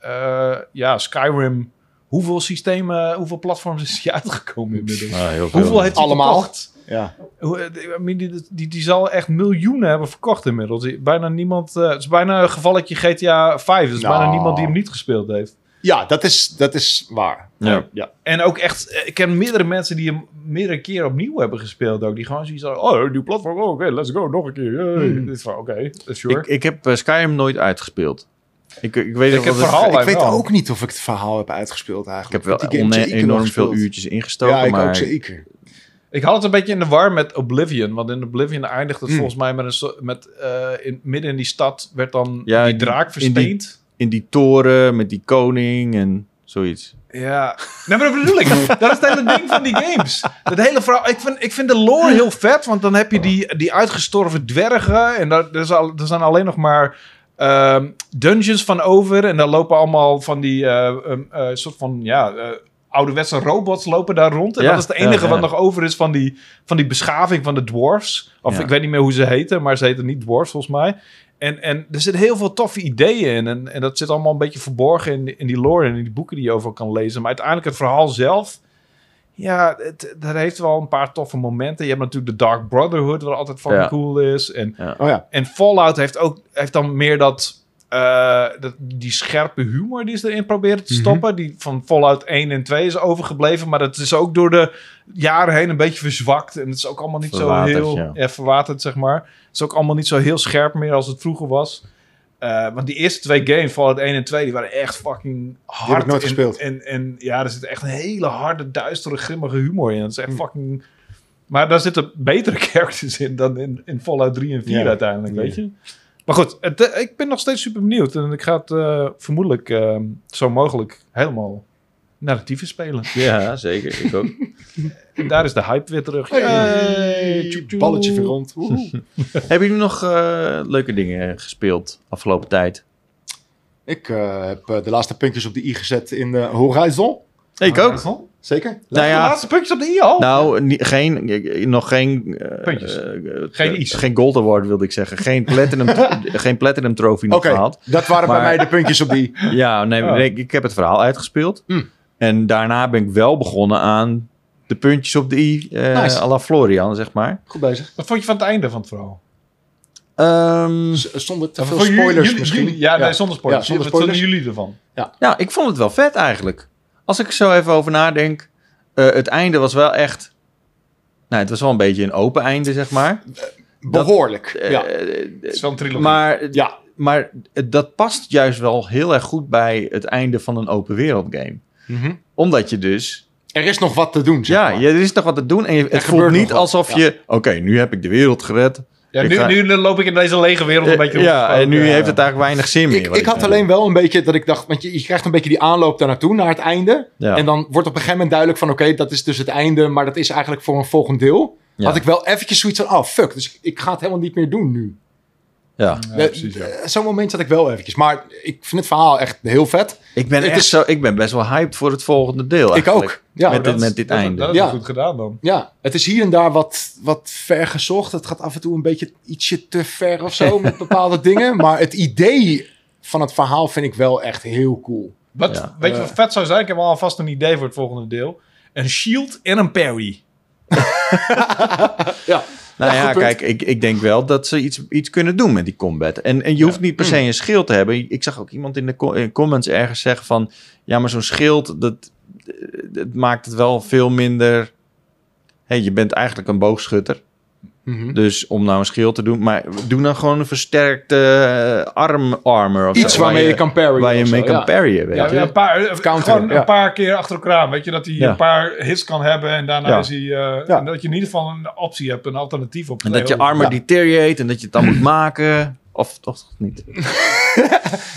Speaker 1: eh, ja, Skyrim. Hoeveel systemen, hoeveel platforms is die uitgekomen inmiddels?
Speaker 2: Ah, heel veel.
Speaker 1: Hoeveel heeft hij
Speaker 3: Allemaal.
Speaker 1: verkocht?
Speaker 3: Ja.
Speaker 1: Hoe- eh, I mean, Die, die, die zal echt miljoenen hebben verkocht inmiddels. Die- Bijna niemand. eh, het is bijna een gevalletje GTA 5. Er is
Speaker 3: Nou.
Speaker 1: bijna niemand die hem niet gespeeld heeft.
Speaker 3: ja, dat is, dat is waar.
Speaker 2: Ja.
Speaker 3: ja.
Speaker 1: En ook echt. eh, Ik ken meerdere mensen die hem meerdere keren opnieuw hebben gespeeld. Ook die gewoon zoiets hadden. Oh, nieuw platform. Oh, oké, let's go. Nog een keer. Yay.
Speaker 3: Hmm.
Speaker 1: Dit is van, oké, sure.
Speaker 2: ik, ik heb eh, Skyrim nooit uitgespeeld. Ik, ik weet
Speaker 1: Ik
Speaker 2: nog
Speaker 1: heb
Speaker 2: dat het-
Speaker 1: verhaal-
Speaker 3: Dus ik weet
Speaker 1: wel.
Speaker 3: ook niet of ik het verhaal heb uitgespeeld
Speaker 2: ik
Speaker 3: eigenlijk.
Speaker 2: heb wel
Speaker 3: Die game
Speaker 2: one-
Speaker 3: heb ik zeker nog
Speaker 2: enorm veel
Speaker 3: gespeeld.
Speaker 2: uurtjes ingestoken.
Speaker 3: Ja, ik
Speaker 2: maar
Speaker 3: ook zeker.
Speaker 1: Ik had het een beetje in de war met Oblivion. Want in Oblivion eindigt het
Speaker 3: Hmm.
Speaker 1: volgens mij met een. so- Met, eh, in, midden in die stad werd dan
Speaker 2: Ja,
Speaker 1: die
Speaker 2: die-
Speaker 1: draak
Speaker 2: in die-
Speaker 1: versteend.
Speaker 2: in die toren met die koning en zoiets.
Speaker 1: Ja. Nee, maar dat bedoel ik. Dat is het hele ding van die games. Dat hele verhaal. Ik vind, ik vind de lore heel vet, want dan heb je die, die uitgestorven dwergen. En daar, er, is al- er zijn alleen nog maar ehm, dungeons van over. En daar lopen allemaal van die eh, ehm, eh, soort van, ja... eh, Ouderwetse robots lopen daar rond. En
Speaker 2: Ja,
Speaker 1: dat is het
Speaker 2: ja,
Speaker 1: enige wat
Speaker 2: ja.
Speaker 1: nog over is van die, van die beschaving van de dwarfs. Of
Speaker 2: Ja.
Speaker 1: ik weet niet meer hoe ze heten, maar ze heten niet dwarfs volgens mij. En, en er zitten heel veel toffe ideeën in. En, en dat zit allemaal een beetje verborgen in, in die lore en in die boeken die je over kan lezen. Maar uiteindelijk het verhaal zelf. Ja, het, dat heeft wel een paar toffe momenten. Je hebt natuurlijk de Dark Brotherhood, wat altijd fucking
Speaker 2: Ja.
Speaker 1: cool is. En,
Speaker 3: Oh ja.
Speaker 1: en Fallout heeft ook heeft dan meer dat, eh, dat die scherpe humor die ze erin proberen te
Speaker 3: Mhm.
Speaker 1: stoppen. Die van Fallout 1 en 2 is overgebleven. Maar dat is ook door de jaren heen een beetje verzwakt. En het is ook allemaal niet
Speaker 2: Verwaterd,
Speaker 1: zo heel
Speaker 2: ja.
Speaker 1: ja, verwaterd, zeg maar. Het is ook allemaal niet zo heel scherp meer als het vroeger was. Eh, want die eerste twee games, Fallout 1 en 2, die waren echt fucking hard.
Speaker 3: ik nooit
Speaker 1: en,
Speaker 3: gespeeld.
Speaker 1: En, en ja, er zit echt een hele harde, duistere, grimmige humor in. Dat is
Speaker 3: Hm.
Speaker 1: echt fucking... Maar daar zitten betere characters in dan in, in Fallout 3 en 4
Speaker 3: Ja.
Speaker 1: uiteindelijk,
Speaker 3: Ja.
Speaker 1: weet je? Maar goed, het, eh, ik ben nog steeds super benieuwd. En ik ga het eh, vermoedelijk eh, zo mogelijk ehm, helemaal narratieven spelen.
Speaker 2: Ja, zeker. Ik ook.
Speaker 1: En daar is de hype weer terug. Yay, tjoe, tjoe.
Speaker 3: Balletje weer rond. Woehoe.
Speaker 2: Hebben jullie nog eh, leuke dingen gespeeld afgelopen tijd?
Speaker 3: Ik eh, heb eh, de laatste puntjes op de i gezet in eh, Horizon.
Speaker 2: Ik ook.
Speaker 3: Zeker?
Speaker 2: Nou
Speaker 1: Ah, De
Speaker 2: ja,
Speaker 1: laatste puntjes op de i al.
Speaker 2: nou, ni- geen, eh, nog geen... eh,
Speaker 1: Puntjes.
Speaker 2: eh,
Speaker 1: Geen
Speaker 2: eh,
Speaker 1: is.
Speaker 2: Geen Gold Award wilde ik zeggen. Geen Platinum, geen platinum Trophy nog
Speaker 3: Oké,
Speaker 2: gehaald.
Speaker 3: dat waren bij
Speaker 2: Maar-
Speaker 3: mij de puntjes op de i.
Speaker 2: Ja, nee,
Speaker 1: Oh.
Speaker 2: nee, ik, ik heb het verhaal uitgespeeld.
Speaker 3: Mm.
Speaker 2: En daarna ben ik wel begonnen aan de puntjes op de i. eh
Speaker 3: Nice.
Speaker 2: à la Florian, zeg maar.
Speaker 3: Goed bezig.
Speaker 1: Wat vond je van het einde van het verhaal?
Speaker 2: Ehm,
Speaker 3: Z- Dus, eh, Zonder te veel
Speaker 1: Van jullie-
Speaker 3: spoilers
Speaker 1: jullie-
Speaker 3: misschien.
Speaker 1: jullie- ja, nee, zonder spoilers.
Speaker 3: Ja, zonder
Speaker 1: Wat vonden
Speaker 3: spoilers.
Speaker 1: jullie ervan?
Speaker 2: nou, ik vond het wel vet eigenlijk. Als ik er zo even over nadenk. eh, het einde was wel echt... Nou, het was wel een beetje een open einde, zeg maar.
Speaker 3: Behoorlijk.
Speaker 2: Eh,
Speaker 3: ja.
Speaker 2: eh,
Speaker 1: Het is wel een trilogie.
Speaker 2: maar,
Speaker 3: Ja.
Speaker 2: maar dat past juist wel heel erg goed bij het einde van een open wereld game.
Speaker 3: Mhm.
Speaker 2: Omdat je dus
Speaker 3: Er is nog wat te doen, zeg
Speaker 2: Ja,
Speaker 3: maar.
Speaker 2: ja, er is nog wat te doen. En je- het voelt
Speaker 3: gebeurt nog
Speaker 2: niet
Speaker 3: wat,
Speaker 2: alsof
Speaker 3: ja.
Speaker 2: je... Oké, nu heb ik de wereld gered.
Speaker 1: ja,
Speaker 2: ik
Speaker 1: nu,
Speaker 2: ga-
Speaker 1: nu loop ik in deze lege wereld een
Speaker 2: Eh,
Speaker 1: beetje
Speaker 2: ja,
Speaker 1: rondgesproken.
Speaker 2: en nu
Speaker 1: Ja.
Speaker 2: heeft het eigenlijk weinig zin meer.
Speaker 3: Ik,
Speaker 2: weet
Speaker 3: ik had
Speaker 2: je.
Speaker 3: alleen wel een beetje dat ik dacht, want je, je krijgt een beetje die aanloop daar naartoe, naar het einde.
Speaker 2: Ja.
Speaker 3: En dan wordt op een gegeven moment duidelijk van, oké, dat is dus het einde, maar dat is eigenlijk voor een volgend deel.
Speaker 2: Ja.
Speaker 3: Had ik wel eventjes zoiets van, oh fuck, dus ik, ik ga het helemaal niet meer doen nu.
Speaker 2: Ja.
Speaker 1: Ja,
Speaker 3: Eh,
Speaker 1: precies, ja.
Speaker 3: eh, Zo'n moment zat ik wel eventjes, maar ik vind het verhaal echt heel vet.
Speaker 2: Ik, ben
Speaker 3: Het
Speaker 2: echt
Speaker 3: is-
Speaker 2: zo, ik ben best wel hyped voor het volgende deel.
Speaker 3: Ik
Speaker 2: eigenlijk.
Speaker 3: ook. Ja,
Speaker 2: Met-
Speaker 1: Dat is-
Speaker 2: dit
Speaker 1: dat is-
Speaker 2: einde.
Speaker 1: Dat is
Speaker 3: Ja.
Speaker 1: goed gedaan dan.
Speaker 3: ja, het is hier en daar wat, wat ver gezocht. Het gaat af en toe een beetje ietsje te ver of zo met bepaalde dingen. Maar het idee van het verhaal vind ik wel echt heel cool.
Speaker 1: Wat,
Speaker 2: Ja.
Speaker 1: Weet je
Speaker 3: Eh.
Speaker 1: wat vet zou zijn? Ik heb alvast een idee voor het volgende deel. Een shield en een parry.
Speaker 3: Ja,
Speaker 2: Nou
Speaker 3: Ja,
Speaker 2: ja,
Speaker 3: goed punt.
Speaker 2: kijk, ik, ik denk wel dat ze iets, iets kunnen doen met die combat. En, en je hoeft niet per
Speaker 3: Mm.
Speaker 2: se een schild te hebben. Ik zag ook iemand in de co- in comments ergens zeggen van... Ja, maar zo'n schild, dat, dat maakt het wel veel minder... Hey, je bent eigenlijk een boogschutter.
Speaker 3: Mhm.
Speaker 2: Dus om nou een schild te doen. Maar doe dan gewoon een versterkte eh, arm armor. Of
Speaker 3: Iets
Speaker 2: zo,
Speaker 3: waarmee je kan parryen.
Speaker 2: Waar je
Speaker 3: of
Speaker 2: mee
Speaker 3: zo,
Speaker 2: kan
Speaker 3: ja.
Speaker 2: parryen, weet
Speaker 1: Ja,
Speaker 2: je.
Speaker 1: een paar, eh,
Speaker 3: counter,
Speaker 1: gewoon
Speaker 3: ja.
Speaker 1: een paar keer achter elkaar. Weet je, dat hij
Speaker 2: Ja.
Speaker 1: een paar hits kan hebben. En daarna
Speaker 2: Ja.
Speaker 1: is hij... eh,
Speaker 3: Ja.
Speaker 1: en Dat je in ieder geval een optie hebt. Een alternatief op.
Speaker 2: En dat je
Speaker 1: twee
Speaker 2: armor
Speaker 3: Ja.
Speaker 2: deteriorate en dat je het dan moet maken. Of toch niet.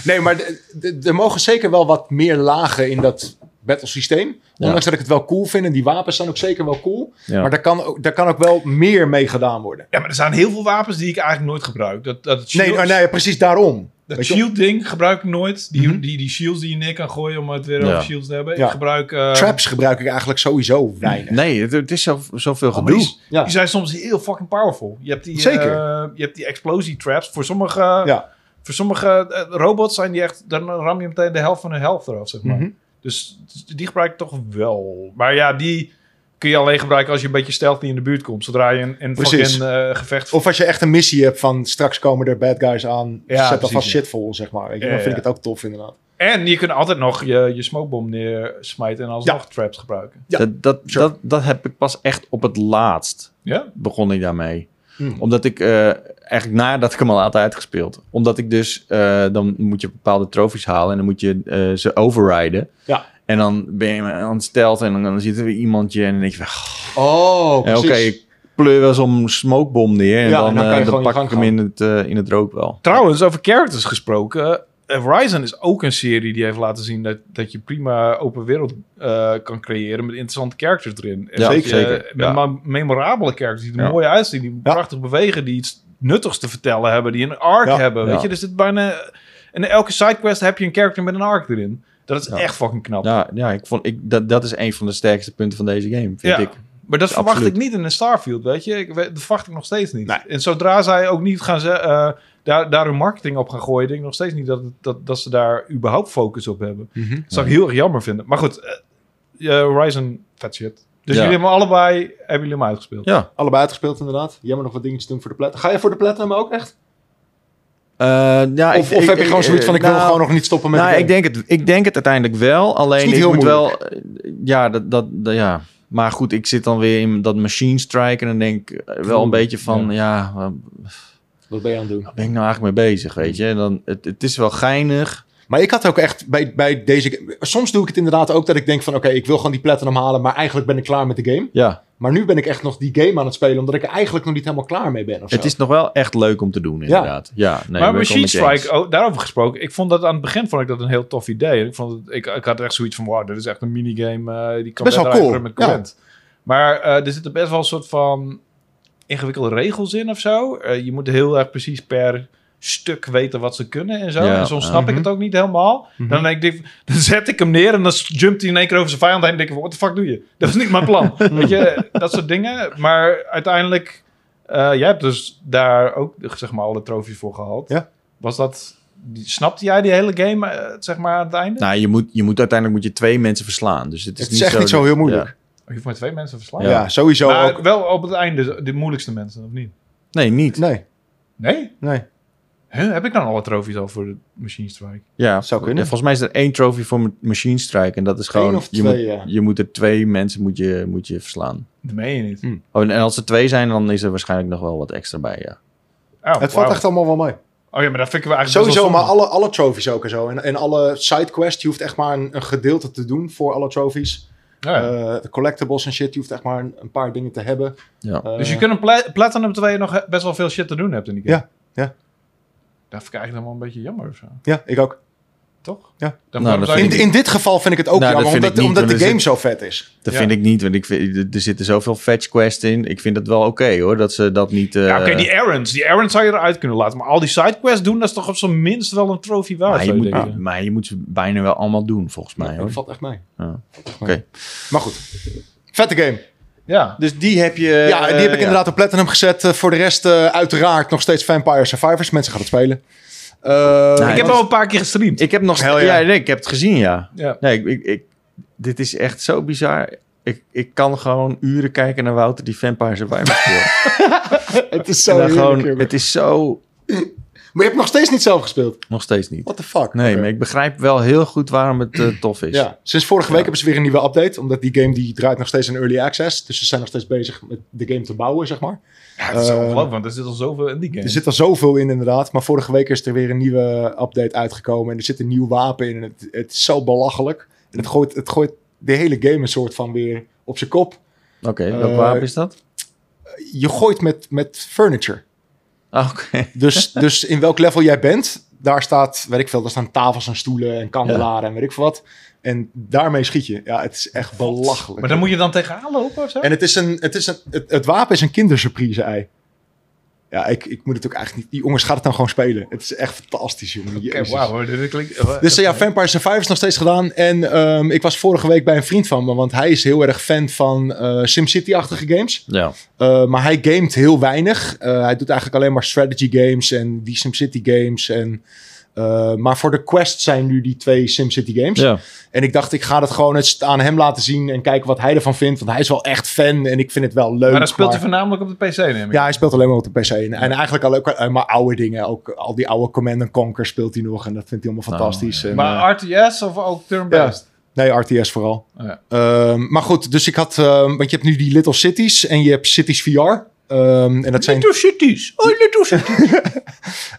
Speaker 3: Nee, maar d- d- er mogen zeker wel wat meer lagen in dat battlesysteem.
Speaker 2: Ja.
Speaker 3: Ondanks dat ik het wel cool vind. En die wapens zijn ook zeker wel cool.
Speaker 2: Ja.
Speaker 3: Maar daar kan, ook, daar kan ook wel meer mee gedaan worden.
Speaker 1: Ja, maar er zijn heel veel wapens die ik eigenlijk nooit gebruik. Dat, dat het
Speaker 3: Nee, oh,
Speaker 1: shield,
Speaker 3: nee, nee, precies daarom.
Speaker 1: dat
Speaker 3: Weet je-
Speaker 1: shield ding gebruik ik nooit. Die,
Speaker 3: Mhm.
Speaker 1: die, die shields die je neer kan gooien om het weer
Speaker 2: Ja.
Speaker 1: over shields te hebben.
Speaker 3: Ja.
Speaker 1: Ik gebruik... eh,
Speaker 3: Traps gebruik ik eigenlijk sowieso weinig.
Speaker 2: Nee, het, het is zo- zoveel
Speaker 1: Oh, maar die,
Speaker 2: gedoe.
Speaker 1: s-
Speaker 3: Ja.
Speaker 1: die zijn soms heel fucking powerful. Je hebt die,
Speaker 3: Zeker.
Speaker 1: eh, je hebt die explosie traps. Voor sommige, eh,
Speaker 3: Ja.
Speaker 1: voor sommige eh, robots zijn die echt... Dan ram je meteen de helft van hun helft eraf, zeg maar.
Speaker 3: Mhm.
Speaker 1: Dus die gebruik ik toch wel. Maar ja, die kun je alleen gebruiken als je een beetje stealthy in de buurt komt. Zodra je een, een
Speaker 3: Precies.
Speaker 1: fucking eh, gevecht...
Speaker 3: Of als je echt een missie hebt van straks komen er bad guys aan.
Speaker 1: Ja,
Speaker 3: zet
Speaker 1: precies,
Speaker 3: dan vast
Speaker 1: ja.
Speaker 3: shit vol, zeg maar. Weet je,
Speaker 1: Ja,
Speaker 3: dan vind
Speaker 1: ja.
Speaker 3: ik het ook tof inderdaad.
Speaker 1: en je kunt altijd nog je, je smokebom neersmijten en alsnog traps gebruiken.
Speaker 3: Ja,
Speaker 2: dat, dat,
Speaker 3: sure.
Speaker 2: dat, dat heb ik pas echt op het laatst
Speaker 1: Ja?
Speaker 2: begon ik daarmee.
Speaker 3: Hmm.
Speaker 2: Omdat ik eh, eigenlijk nadat ik hem al had uitgespeeld. Omdat ik dus, eh, dan moet je bepaalde trofies halen en dan moet je eh, ze overriden.
Speaker 3: Ja.
Speaker 2: En dan ben je aan het stelt en dan, dan zit er weer iemandje en dan denk je van...
Speaker 3: Oh,
Speaker 2: Ja, Oké, ik pleur wel zo'n smokebom neer en
Speaker 3: Ja,
Speaker 2: dan,
Speaker 3: en dan kan je
Speaker 2: eh, dan
Speaker 3: gewoon je
Speaker 2: pak ik
Speaker 3: gang
Speaker 2: hem in het, eh, in het rook wel.
Speaker 1: Trouwens, over characters gesproken. eh, Horizon is ook een serie die heeft laten zien dat, dat je prima open wereld eh, kan creëren met interessante characters erin. En
Speaker 2: Ja,
Speaker 1: dat je,
Speaker 2: zeker,
Speaker 1: eh,
Speaker 2: ja.
Speaker 1: Met ma- memorabele characters die er
Speaker 2: Ja.
Speaker 1: mooi uitzien, die prachtig bewegen, die iets nuttigs te vertellen hebben, die een arc
Speaker 3: Ja,
Speaker 1: hebben.
Speaker 2: ja.
Speaker 1: Weet je, dus het bijna. En elke sidequest heb je een character met een arc erin. Dat is
Speaker 2: Ja.
Speaker 1: echt fucking knap.
Speaker 2: Ja, ja ik vond, ik, dat, dat is een van de sterkste punten van deze game, vind
Speaker 1: Ja.
Speaker 2: ik.
Speaker 1: Maar dat verwacht
Speaker 2: Absoluut.
Speaker 1: ik niet in een Starfield, weet je. Ik, weet- dat verwacht ik nog steeds niet.
Speaker 3: Nee.
Speaker 1: En zodra zij ook niet gaan ze, eh, daar, daar hun marketing op gaan gooien... denk ik nog steeds niet dat, het- dat, dat ze daar überhaupt focus op hebben.
Speaker 2: Mhm.
Speaker 1: Dat zou ik heel erg jammer vinden. Maar goed, eh, eh, Horizon, vet shit. Dus
Speaker 2: Ja.
Speaker 1: jullie hebben allebei hebben jullie hem uitgespeeld.
Speaker 2: Ja.
Speaker 3: Allebei uitgespeeld inderdaad. Jij moet nog wat dingetjes doen voor de platinum. Ga je voor de platinum ook echt?
Speaker 2: Eh, ja,
Speaker 3: Of, of heb je gewoon zoiets van, ik wil
Speaker 2: nou,
Speaker 3: gewoon nog niet stoppen met de
Speaker 2: Nou, ik
Speaker 3: game?
Speaker 2: denk, het, ik denk het uiteindelijk wel. Alleen
Speaker 3: niet
Speaker 2: ik
Speaker 3: heel
Speaker 2: moet wel. eh, Ja, dat, dat, dat- ja. Maar goed, ik zit dan weer in dat machine strike. En dan denk ik eh, wel een
Speaker 1: Oeh,
Speaker 2: beetje van. Ja, waar
Speaker 3: Wat ben je aan het doen?
Speaker 2: ben ik nou eigenlijk mee bezig? Weet je, en dan, het, het is wel geinig.
Speaker 3: Maar ik had ook echt bij, bij deze... Soms doe ik het inderdaad ook dat ik denk van... Oké, ik wil gewoon die platinum halen, maar eigenlijk ben ik klaar met de game.
Speaker 2: Ja,
Speaker 3: Maar nu ben ik echt nog die game aan het spelen, omdat ik er eigenlijk nog niet helemaal klaar mee ben. Of zo.
Speaker 2: Het is nog wel echt leuk om te doen, inderdaad. Ja, nee,
Speaker 1: maar
Speaker 2: ben ik
Speaker 1: Machine
Speaker 2: wel met je eens.
Speaker 1: Strike, oh, daarover gesproken. Ik vond dat aan het begin vond ik dat een heel tof idee. En Ik, vond het, ik, ik had echt zoiets van, wow, dit is echt een minigame. eh, die kan
Speaker 3: Best wel
Speaker 1: beter
Speaker 3: cool,
Speaker 1: uitgebreid met
Speaker 3: ja.
Speaker 1: Gwent. Maar eh, er zitten best wel een soort van ingewikkelde regels in of zo. Eh, je moet heel erg precies per stuk weten wat ze kunnen en zo.
Speaker 2: Ja, mhm.
Speaker 1: en soms
Speaker 2: ja.
Speaker 1: snap ik het ook niet helemaal. Dan, denk ik, dan zet ik hem neer en dan jumpt hij in één keer over zijn vijand heen. En denk ik, what the fuck doe je? Dat was niet mijn plan. Weet je, dat soort dingen. Maar uiteindelijk, eh, jij hebt dus daar ook zeg maar alle trofies voor gehaald.
Speaker 3: Ja.
Speaker 1: Was dat, die- snapte jij die hele game eh, zeg maar aan het einde?
Speaker 2: Nou, je moet, je moet uiteindelijk moet je twee mensen verslaan. Dus het is,
Speaker 3: Het is echt niet zo
Speaker 2: dat-
Speaker 3: heel moeilijk.
Speaker 2: Ja.
Speaker 1: Je hoeft maar twee mensen te verslaan.
Speaker 3: ja. sowieso
Speaker 1: Maar
Speaker 3: ook.
Speaker 1: wel op het einde de moeilijkste mensen, of niet?
Speaker 2: Nee, niet.
Speaker 3: Nee,
Speaker 1: Nee?
Speaker 3: nee.
Speaker 1: Huh, heb ik dan alle trofies al voor de Machine Strike?
Speaker 2: Ja,
Speaker 3: Zou kunnen.
Speaker 2: Ja, Volgens mij is er één trofee voor Ma- Machine Strike. En dat is gewoon...
Speaker 3: Eén of
Speaker 2: je,
Speaker 3: twee,
Speaker 2: moet,
Speaker 3: ja.
Speaker 2: je moet er twee mensen moet je, moet je verslaan.
Speaker 1: Dat meen je niet.
Speaker 3: Hm.
Speaker 2: Oh, en en als er twee zijn, dan is er waarschijnlijk nog wel wat extra bij, ja.
Speaker 1: Oh,
Speaker 3: Het valt
Speaker 1: wauw.
Speaker 3: echt allemaal wel mee.
Speaker 1: Oh ja, maar dat vind ik wel eigenlijk best
Speaker 3: Sowieso,
Speaker 1: wel
Speaker 3: maar
Speaker 1: zonde.
Speaker 3: alle, alle trophies ook en zo. En, en alle sidequests, je hoeft echt maar een, een gedeelte te doen voor alle trophies.
Speaker 1: Ja.
Speaker 3: Eh, de collectibles en shit, je hoeft echt maar een, een paar dingen te hebben.
Speaker 2: Ja.
Speaker 3: Eh,
Speaker 1: Dus je kunt een pla- Platinum 2 nog he- best wel veel shit te doen hebt in die game.
Speaker 3: Ja, ja.
Speaker 1: Dat vind ik eigenlijk dan wel een beetje jammer of zo.
Speaker 3: Ja, ik ook.
Speaker 1: Toch?
Speaker 3: Ja.
Speaker 1: Dan
Speaker 2: Nou, dat
Speaker 1: zou
Speaker 3: In,
Speaker 1: je...
Speaker 3: in dit geval vind ik het ook
Speaker 2: Nou, dat
Speaker 3: jammer,
Speaker 2: vind
Speaker 3: omdat,
Speaker 2: ik niet,
Speaker 3: omdat
Speaker 2: want
Speaker 3: de
Speaker 2: er
Speaker 3: game
Speaker 2: zit-
Speaker 3: zo vet is.
Speaker 2: Dat
Speaker 1: Ja.
Speaker 2: vind ik niet, want ik vind, er- er zitten zoveel fetch quests in. Ik vind dat wel oké, hoor, dat ze dat niet... eh,
Speaker 1: Ja, oké, die errands. Die errands zou je eruit kunnen laten. Maar al die sidequests doen, dat is toch op zijn minst wel een trofee waard.
Speaker 2: maar, je
Speaker 1: zou
Speaker 2: moet,
Speaker 1: denken.
Speaker 2: maar je moet ze bijna wel allemaal doen, volgens mij, hoor.
Speaker 3: Dat valt echt mee.
Speaker 2: Ja. Oké.
Speaker 3: Maar goed, vette game.
Speaker 1: Ja.
Speaker 2: Dus die heb je...
Speaker 3: ja, die
Speaker 2: eh,
Speaker 3: heb ik inderdaad op Platinum gezet. Eh, voor de rest eh, uiteraard nog steeds Vampire Survivors. Mensen gaan het spelen. Eh,
Speaker 1: Ik
Speaker 2: Nee,
Speaker 1: heb
Speaker 2: want-
Speaker 1: al een paar keer gestreamd.
Speaker 2: Ik heb nog...
Speaker 3: Hell
Speaker 2: Ja,
Speaker 3: yeah.
Speaker 2: nee, ik heb het gezien, ja.
Speaker 3: Eh,
Speaker 1: ja.
Speaker 2: Nee, ik, ik, ik- dit is echt zo bizar. Ik, ik kan gewoon uren kijken naar Wouter die Vampire Survivor speelt.
Speaker 3: het is
Speaker 2: en
Speaker 3: zo
Speaker 2: dan gewoon,
Speaker 3: heerlijk, jongen.
Speaker 2: het is zo...
Speaker 3: Maar je hebt nog steeds niet zelf gespeeld.
Speaker 2: Nog steeds niet.
Speaker 3: What the fuck?
Speaker 2: Nee,
Speaker 3: Oké.
Speaker 2: maar ik begrijp wel heel goed waarom het eh, tof is.
Speaker 3: Ja, sinds vorige week hebben ze weer een nieuwe update. Omdat die game die draait nog steeds in early access. Dus ze zijn nog steeds bezig met de game te bouwen, zeg maar.
Speaker 1: Ja, dat is
Speaker 3: Eh,
Speaker 1: ongelooflijk, want er zit al zoveel in die game.
Speaker 3: Er zit er zoveel in inderdaad. Maar vorige week is er weer een nieuwe update uitgekomen. En er zit een nieuw wapen in. En het, het is zo belachelijk. En het gooit, het gooit de hele game een soort van weer op zijn kop.
Speaker 2: Oké, welk
Speaker 3: Eh,
Speaker 2: wapen is dat?
Speaker 3: Je gooit met, met furniture.
Speaker 2: Ah, Oké.
Speaker 3: Dus, dus in welk level jij bent, daar staat, weet ik veel, daar staan tafels en stoelen en kandelaren en weet ik veel wat. En daarmee schiet je. Ja, het is echt belachelijk.
Speaker 1: Maar dan moet je dan tegenaan lopen of zo?
Speaker 3: En het, is een, het, is een, het, het wapen is een kindersurprise-ei. Ja, ik, ik moet het ook eigenlijk niet... Die jongens, gaat het dan gewoon spelen. Het is echt fantastisch, jongen.
Speaker 1: Oké,
Speaker 3: Jezus.
Speaker 1: wauw. hoor, Dit klinkt...
Speaker 3: Dus eh, ja, Vampire Survivors nog steeds gedaan. En ehm, ik was vorige week bij een vriend van me. Want hij is heel erg fan van eh, SimCity-achtige games.
Speaker 2: Ja.
Speaker 3: Eh, maar hij gamet heel weinig. Eh, hij doet eigenlijk alleen maar strategy games en die SimCity games. En, eh, maar voor de Quest zijn nu die twee SimCity games.
Speaker 2: ja.
Speaker 3: En ik dacht, ik ga dat gewoon eens aan hem laten zien en kijken wat hij ervan vindt. Want hij is wel echt fan en ik vind het wel leuk.
Speaker 1: maar dan speelt hij
Speaker 3: maar-
Speaker 1: voornamelijk op de PC, neem ik.
Speaker 3: Ja, hij speelt alleen maar op de PC. En, en eigenlijk al ook eh, maar oude dingen. Ook al die oude Command and Conquer speelt hij nog. En dat vindt hij allemaal
Speaker 2: Nou,
Speaker 3: fantastisch. En, eh,
Speaker 1: Maar RTS of ook turn-based?
Speaker 3: Nee, RTS vooral.
Speaker 1: Oh ja.
Speaker 3: Ehm, maar goed, dus ik had... ehm, want je hebt nu die Little Cities en je hebt Cities VR. Ehm, en dat zijn...
Speaker 1: cities. Oh, little cities.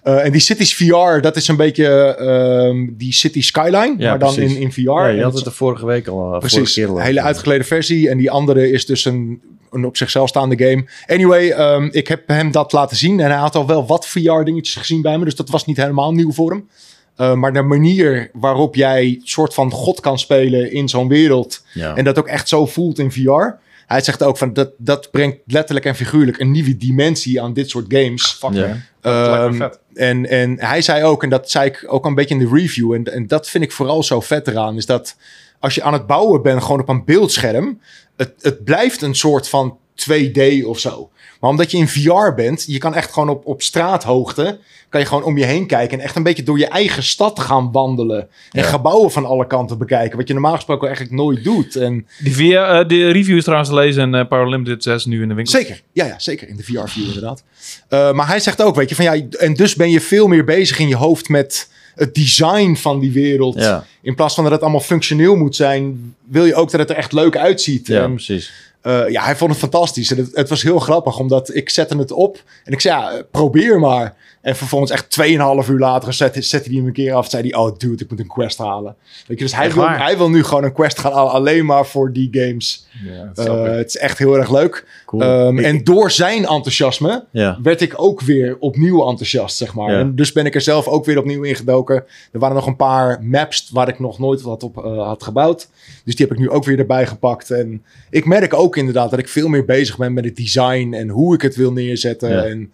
Speaker 3: Eh, en die Cities VR, dat is een beetje ehm, die City Skyline,
Speaker 2: Ja,
Speaker 3: maar dan
Speaker 2: precies.
Speaker 3: in, in VR.
Speaker 2: Ja,
Speaker 3: En
Speaker 2: je
Speaker 3: dat
Speaker 2: had
Speaker 3: is
Speaker 2: het de vorige week al. eh, vorige
Speaker 3: precies,
Speaker 2: keer al
Speaker 3: een hele
Speaker 2: over.
Speaker 3: uitgeleden versie. En die andere is dus een, een op zichzelf staande game. Anyway, ehm, ik heb hem dat laten zien en hij had al wel wat VR dingetjes gezien bij me. Dus dat was niet helemaal nieuw voor hem. Eh, maar de manier waarop jij soort van god kan spelen in zo'n wereld...
Speaker 2: Ja.
Speaker 3: en dat ook echt zo voelt in VR... Hij zegt ook van dat, dat brengt letterlijk en figuurlijk een nieuwe dimensie aan dit soort games.
Speaker 1: Fuck,
Speaker 2: Ja.
Speaker 1: man.
Speaker 3: Ehm,
Speaker 1: lijkt me vet.
Speaker 3: en, en hij zei ook, en dat zei ik ook een beetje in de review, en, en dat vind ik vooral zo vet eraan, is dat als je aan het bouwen bent, gewoon op een beeldscherm, het, het blijft een soort van 2D of zo. Maar omdat je in VR bent, je kan echt gewoon op, op straathoogte, kan je gewoon om je heen kijken en echt een beetje door je eigen stad gaan wandelen. En
Speaker 2: Ja.
Speaker 3: gebouwen van alle kanten bekijken, wat je normaal gesproken eigenlijk nooit doet. En,
Speaker 1: Die, via, eh, de review is trouwens te lezen en eh, Power Limited 6 nu in de winkel.
Speaker 3: Zeker, ja, ja, zeker. In de VR-view inderdaad. Eh, maar hij zegt ook, weet je, van ja, en dus ben je veel meer bezig in je hoofd met het design van die wereld.
Speaker 2: Ja.
Speaker 3: In plaats van dat het allemaal functioneel moet zijn, wil je ook dat het er echt leuk uitziet.
Speaker 2: ja,
Speaker 3: En,
Speaker 2: precies.
Speaker 3: eh, ja, hij vond het fantastisch. En het, het was heel grappig, omdat ik zette het op en ik zei, ja, eh, probeer maar. En vervolgens echt 2,5 uur later zette, zette hij hem een keer af. Zei hij, oh dude, ik moet een quest halen. Weet je, dus hij
Speaker 2: Echt
Speaker 3: wil,
Speaker 2: waar?
Speaker 3: hij wil nu gewoon een quest gaan halen alleen maar voor die games.
Speaker 1: Ja, dat snap
Speaker 3: Eh,
Speaker 1: ik.
Speaker 3: het is echt heel erg leuk.
Speaker 2: Cool.
Speaker 3: Ehm, en door zijn enthousiasme
Speaker 2: ja.
Speaker 3: werd ik ook weer opnieuw enthousiast, zeg maar.
Speaker 2: Ja.
Speaker 3: En dus ben ik er zelf ook weer opnieuw in gedoken. Er waren nog een paar maps waar ik nog nooit wat op eh, had gebouwd. Dus die heb ik nu ook weer erbij gepakt. En ik merk ook inderdaad dat ik veel meer bezig ben met het design en hoe ik het wil neerzetten.
Speaker 2: Ja.
Speaker 3: En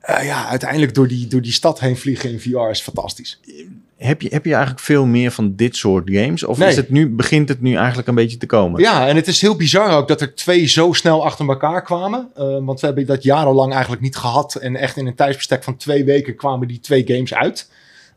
Speaker 3: eh, ja, uiteindelijk door die, door die stad heen vliegen in VR is fantastisch.
Speaker 2: Heb, je, heb je eigenlijk veel meer van dit soort games? Of
Speaker 3: Nee.
Speaker 2: is het nu, begint het nu eigenlijk een beetje te komen?
Speaker 3: Ja, en het is heel bizar ook dat er twee zo snel achter elkaar kwamen. Eh, want we hebben dat jarenlang eigenlijk niet gehad. En echt in een tijdsbestek van twee weken kwamen die twee games uit.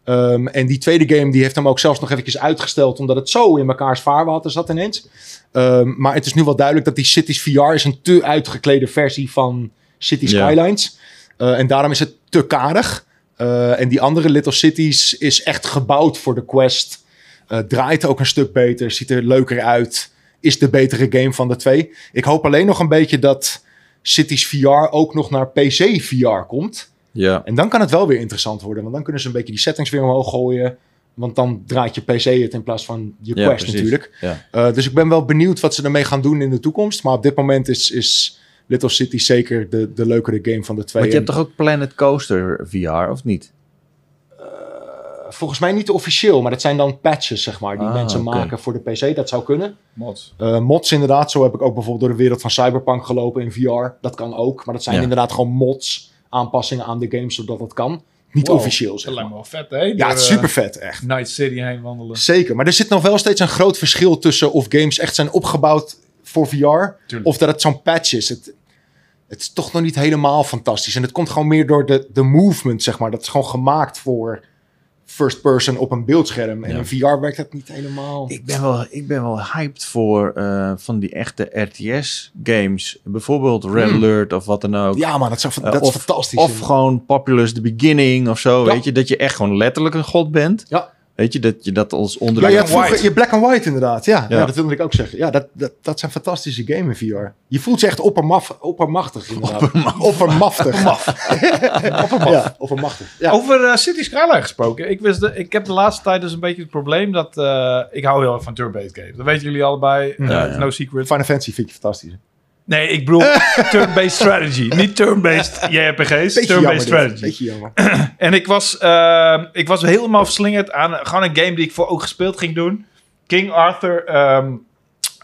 Speaker 3: Ehm, en die tweede game die heeft hem ook zelfs nog eventjes uitgesteld. Omdat het zo in mekaars vaarwater zat ineens. Ehm, maar het is nu wel duidelijk dat die Cities VR is een te uitgeklede versie van City
Speaker 2: Ja.
Speaker 3: Skylines. Eh, en daarom is het te karig. Eh, en die andere Little Cities is echt gebouwd voor de Quest. Eh, draait ook een stuk beter, ziet er leuker uit. Is de betere game van de twee. Ik hoop alleen nog een beetje dat Cities VR ook nog naar PC VR komt.
Speaker 2: Ja.
Speaker 3: En dan kan het wel weer interessant worden. Want dan kunnen ze een beetje die settings weer omhoog gooien. Want dan draait je PC het in plaats van je
Speaker 2: Ja,
Speaker 3: Quest
Speaker 2: precies.
Speaker 3: natuurlijk.
Speaker 2: Ja.
Speaker 3: Eh, dus ik ben wel benieuwd wat ze ermee gaan doen in de toekomst. Maar op dit moment is, is Little City zeker de, de leukere game van de twee.
Speaker 2: Want je hebt
Speaker 3: En,
Speaker 2: toch ook Planet Coaster VR, of niet?
Speaker 3: eh, volgens mij niet officieel, maar dat zijn dan patches, zeg maar. Die
Speaker 2: Ah,
Speaker 3: mensen
Speaker 2: oké.
Speaker 3: maken voor de PC. Dat zou kunnen.
Speaker 1: Mods.
Speaker 3: Eh, mods inderdaad. Zo heb ik ook bijvoorbeeld door de wereld van Cyberpunk gelopen in VR. Dat kan ook. Maar dat zijn
Speaker 2: Ja.
Speaker 3: inderdaad gewoon mods. Aanpassingen aan de game, zodat dat kan. Niet
Speaker 1: Wow, Eh,
Speaker 3: officieel,
Speaker 1: Dat
Speaker 3: zeg
Speaker 1: lijkt
Speaker 3: maar.
Speaker 1: me wel vet, hè?
Speaker 3: Ja, het is super vet, echt.
Speaker 1: Night City heen wandelen.
Speaker 3: Zeker, maar er zit nog wel steeds een groot verschil tussen of games echt zijn opgebouwd voor VR
Speaker 1: Tuurlijk.
Speaker 3: of dat het zo'n patch is. Het, het is toch nog niet helemaal fantastisch. En het komt gewoon meer door de, de movement, zeg maar. Dat is gewoon gemaakt voor first person op een beeldscherm. En
Speaker 2: Ja.
Speaker 3: in VR werkt dat niet helemaal.
Speaker 2: Ik ben wel, ik ben wel hyped voor eh, van die echte RTS-games. Bijvoorbeeld Red
Speaker 3: Hmm.
Speaker 2: Alert of wat dan ook.
Speaker 3: ja, man, dat is,
Speaker 2: Eh,
Speaker 3: dat is
Speaker 2: of,
Speaker 3: fantastisch.
Speaker 2: Of gewoon Populous The Beginning of zo.
Speaker 3: Ja.
Speaker 2: Weet je, dat je echt gewoon letterlijk een god bent.
Speaker 3: Ja.
Speaker 2: Weet je, dat je dat als
Speaker 3: ja,
Speaker 2: onderdeel...
Speaker 3: je, hebt vroeger, je black and white inderdaad. Ja,
Speaker 2: Ja.
Speaker 3: ja. dat wilde ik ook zeggen. Ja, dat, dat, dat zijn fantastische games in VR. Je voelt je echt oppermaf, oppermachtig inderdaad. Oppermachtig. ja, oppermachtig. Ja.
Speaker 1: Over eh, City Skyline gesproken. Ik, wist de, ik heb de laatste tijd dus een beetje het probleem dat... eh, ik hou heel erg van turn-based games. Dat weten jullie allebei. Eh,
Speaker 2: Ja,
Speaker 1: it's
Speaker 2: ja.
Speaker 1: No secret.
Speaker 3: Final Fantasy vind ik fantastisch.
Speaker 1: Nee, ik bedoel turn-based strategy. Niet turn-based JRPG's. Turn-based strategy.
Speaker 3: Beetje jammer.
Speaker 1: En ik was, ehm, ik was helemaal verslingerd aan eh, gewoon een game die ik voor ook gespeeld ging doen. King Arthur ehm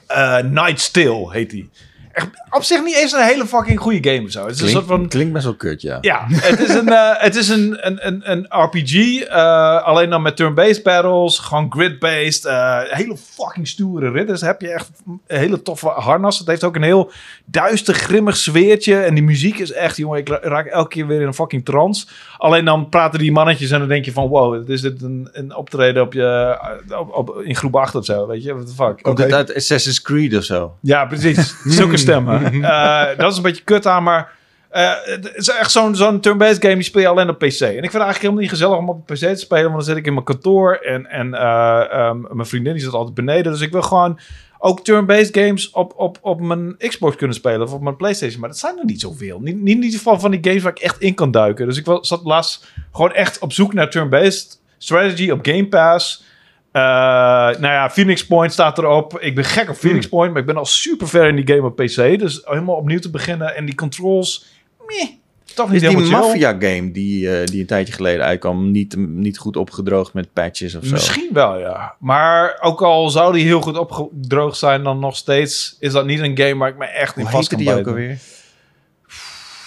Speaker 1: eh, Night's Tale heet die. Echt, op zich niet eens een hele fucking goede game of zo. Het is een
Speaker 2: Klinkt,
Speaker 1: soort van...
Speaker 2: klinkt best wel kut, ja.
Speaker 1: Ja, het is een, eh, het is een, een, een, een RPG. eh, alleen dan met turn-based battles. Gewoon grid-based. eh, hele fucking stoere ridders. Heb je echt een hele toffe harnas. Het heeft ook een heel duister, grimmig zweertje. En die muziek is echt, jongen, ik ra- raak elke keer weer in een fucking trance. Alleen dan praten die mannetjes en dan denk je van... Wow, is dit een, een optreden op je, op, op- in groep 8 of zo? Weet je, what the fuck?
Speaker 2: Komt het
Speaker 3: Oké.
Speaker 2: uit Assassin's Creed of zo?
Speaker 1: Ja, precies. Zulke stemmen. Eh, dat is een beetje kut aan, maar eh, het is echt zo'n zo'n turn-based game die speel je alleen op PC. En ik vind het eigenlijk helemaal niet gezellig om op een PC te spelen, want dan zit ik in mijn kantoor en, en eh, ehm, mijn vriendin die zit altijd beneden. Dus ik wil gewoon ook turn-based games op, op, op mijn Xbox kunnen spelen of op mijn PlayStation. Maar dat zijn er niet zoveel. Niet, niet in ieder geval van die games waar ik echt in kan duiken. Dus ik wel- zat laatst gewoon echt op zoek naar turn-based strategy op Game Pass. Eh, nou ja, Phoenix Point staat erop. Ik ben gek op Phoenix
Speaker 2: Hmm.
Speaker 1: Point, maar ik ben al super ver in die game op PC. Dus helemaal opnieuw te beginnen. En die controls, meh, toch
Speaker 2: Is
Speaker 1: niet
Speaker 2: die
Speaker 1: helemaal chill.
Speaker 2: Mafia-game die, eh, die een tijdje geleden uitkwam niet, niet goed opgedroogd met patches of zo?
Speaker 1: Misschien wel, ja. Maar ook al zou die heel goed opgedroogd zijn, dan nog steeds is dat niet een game waar ik me echt in
Speaker 2: Hoe
Speaker 1: vast
Speaker 2: heette
Speaker 1: kan
Speaker 2: die ook
Speaker 1: bijten.
Speaker 2: alweer?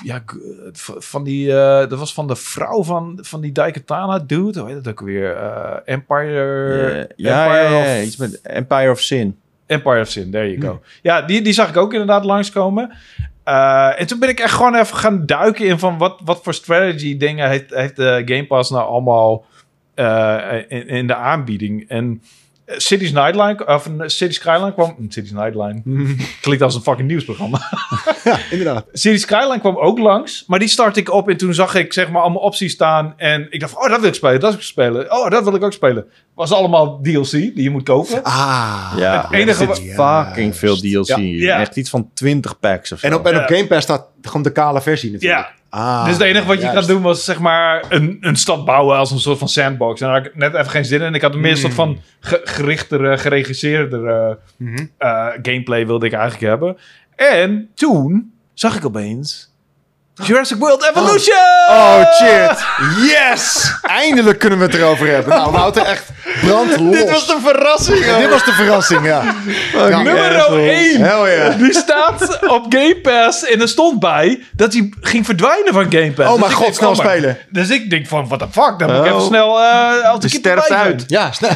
Speaker 1: Ja, g- v- van die, eh, dat was van de vrouw van, van die Daikatana dude. Hoe heet dat ook weer? Eh, Empire...
Speaker 2: Eh, ja, ja,
Speaker 1: Empire
Speaker 2: ja,
Speaker 1: of-
Speaker 2: iets met Empire of Sin.
Speaker 1: Empire of Sin, there you go. Ja, die, die zag ik ook inderdaad langskomen. Eh en toen ben ik echt gewoon even gaan duiken in van wat, wat voor strategy dingen heeft, heeft de Game Pass nou allemaal eh, in, in de aanbieding. En eh, Cities Nightline, of eh, Cities Skyline kwam... hm, Cities Nightline klinkt als een fucking nieuwsprogramma.
Speaker 3: ja, inderdaad.
Speaker 1: Series Skyline kwam ook langs. Maar die start ik op en toen zag ik zeg maar allemaal opties staan. En ik dacht, van, oh, dat wil ik spelen, dat wil ik spelen. Oh, dat wil ik ook spelen. Was allemaal DLC die je moet kopen.
Speaker 3: Ah.
Speaker 2: Ja,
Speaker 1: het enige
Speaker 2: er zit
Speaker 3: wa-
Speaker 2: fucking veel DLC.
Speaker 3: Ja.
Speaker 2: in.
Speaker 1: Ja.
Speaker 2: Echt iets van 20 packs of zo.
Speaker 3: En op, en op
Speaker 1: Ja.
Speaker 3: Game Pass staat gewoon de kale versie natuurlijk.
Speaker 1: Ja,
Speaker 3: Ah,
Speaker 1: dus het enige wat je
Speaker 3: juist.
Speaker 1: gaat doen was zeg maar een, een stad bouwen als een soort van sandbox. En daar had ik net even geen zin in. Ik had meer een
Speaker 3: Hmm.
Speaker 1: soort van ge- gerichtere, geregisseerdere
Speaker 3: Mhm.
Speaker 1: eh, gameplay wilde ik eigenlijk hebben. En toen zag ik opeens Jurassic World Evolution!
Speaker 3: Oh, shit. Yes! Eindelijk kunnen we het erover hebben. Nou, Wouter, echt brandlos.
Speaker 2: Dit was de verrassing.
Speaker 3: Ja, dit was de verrassing, ja. Ja.
Speaker 1: Nummer 1!
Speaker 3: Hell yeah.
Speaker 1: Die staat op Game Pass en er stond bij dat hij ging verdwijnen van Game Pass.
Speaker 3: Oh
Speaker 1: Dus
Speaker 3: mijn
Speaker 1: ik
Speaker 3: god,
Speaker 1: denk,
Speaker 3: snel
Speaker 1: maar-
Speaker 3: spelen.
Speaker 1: Dus ik denk van, what the fuck, dan moet ik
Speaker 2: Oh.
Speaker 1: even snel... eh als
Speaker 2: Je
Speaker 1: ik erbij
Speaker 2: sterft
Speaker 1: ben.
Speaker 2: uit.
Speaker 3: Ja, snel.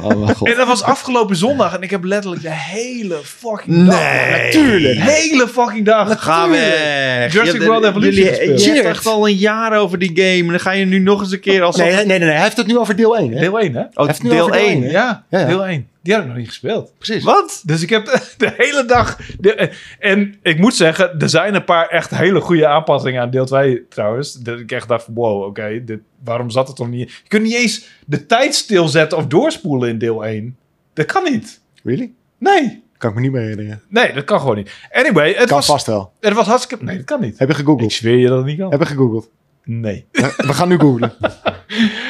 Speaker 2: Oh mijn god.
Speaker 1: En dat was afgelopen zondag en ik heb letterlijk de hele fucking dag...
Speaker 2: Nee.
Speaker 1: De
Speaker 3: Tuurlijk.
Speaker 1: hele fucking dag.
Speaker 2: Ga weg.
Speaker 1: Jurassic
Speaker 2: Je-
Speaker 1: World Evolution
Speaker 2: jullie-
Speaker 1: gespeeld.
Speaker 2: Je hebt
Speaker 3: Cheers.
Speaker 2: echt al een jaar over die game. En dan ga je nu nog eens een keer als...
Speaker 3: Nee, nee, nee, nee. Hij heeft het nu over deel 1, hè?
Speaker 1: Deel 1, hè?
Speaker 2: Oh,
Speaker 3: heeft het nu
Speaker 2: deel
Speaker 3: over deel
Speaker 2: 1.
Speaker 3: één, hè?
Speaker 1: Ja,
Speaker 3: Ja, ja.
Speaker 1: deel 1. Die had ik nog niet gespeeld.
Speaker 3: Precies.
Speaker 1: Wat? Dus ik heb de hele dag... de- en ik moet zeggen, er zijn een paar echt hele goede aanpassingen aan deel 2 trouwens. Dat ik echt dacht van, wow, oké, dit- waarom zat het toch niet... in? Je kunt niet eens de tijd stilzetten of doorspoelen in deel 1. Dat kan niet.
Speaker 3: Really?
Speaker 1: Nee.
Speaker 3: Kan ik me niet meer herinneren.
Speaker 1: Nee, dat kan gewoon niet. Anyway, het,
Speaker 3: Kan
Speaker 1: was,
Speaker 3: vast wel.
Speaker 1: het was hartstikke... Nee, dat kan niet.
Speaker 3: Heb je
Speaker 1: Ik
Speaker 3: gegoogeld?
Speaker 1: zweer je dat het niet kan.
Speaker 3: Heb je gegoogeld?
Speaker 1: Nee.
Speaker 3: Eh, We gaan nu googelen.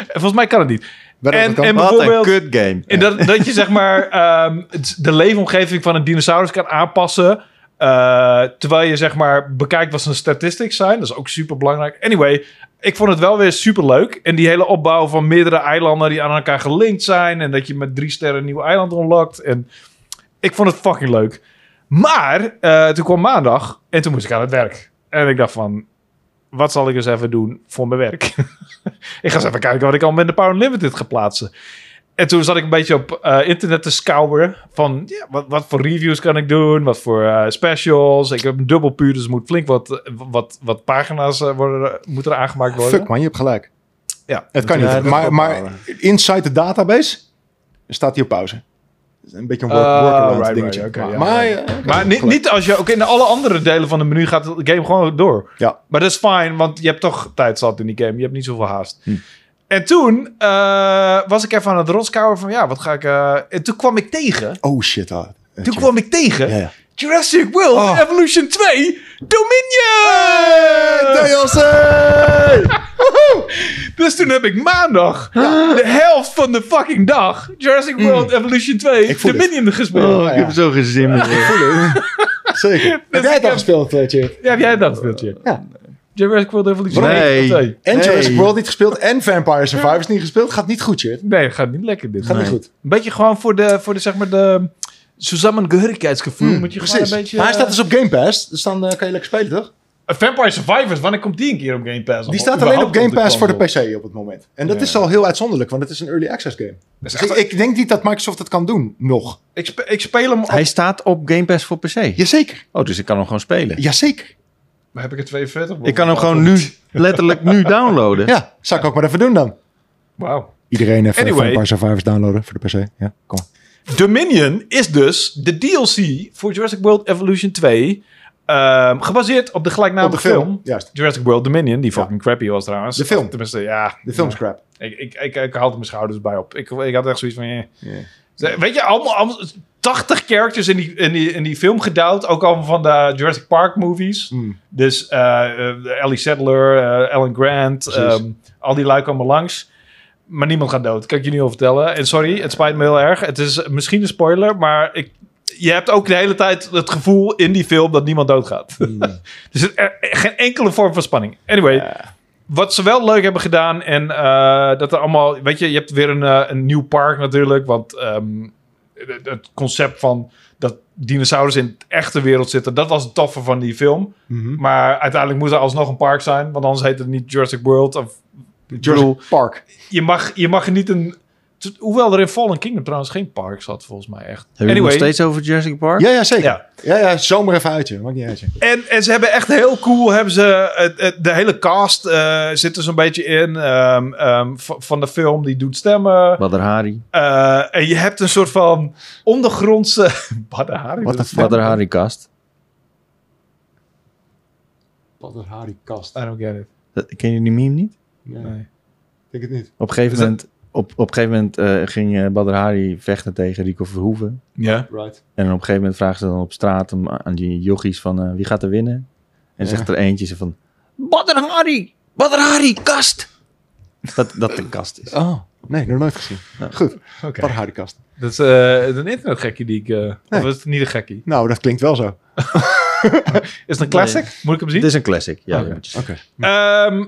Speaker 1: Volgens mij kan het niet.
Speaker 3: Waarom
Speaker 1: En-
Speaker 3: dat kan?
Speaker 1: en-
Speaker 2: Wat een
Speaker 1: Bijvoorbeeld-
Speaker 2: kut game.
Speaker 1: En dat, dat je zeg maar ehm, het- de leefomgeving van een dinosaurus kan aanpassen. eh, terwijl je zeg maar bekijkt wat zijn statistics zijn. Dat is ook super belangrijk. Anyway, ik vond het wel weer super leuk. En die hele opbouw van meerdere eilanden die aan elkaar gelinkt zijn. En dat je met drie sterren een nieuw eiland unlockt. En ik vond het fucking leuk. Maar eh, toen kwam maandag en toen moest ik aan het werk. En ik dacht van, wat zal ik eens even doen voor mijn werk? ik ga eens even kijken wat ik al met de Power Limited ga plaatsen. En toen zat ik een beetje op eh, internet te scouren. Van ja, wat, wat voor reviews kan ik doen? Wat voor eh, specials? Ik heb een dubbel puur, dus er moet flink wat, eh, wat, wat pagina's eh, worden, moeten er aangemaakt worden.
Speaker 3: Oh, Fuck man, je hebt gelijk.
Speaker 1: Ja.
Speaker 3: Het kan
Speaker 2: Ja,
Speaker 3: niet.
Speaker 2: dat
Speaker 3: Maar,
Speaker 2: kan
Speaker 3: maar
Speaker 2: wel.
Speaker 3: inside de database staat hij op pauze. Een beetje een work,
Speaker 1: Ah,
Speaker 3: workaround
Speaker 1: right,
Speaker 3: dingetje.
Speaker 1: right, oké,
Speaker 3: maar
Speaker 1: ja,
Speaker 3: maar,
Speaker 1: ja.
Speaker 3: eh,
Speaker 1: Maar niet, niet als je ook in alle andere delen van het menu gaat de game gewoon door.
Speaker 3: Ja.
Speaker 1: Maar dat is fijn, want je hebt toch tijd zat in die game. Je hebt niet zoveel haast.
Speaker 2: Hm.
Speaker 1: En toen eh, was ik even aan het rondskouwen van ja, wat ga ik... eh, En toen kwam ik tegen...
Speaker 3: oh shit. ah. Eh,
Speaker 1: Toen
Speaker 3: shit.
Speaker 1: kwam ik tegen
Speaker 3: Ja, ja.
Speaker 1: Jurassic World
Speaker 3: Oh.
Speaker 1: Evolution 2 Dominion!
Speaker 3: DLC!
Speaker 1: Dus toen heb ik maandag de helft van de fucking dag Jurassic World Evolution 2
Speaker 3: Mm. Ik voel
Speaker 1: Dominion gespeeld.
Speaker 2: Oh, ik heb zo geen zin meer.
Speaker 3: Zeker. Heb jij het al gespeeld, eh, Chip?
Speaker 1: Ja, heb jij dat gespeeld, Jack?
Speaker 3: Ja.
Speaker 1: Jurassic World Evolution
Speaker 2: Waarom?
Speaker 1: 2.
Speaker 2: Nee.
Speaker 3: En
Speaker 2: Hey.
Speaker 3: Jurassic World niet gespeeld en Vampire Survivors niet gespeeld. Gaat niet goed, Chip.
Speaker 1: Nee, gaat niet lekker dit.
Speaker 3: Gaat
Speaker 1: Nee.
Speaker 3: niet goed.
Speaker 1: Een beetje gewoon voor de, voor de zeg maar de Zusammengehörighkeitsgevoel. moet je gewoon
Speaker 3: Hm, Mm, Precies.
Speaker 1: een beetje...
Speaker 3: maar hij staat dus op Game Pass, dus dan eh, kan je lekker spelen, toch?
Speaker 1: Eh, Vampire Survivors, wanneer komt die een keer op Game Pass?
Speaker 3: Die
Speaker 1: Of
Speaker 3: staat alleen op
Speaker 1: überhaupt
Speaker 3: Game Pass voor de
Speaker 1: console?
Speaker 3: PC op het moment. En dat
Speaker 1: Ja.
Speaker 3: is al heel uitzonderlijk, want het is een early access game.
Speaker 1: Dat is
Speaker 3: Dus
Speaker 1: echt-
Speaker 3: ik, ik denk niet dat Microsoft dat kan doen, nog.
Speaker 1: ik, spe- ik speel hem op...
Speaker 2: Hij staat op Game Pass voor PC.
Speaker 3: Jazeker.
Speaker 2: Oh, dus ik kan hem gewoon spelen.
Speaker 3: Jazeker.
Speaker 1: Maar heb ik er 42?
Speaker 2: Ik kan hem gewoon nu, letterlijk nu downloaden.
Speaker 3: Ja, zou ik ook maar even doen dan.
Speaker 1: Wauw.
Speaker 3: Iedereen even
Speaker 1: Anyway.
Speaker 3: Vampire Survivors downloaden voor de PC. Ja, kom.
Speaker 1: Dominion is dus de DLC voor Jurassic World Evolution 2. ehm, gebaseerd op de gelijknamige
Speaker 3: Op Nou, de
Speaker 1: film.
Speaker 3: film, juist.
Speaker 1: Jurassic World Dominion, die fucking crappy was trouwens.
Speaker 3: De film.
Speaker 1: Of Tenminste, ja.
Speaker 3: De film is crap.
Speaker 1: Ik, ik, ik, ik haalde mijn schouders bij op. Ik, ik had echt zoiets van... eh.
Speaker 3: Ja.
Speaker 1: Ze- Weet je, allemaal, allemaal 80 characters in die, in, die, in die film gedouwd. Ook allemaal van de Jurassic Park movies.
Speaker 3: Hmm.
Speaker 1: Dus eh eh, Ellie Sattler, eh, Alan Grant,
Speaker 3: Precies.
Speaker 1: ehm, al die lui komen langs. Maar niemand gaat dood, kan ik jullie al vertellen. En sorry, het spijt me heel erg. Het is misschien een spoiler, maar ik, je hebt ook de hele tijd het gevoel in die film dat niemand doodgaat.
Speaker 3: Hmm.
Speaker 1: dus er, er- geen enkele vorm van spanning. Anyway, wat ze wel leuk hebben gedaan en eh, dat er allemaal... Weet je, je hebt weer een, eh, een nieuw park natuurlijk, want ehm, het- het concept van dat dinosaurus in de echte wereld zitten, dat was het toffe van die film.
Speaker 3: Mhm.
Speaker 1: Maar uiteindelijk moet er alsnog een park zijn, want anders heet het niet Jurassic World. Of,
Speaker 3: Jurassic Park.
Speaker 1: je, mag, je mag niet een. t- Hoewel er in Fallen Kingdom trouwens geen park zat, volgens mij echt.
Speaker 2: Hebben jullie nog steeds over Jurassic Park?
Speaker 3: Ja, ja, zeker.
Speaker 1: Ja.
Speaker 3: Ja. Ja, zomer even uit, je. Maakt niet uit, je.
Speaker 1: En, en ze hebben echt heel cool, hebben ze, het- het- de hele cast eh, zit er zo'n beetje in. ehm, ehm, v- van de film, die doet stemmen.
Speaker 2: Badr Hari.
Speaker 1: Eh, en je hebt een soort van ondergrondse... Badr Hari,
Speaker 3: Wat
Speaker 1: dat-
Speaker 3: een
Speaker 2: Badr Hari kast.
Speaker 3: Wat een Harry kast.
Speaker 1: I don't get it.
Speaker 2: Dat- Ken je die meme niet?
Speaker 3: Nee,
Speaker 1: Nee.
Speaker 3: ik denk het niet.
Speaker 2: Op een gegeven
Speaker 1: Is dat-
Speaker 2: moment, op, op een gegeven moment eh, ging eh, Badr Hari vechten tegen Rico Verhoeven.
Speaker 1: Ja.
Speaker 3: Right.
Speaker 2: En op een gegeven moment vragen ze dan op straat om- aan die jochies van eh, wie gaat er winnen? En
Speaker 3: Ja.
Speaker 2: zegt er eentje ze van Badr Hari! Badr Hari, kast! Dat, dat een kast is.
Speaker 3: Oh, nee, nog nooit gezien. Goed,
Speaker 1: Oké.
Speaker 3: wat een harde kast.
Speaker 1: Dat is eh, een internetgekkie die ik... eh Of is het niet een gekkie?
Speaker 3: Nou, dat klinkt wel zo.
Speaker 1: Is het een classic? Moet ik hem zien?
Speaker 2: Dit is een classic. Ja,
Speaker 1: Oké.
Speaker 2: die moet je-
Speaker 3: Oké.
Speaker 1: Ehm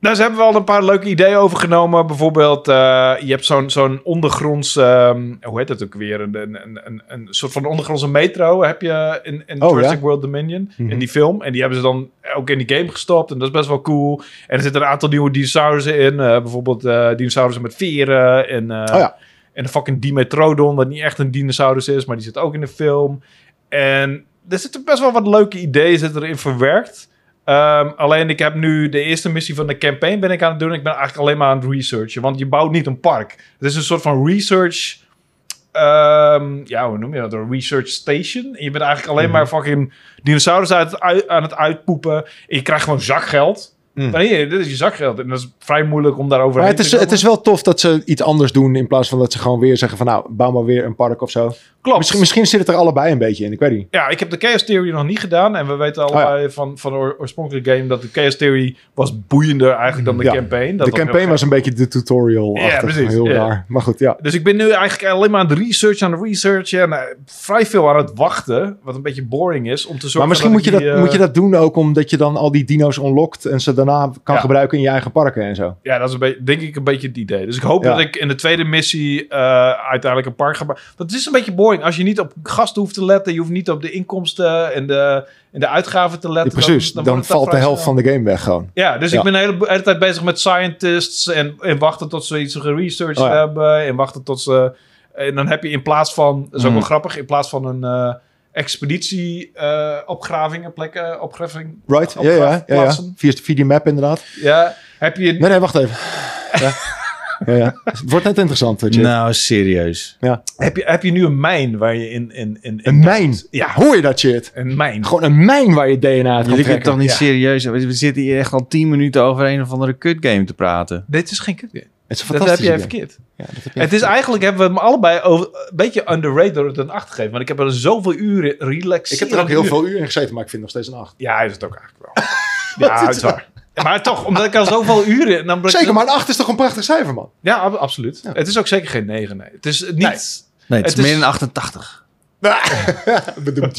Speaker 1: nou, ze hebben wel een paar leuke ideeën overgenomen. Bijvoorbeeld, eh, je hebt zo'n zo'n ondergronds... ehm, hoe heet dat ook weer? Een, een, een, een, een soort van ondergrondse metro heb je in, in
Speaker 3: Oh,
Speaker 1: Jurassic
Speaker 3: ja?
Speaker 1: World Dominion.
Speaker 3: Mhm.
Speaker 1: In die film. En die hebben ze dan ook in die game gestopt. En dat is best wel cool. En er zitten een aantal nieuwe dinosaurussen in. eh, bijvoorbeeld eh, dinosaurussen met veren. En, eh,
Speaker 3: Oh ja.
Speaker 1: en een fucking Dimetrodon, dat niet echt een dinosaurus is, maar die zit ook in de film. En er zitten best wel wat leuke ideeën zitten erin verwerkt. Ehm, alleen ik heb nu de eerste missie van de campaign ben ik aan het doen. Ik ben eigenlijk alleen maar aan het researchen, want je bouwt niet een park. Het is een soort van research... ehm, ja, hoe noem je dat? Een research station. En je bent eigenlijk
Speaker 3: Mhm.
Speaker 1: alleen maar fucking dinosaurussen uit, uit- aan het uitpoepen. En je krijgt gewoon zakgeld.
Speaker 2: Mm.
Speaker 1: Maar hier, dit is je zakgeld. En dat is vrij moeilijk om daarover
Speaker 3: Mhm. Maar het is, het is wel tof dat ze iets anders doen in plaats van dat ze gewoon weer zeggen van nou, bouw maar weer een park of zo.
Speaker 1: Klopt.
Speaker 3: Misschien, misschien zit het er allebei een beetje in, ik weet niet.
Speaker 1: Ja, ik heb de Chaos Theory nog niet gedaan. En we weten
Speaker 3: Oh
Speaker 1: allebei van, van de oor- oorspronkelijke game dat de Chaos Theory was boeiender eigenlijk dan de
Speaker 3: Ja,
Speaker 1: campaign. Dat
Speaker 3: de
Speaker 1: was heel
Speaker 3: campaign
Speaker 1: gek.
Speaker 3: was een beetje de tutorial
Speaker 1: Ja, precies,
Speaker 3: Heel
Speaker 1: ja.
Speaker 3: raar. Maar goed, ja.
Speaker 1: Dus ik ben nu eigenlijk alleen maar aan de research, aan de research. En eh, vrij veel aan het wachten. Wat een beetje boring is. Om te zorgen
Speaker 3: Maar misschien
Speaker 1: dat
Speaker 3: moet je,
Speaker 1: ik
Speaker 3: dat,
Speaker 1: die, eh,
Speaker 3: moet je dat doen ook omdat je dan al die dino's unlockt en ze daarna kan
Speaker 1: Ja.
Speaker 3: gebruiken in je eigen parken en zo.
Speaker 1: Ja, dat is een beetje, denk ik een beetje het idee. Dus ik hoop
Speaker 3: Ja.
Speaker 1: dat ik in de tweede missie eh, uiteindelijk een park ga bouwen. Want het is een beetje boring. Als je niet op gasten hoeft te letten. Je hoeft niet op de inkomsten en de, en de uitgaven te
Speaker 3: Ja,
Speaker 1: letten.
Speaker 3: precies, dan,
Speaker 1: wordt het
Speaker 3: valt de
Speaker 1: vrij
Speaker 3: helft
Speaker 1: snel.
Speaker 3: van de game weg gewoon.
Speaker 1: Ja, dus
Speaker 3: Ja.
Speaker 1: ik ben de hele, hele tijd bezig met scientists en, en wachten tot ze iets geresearched
Speaker 3: Oh ja.
Speaker 1: hebben. En wachten tot ze. En dan heb je in plaats van, dat is ook
Speaker 2: Mm.
Speaker 1: wel grappig, in plaats van een eh, expeditie eh opgravingen, plekken, eh, opgraving,
Speaker 3: Right? Ja, ja, ja, ja.
Speaker 1: opgraafplaatsen.
Speaker 3: Via, via die map inderdaad.
Speaker 1: Ja, heb je
Speaker 3: Nee, nee, wacht even. Ja. Ja, ja. Het wordt net interessant, eh, weet je.
Speaker 2: Nou, serieus.
Speaker 1: Heb je, heb je nu een mijn waar je in. in, in, in
Speaker 3: Een mijn.
Speaker 1: Ja,
Speaker 3: Hoor je dat shit?
Speaker 1: een mijn.
Speaker 3: Gewoon een mijn waar je DNA uit gaat
Speaker 2: Jullie kunnen
Speaker 3: trekken.
Speaker 2: toch niet
Speaker 1: ja.
Speaker 2: serieus hebben? We zitten hier echt al 10 minuten over een of andere kut game te praten.
Speaker 1: Dit is geen kut.
Speaker 3: Het is een
Speaker 1: Dat heb
Speaker 3: fantastische
Speaker 1: jij
Speaker 3: game.
Speaker 1: verkeerd.
Speaker 3: Ja, dat heb jij
Speaker 1: Het is
Speaker 3: verkeerd.
Speaker 1: eigenlijk, hebben we hem allebei over, een beetje underrated door het een 8 gegeven. Want ik heb er zoveel uren relaxed.
Speaker 3: Ik heb er ook heel veel uur in gezeten, maar ik vind het nog steeds een 8.
Speaker 1: Ja, hij is het ook eigenlijk wel. ja, het is waar. Maar toch, omdat ik al zoveel uren... en Dan ben ik-
Speaker 3: Zeker, maar een 8 is toch een prachtig cijfer, man?
Speaker 1: Ja, ab- absoluut.
Speaker 3: Ja.
Speaker 1: Het is ook zeker geen 9, nee. Het is niet...
Speaker 2: Nee, het,
Speaker 1: Het
Speaker 2: is
Speaker 1: is-
Speaker 2: meer dan 88.
Speaker 3: Bedoeld.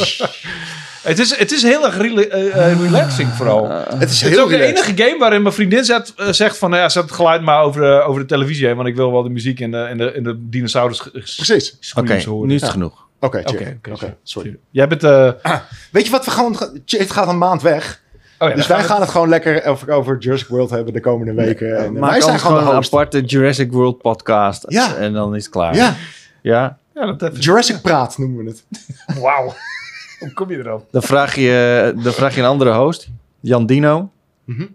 Speaker 1: Het is, het is heel erg rela- eh, eh, relaxing vooral.
Speaker 3: het is
Speaker 1: het is
Speaker 3: heel
Speaker 1: ook de
Speaker 3: relaxed.
Speaker 1: enige game waarin mijn vriendin zet, eh, zegt van... nou Ja, zet het geluid maar over de, over de televisie heen. Want ik wil wel de muziek en de, en de, en de dinosaurus ge- ge-
Speaker 3: Precies.
Speaker 1: screams
Speaker 2: Oké,
Speaker 1: horen.
Speaker 2: nu is het
Speaker 1: Ja.
Speaker 2: genoeg.
Speaker 3: Oké, check.
Speaker 1: Oké, oké,
Speaker 3: Oké, sorry.
Speaker 1: Jij bent... eh, oh ja,
Speaker 3: Weet je wat we gewoon... gaan- Het gaat een maand weg.
Speaker 1: dan
Speaker 3: Dus
Speaker 1: gaan
Speaker 3: wij
Speaker 1: we-
Speaker 3: gaan het gewoon lekker over, over Jurassic World hebben de komende weken. En
Speaker 2: Maak
Speaker 3: wij zijn
Speaker 2: anders
Speaker 3: gewoon
Speaker 2: gewoon
Speaker 3: de
Speaker 2: een
Speaker 3: host.
Speaker 2: aparte Jurassic World podcast.
Speaker 3: Ja.
Speaker 2: En dan is het klaar.
Speaker 3: Ja,
Speaker 2: Ja?
Speaker 1: Ja, dat even.
Speaker 3: Jurassic Praat noemen we het.
Speaker 1: Wauw. Hoe kom je erop?
Speaker 2: Dan vraag je, dan vraag je een andere host, Jan Dino.
Speaker 3: Vind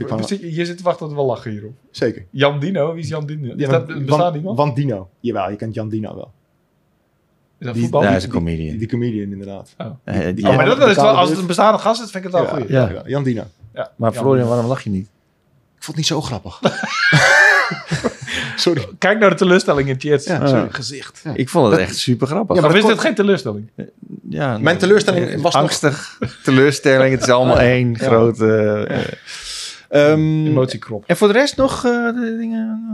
Speaker 3: ik wel-
Speaker 1: Je zit te wachten tot we lachen hierop.
Speaker 3: Zeker.
Speaker 1: Jan Dino? Wie is Jan Dino? Is dat,
Speaker 3: Wan-
Speaker 1: bestaat iemand?
Speaker 3: Wan Dino. Jawel, je kent Jan Dino wel.
Speaker 1: Is dat
Speaker 2: Die,
Speaker 1: voetbal?
Speaker 2: nou, hij is een comedian.
Speaker 3: Die comedian inderdaad.
Speaker 2: Eh, die-
Speaker 1: Oh, maar
Speaker 3: Ja,
Speaker 1: dat is wel,
Speaker 3: betalen
Speaker 1: als
Speaker 3: we
Speaker 1: het een bestaande gast is, vind ik het wel goed.
Speaker 2: Ja.
Speaker 3: jawel, Jan Dino.
Speaker 1: Ja.
Speaker 2: maar Florian, waarom lach je niet?
Speaker 3: Ik vond het niet zo grappig. Sorry.
Speaker 1: Kijk naar de teleurstelling in Jets
Speaker 3: Ja,
Speaker 2: sorry.
Speaker 1: gezicht.
Speaker 3: Ja.
Speaker 2: Ik vond het echt super grappig.
Speaker 3: Ja,
Speaker 1: maar
Speaker 3: maar
Speaker 1: is
Speaker 3: dat
Speaker 1: dit geen teleurstelling?
Speaker 2: Ja,
Speaker 3: Mijn
Speaker 2: nou,
Speaker 3: teleurstelling
Speaker 2: eh,
Speaker 3: was nog-
Speaker 2: angstig, teleurstelling. Het is allemaal één grote... eh, ehm,
Speaker 3: Mm.
Speaker 1: Emotiekrop.
Speaker 2: en voor de rest nog eh, de dingen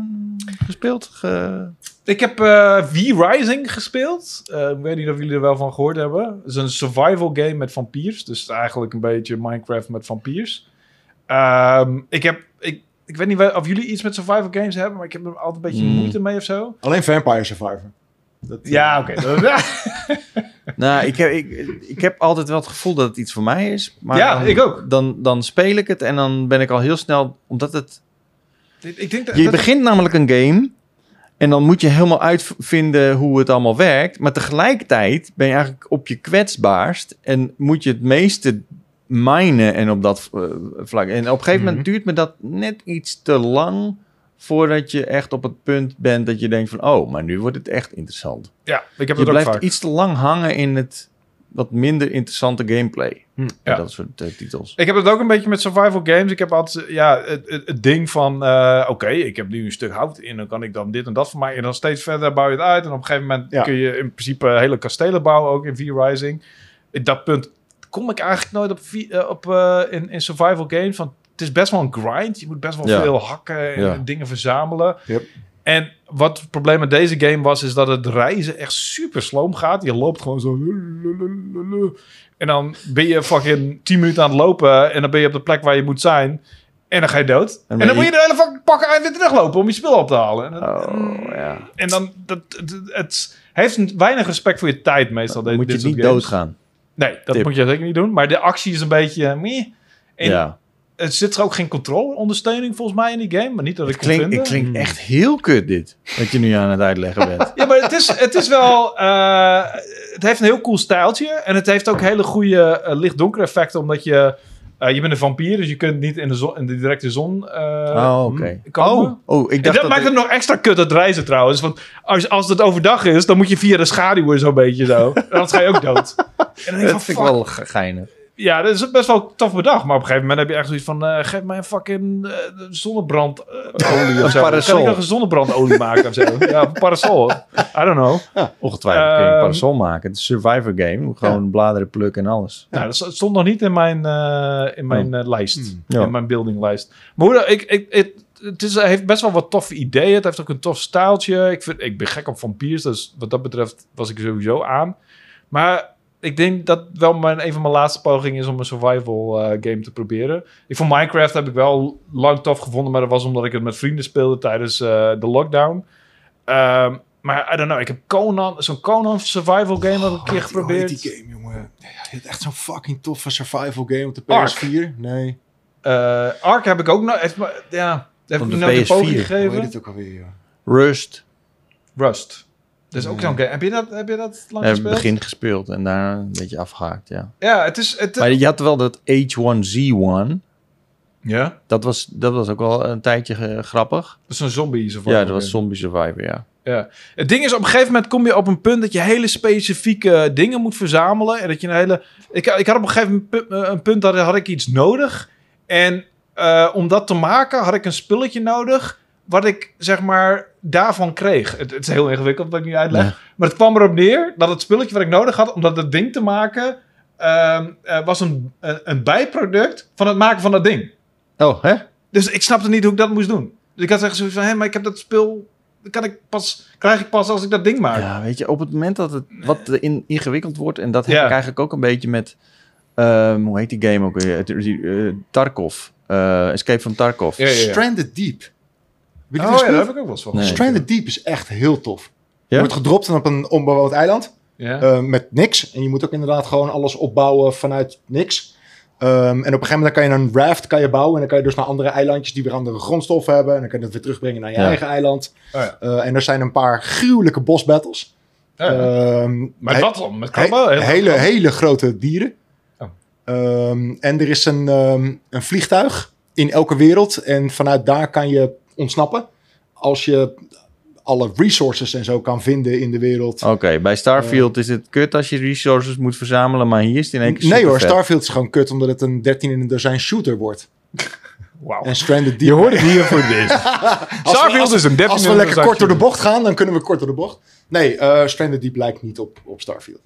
Speaker 2: eh, gespeeld? Ge-
Speaker 1: Ik heb eh V-Rising gespeeld. Eh, ik weet niet of jullie er wel van gehoord hebben. Het is een survival game met vampiers. Dus het is eigenlijk een beetje Minecraft met vampiers. Ehm, ik heb... Ik, ik weet niet wel- of jullie iets met survival games hebben, maar ik heb er altijd een beetje
Speaker 2: Mm.
Speaker 1: moeite mee of zo.
Speaker 3: Alleen Vampire Survivor. Dat, eh,
Speaker 1: Ja, oké.
Speaker 2: Nou, ik heb, ik, ik heb altijd wel het gevoel dat het iets voor mij is. Maar
Speaker 1: Ja,
Speaker 2: dan,
Speaker 1: ik ook.
Speaker 2: Dan, dan speel ik het en dan ben ik al heel snel... Omdat het...
Speaker 1: ik denk dat,
Speaker 2: Je
Speaker 1: dat-
Speaker 2: begint namelijk een game... En dan moet je helemaal uitvinden hoe het allemaal werkt. Maar tegelijkertijd ben je eigenlijk op je kwetsbaarst. En moet je het meeste minen en op dat eh, vlak. En op een gegeven
Speaker 1: Mhm.
Speaker 2: moment duurt me dat net iets te lang... voordat je echt op het punt bent dat je denkt van... oh, maar nu wordt het echt interessant.
Speaker 1: ja, ik heb
Speaker 2: Je
Speaker 1: het ook
Speaker 2: blijft
Speaker 1: vaak.
Speaker 2: iets te lang hangen in het wat minder interessante gameplay.
Speaker 3: Hm,
Speaker 2: ja.
Speaker 1: ja.
Speaker 2: Dat soort eh, titels.
Speaker 1: Ik heb het ook een beetje met survival games. Ik heb altijd eh, ja, het, het, het ding van... eh, Oké, ik heb nu een stuk hout in. Dan kan ik dan dit en dat van mij. En dan steeds verder bouw je het uit. En op een gegeven moment
Speaker 3: Ja.
Speaker 1: kun je in principe hele kastelen bouwen. Ook in V-Rising. Dat punt kom ik eigenlijk nooit op, vi- eh, op eh, in, in survival games. Want het is best wel een grind. Je moet best wel
Speaker 2: Ja.
Speaker 1: veel hakken en
Speaker 2: Ja.
Speaker 1: dingen verzamelen.
Speaker 3: Yep.
Speaker 1: En wat het probleem met deze game was, is dat het reizen echt super sloom gaat. Je loopt gewoon zo. En dan ben je fucking 10 minuten aan het lopen. En dan ben je op de plek waar je moet zijn. En dan ga je dood. En,
Speaker 2: ben
Speaker 1: dan
Speaker 2: je-
Speaker 1: moet je de hele fucking pakken en weer teruglopen om je spullen op te halen. En dan-
Speaker 2: Oh, ja.
Speaker 1: en dan, dat, het, het heeft een- weinig respect voor je tijd meestal.
Speaker 2: Dan
Speaker 1: dit-
Speaker 2: moet je
Speaker 1: dit soort
Speaker 2: niet
Speaker 1: games.
Speaker 2: doodgaan.
Speaker 1: Nee, dat
Speaker 2: Tip.
Speaker 1: moet je zeker niet doen. Maar de actie is een beetje eh, meh. En
Speaker 2: Ja.
Speaker 1: er zit er ook geen controle-ondersteuning volgens mij in die game. Maar niet dat ik
Speaker 2: Het
Speaker 1: kon
Speaker 2: klinkt,
Speaker 1: vinden.
Speaker 2: het klinkt echt heel kut dit, wat Hmm. je nu aan het uitleggen bent.
Speaker 1: Ja, maar het is, het is wel... eh, het heeft een heel cool stijltje. En het heeft ook hele goede eh, licht-donker effecten. Omdat je... eh, je bent een vampier, dus je kunt niet in de, zon, in de directe zon eh,
Speaker 2: oh, oké.
Speaker 1: komen.
Speaker 2: Oh, oh, ik
Speaker 1: En
Speaker 2: dacht
Speaker 1: dat,
Speaker 2: dat...
Speaker 1: maakt hem nog extra kut, dat reizen trouwens. Want als, als het overdag is, dan moet je via de schaduwen zo'n beetje zo. En Anders ga je ook dood. En dan denk ik van,
Speaker 2: dat vind ik
Speaker 1: fuck.
Speaker 2: wel ge- geinig.
Speaker 1: Ja, dat is best wel tof bedacht. Maar op een gegeven moment heb je echt zoiets van... eh, geef mij een fucking eh, zonnebrandolie of zo.
Speaker 2: parasol.
Speaker 1: Kan ik nog een zonnebrandolie maken of zo? Ja, een parasol. I don't know.
Speaker 2: Ongetwijfeld kun je een
Speaker 1: Ehm,
Speaker 2: parasol maken. Het is een survivor game. Gewoon bladeren plukken en alles.
Speaker 1: Nou, dat stond nog niet in mijn, eh, in
Speaker 3: Oh.
Speaker 1: mijn eh, lijst.
Speaker 3: Hmm.
Speaker 2: Ja.
Speaker 1: In mijn buildinglijst. Maar hoe dan- ik, ik, het, het is, hij heeft best wel wat toffe ideeën. Het heeft ook een tof staaltje. Ik, vind, ik ben gek op vampiers, dus wat dat betreft was ik sowieso aan. Maar ik denk dat wel mijn, een van mijn laatste pogingen is om een survival eh, game te proberen. Ik vond Minecraft heb ik wel lang tof gevonden, maar dat was omdat ik het met vrienden speelde tijdens eh, de lockdown. Ehm, maar I don't know, ik heb Conan, zo'n Conan survival game heb ik een keer geprobeerd.
Speaker 3: Oh, Ah, Die game, jongen. Ja, dit is echt zo'n fucking toffe survival game op de
Speaker 1: Ark.
Speaker 3: PS4. Nee.
Speaker 1: Eh Ark heb ik ook nog. Heeft, me- ja, heeft
Speaker 2: Op
Speaker 1: me
Speaker 2: de
Speaker 1: nou de
Speaker 2: PS4.
Speaker 1: poging
Speaker 3: Hoe heet
Speaker 1: gegeven.
Speaker 3: het ook alweer, joh?
Speaker 2: Rust.
Speaker 1: Rust. Dat is ook zo'n game. Heb je dat, heb je dat lang
Speaker 2: Heb ik
Speaker 1: gespeeld?
Speaker 2: Hmm. begin gespeeld en daarna een beetje afgehaakt, ja.
Speaker 1: Ja, het is... Het,
Speaker 2: Maar je had wel dat H1Z1.
Speaker 1: ja?
Speaker 2: Dat was, dat was ook wel een tijdje eh, grappig.
Speaker 1: Dat is een zombie. zo van.
Speaker 2: Ja, dat was Zombie Survivor, ja.
Speaker 1: Ja. Het ding is, op een gegeven moment kom je op een punt dat je hele specifieke dingen moet verzamelen. En dat je een hele. Ik, ik had op een gegeven moment pu- eh, een punt dat had ik iets nodig. En eh, om dat te maken had ik een spulletje nodig. Wat ik zeg maar daarvan kreeg. Het, het is heel ingewikkeld wat ik nu uitleg.
Speaker 2: Ja.
Speaker 1: Maar het kwam erop neer dat het spulletje wat ik nodig had om dat dat ding te maken. ehm, eh, was een, een, een bijproduct van het maken van dat ding.
Speaker 2: Oh, hè?
Speaker 1: Dus ik snapte niet hoe ik dat moest doen. Dus ik had echt zoiets van, hé, maar ik heb dat spul... dat Kan ik pas, krijg ik pas als ik dat ding maak. Oh,
Speaker 2: Ja, weet je, op het moment dat het wat in, ingewikkeld wordt... en dat heb
Speaker 1: Ja.
Speaker 2: ik eigenlijk ook een beetje met... ehm, hoe heet die game ook weer? Het- die, eh, Tarkov. Eh, Escape from Tarkov.
Speaker 1: Ja, ja, ja.
Speaker 3: Stranded Deep. Heb je die
Speaker 1: Oh ja,
Speaker 3: gespeeld?
Speaker 1: daar heb ik ook wel eens van.
Speaker 2: Nee.
Speaker 3: Stranded Deep is echt heel tof. Je
Speaker 2: Ja?
Speaker 3: wordt gedropt op een onbewoond eiland.
Speaker 1: Ja.
Speaker 3: eh, met niks. En je moet ook inderdaad gewoon alles opbouwen vanuit niks. Ehm, en op een gegeven moment kan je een raft kan je bouwen. En dan kan je dus naar andere eilandjes die weer andere grondstoffen hebben. En dan kan je dat weer terugbrengen naar je
Speaker 2: Ja.
Speaker 3: eigen eiland.
Speaker 1: Oh ja.
Speaker 3: Eh, en er zijn een paar gruwelijke boss battles.
Speaker 1: Ja, ja.
Speaker 3: Ehm,
Speaker 1: maar
Speaker 3: he-
Speaker 1: dat dan, met
Speaker 3: he-
Speaker 1: krabben. heel-
Speaker 3: hele, hele grote dieren.
Speaker 1: Oh.
Speaker 3: Ehm, en er is een, ehm, een vliegtuig in elke wereld. En vanuit daar kan je ontsnappen. Als je alle resources en zo kan vinden in de wereld.
Speaker 2: Oké, bij Starfield is het kut als je resources moet verzamelen... maar hier is het in één keer
Speaker 3: Nee hoor,
Speaker 2: supervet.
Speaker 3: Starfield is gewoon kut omdat het een 13 in een dozijn shooter wordt.
Speaker 1: Wauw.
Speaker 3: En Stranded Deep.
Speaker 2: hoort het hier voor dit.
Speaker 3: Als we-
Speaker 1: Starfield
Speaker 3: als we-
Speaker 1: is een 13
Speaker 3: Als
Speaker 1: in
Speaker 3: we
Speaker 1: een
Speaker 3: lekker
Speaker 1: dozijn
Speaker 3: kort door de bocht gaan, dan kunnen we kort door de bocht. Nee, eh Stranded Deep lijkt niet op, op Starfield.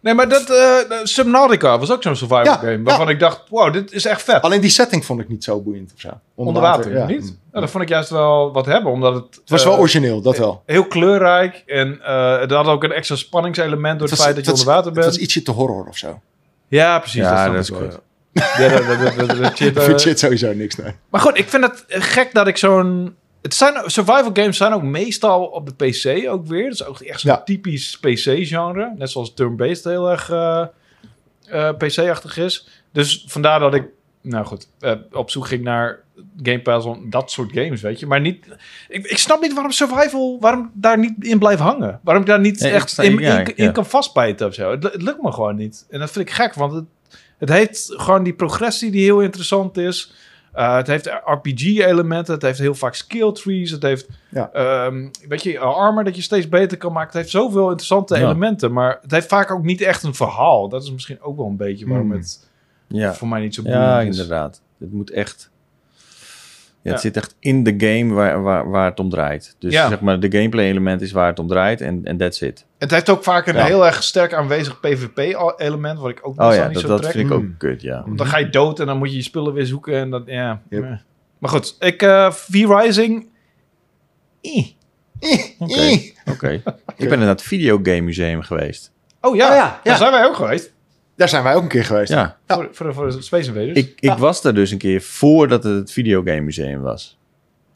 Speaker 1: Nee, maar dat eh, Subnautica was ook zo'n survival
Speaker 3: Ja,
Speaker 1: game. Waarvan ik dacht, wow, dit is echt vet.
Speaker 3: Alleen die setting vond ik niet zo boeiend of zo.
Speaker 1: Onder water,
Speaker 3: ja.
Speaker 1: niet? Nou, dat vond ik juist wel wat hebben, omdat het...
Speaker 3: Het was
Speaker 1: eh,
Speaker 3: wel origineel, dat wel.
Speaker 1: Heel kleurrijk en eh het had ook een extra spanningselement door het,
Speaker 3: was-
Speaker 1: feit dat je
Speaker 3: was-
Speaker 1: onder water
Speaker 3: Het was
Speaker 1: bent.
Speaker 3: ietsje te horror of zo.
Speaker 1: Ja, precies.
Speaker 2: Ja,
Speaker 1: snap
Speaker 2: dat
Speaker 1: ik
Speaker 2: is
Speaker 1: wel.
Speaker 2: kut.
Speaker 1: Ja, dat, dat, dat, dat- dat shit,
Speaker 3: Ik
Speaker 1: eh,
Speaker 3: vind shit sowieso niks, nee.
Speaker 1: Maar goed, ik vind het eh, gek dat ik zo'n... Het zijn, survival games zijn ook meestal op de PC ook weer. Dat is ook echt zo'n
Speaker 3: Ja.
Speaker 1: typisch PC-genre. Net zoals turn-based heel erg eh, eh, PC-achtig is. Dus vandaar dat ik, nou goed, eh, op zoek ging naar Game Pass om dat soort games, weet je. Maar niet... Ik, ik snap niet waarom survival, waarom ik daar niet in blijft hangen. Waarom ik daar niet
Speaker 2: Nee, ik
Speaker 1: echt
Speaker 2: sta-
Speaker 1: in,
Speaker 2: ja,
Speaker 1: in,
Speaker 2: ik-
Speaker 1: in
Speaker 2: ja.
Speaker 1: kan vastbijten of zo. Het, lu- het lukt me gewoon niet. En dat vind ik gek, want het, het heeft gewoon die progressie die heel interessant is. Uh, het heeft RPG-elementen, het heeft heel vaak skill trees, het heeft
Speaker 3: Ja.
Speaker 1: ehm, weet je, armor dat je steeds beter kan maken. Het heeft zoveel interessante
Speaker 2: Ja.
Speaker 1: elementen, maar het heeft vaak ook niet echt een verhaal. Dat is misschien ook wel een beetje waarom
Speaker 3: Hmm.
Speaker 1: het
Speaker 2: Ja,
Speaker 1: voor mij niet zo boeiend
Speaker 2: ja
Speaker 1: is.
Speaker 2: inderdaad. Het moet echt... Ja, het
Speaker 1: Ja.
Speaker 2: zit echt in de game waar, waar, waar het om draait. Dus
Speaker 1: Ja.
Speaker 2: zeg maar, de gameplay element is waar het om draait en en that's it.
Speaker 1: Het heeft ook vaak een
Speaker 2: Ja.
Speaker 1: heel erg sterk aanwezig PvP-element, wat ik ook
Speaker 2: Oh
Speaker 1: meestal
Speaker 2: ja,
Speaker 1: niet
Speaker 2: dat,
Speaker 1: zo
Speaker 2: dat
Speaker 1: trek.
Speaker 2: vind ik ook
Speaker 3: Mm.
Speaker 2: kut, ja.
Speaker 1: Want dan ga je dood en dan moet je je spullen weer zoeken. En dat, ja.
Speaker 3: Yep.
Speaker 1: Eh. Maar goed, ik, eh V-Rising... Eh.
Speaker 2: Oké, oké. Ik ben in dat videogame museum geweest.
Speaker 1: Oh ja,
Speaker 3: Oh ja, ja.
Speaker 1: daar zijn wij ook geweest.
Speaker 3: Daar zijn wij ook een keer geweest.
Speaker 2: Ja,
Speaker 1: Voor, voor, de- voor de Space Invaders.
Speaker 2: ik, ik was daar dus een keer voordat het het videogame museum was.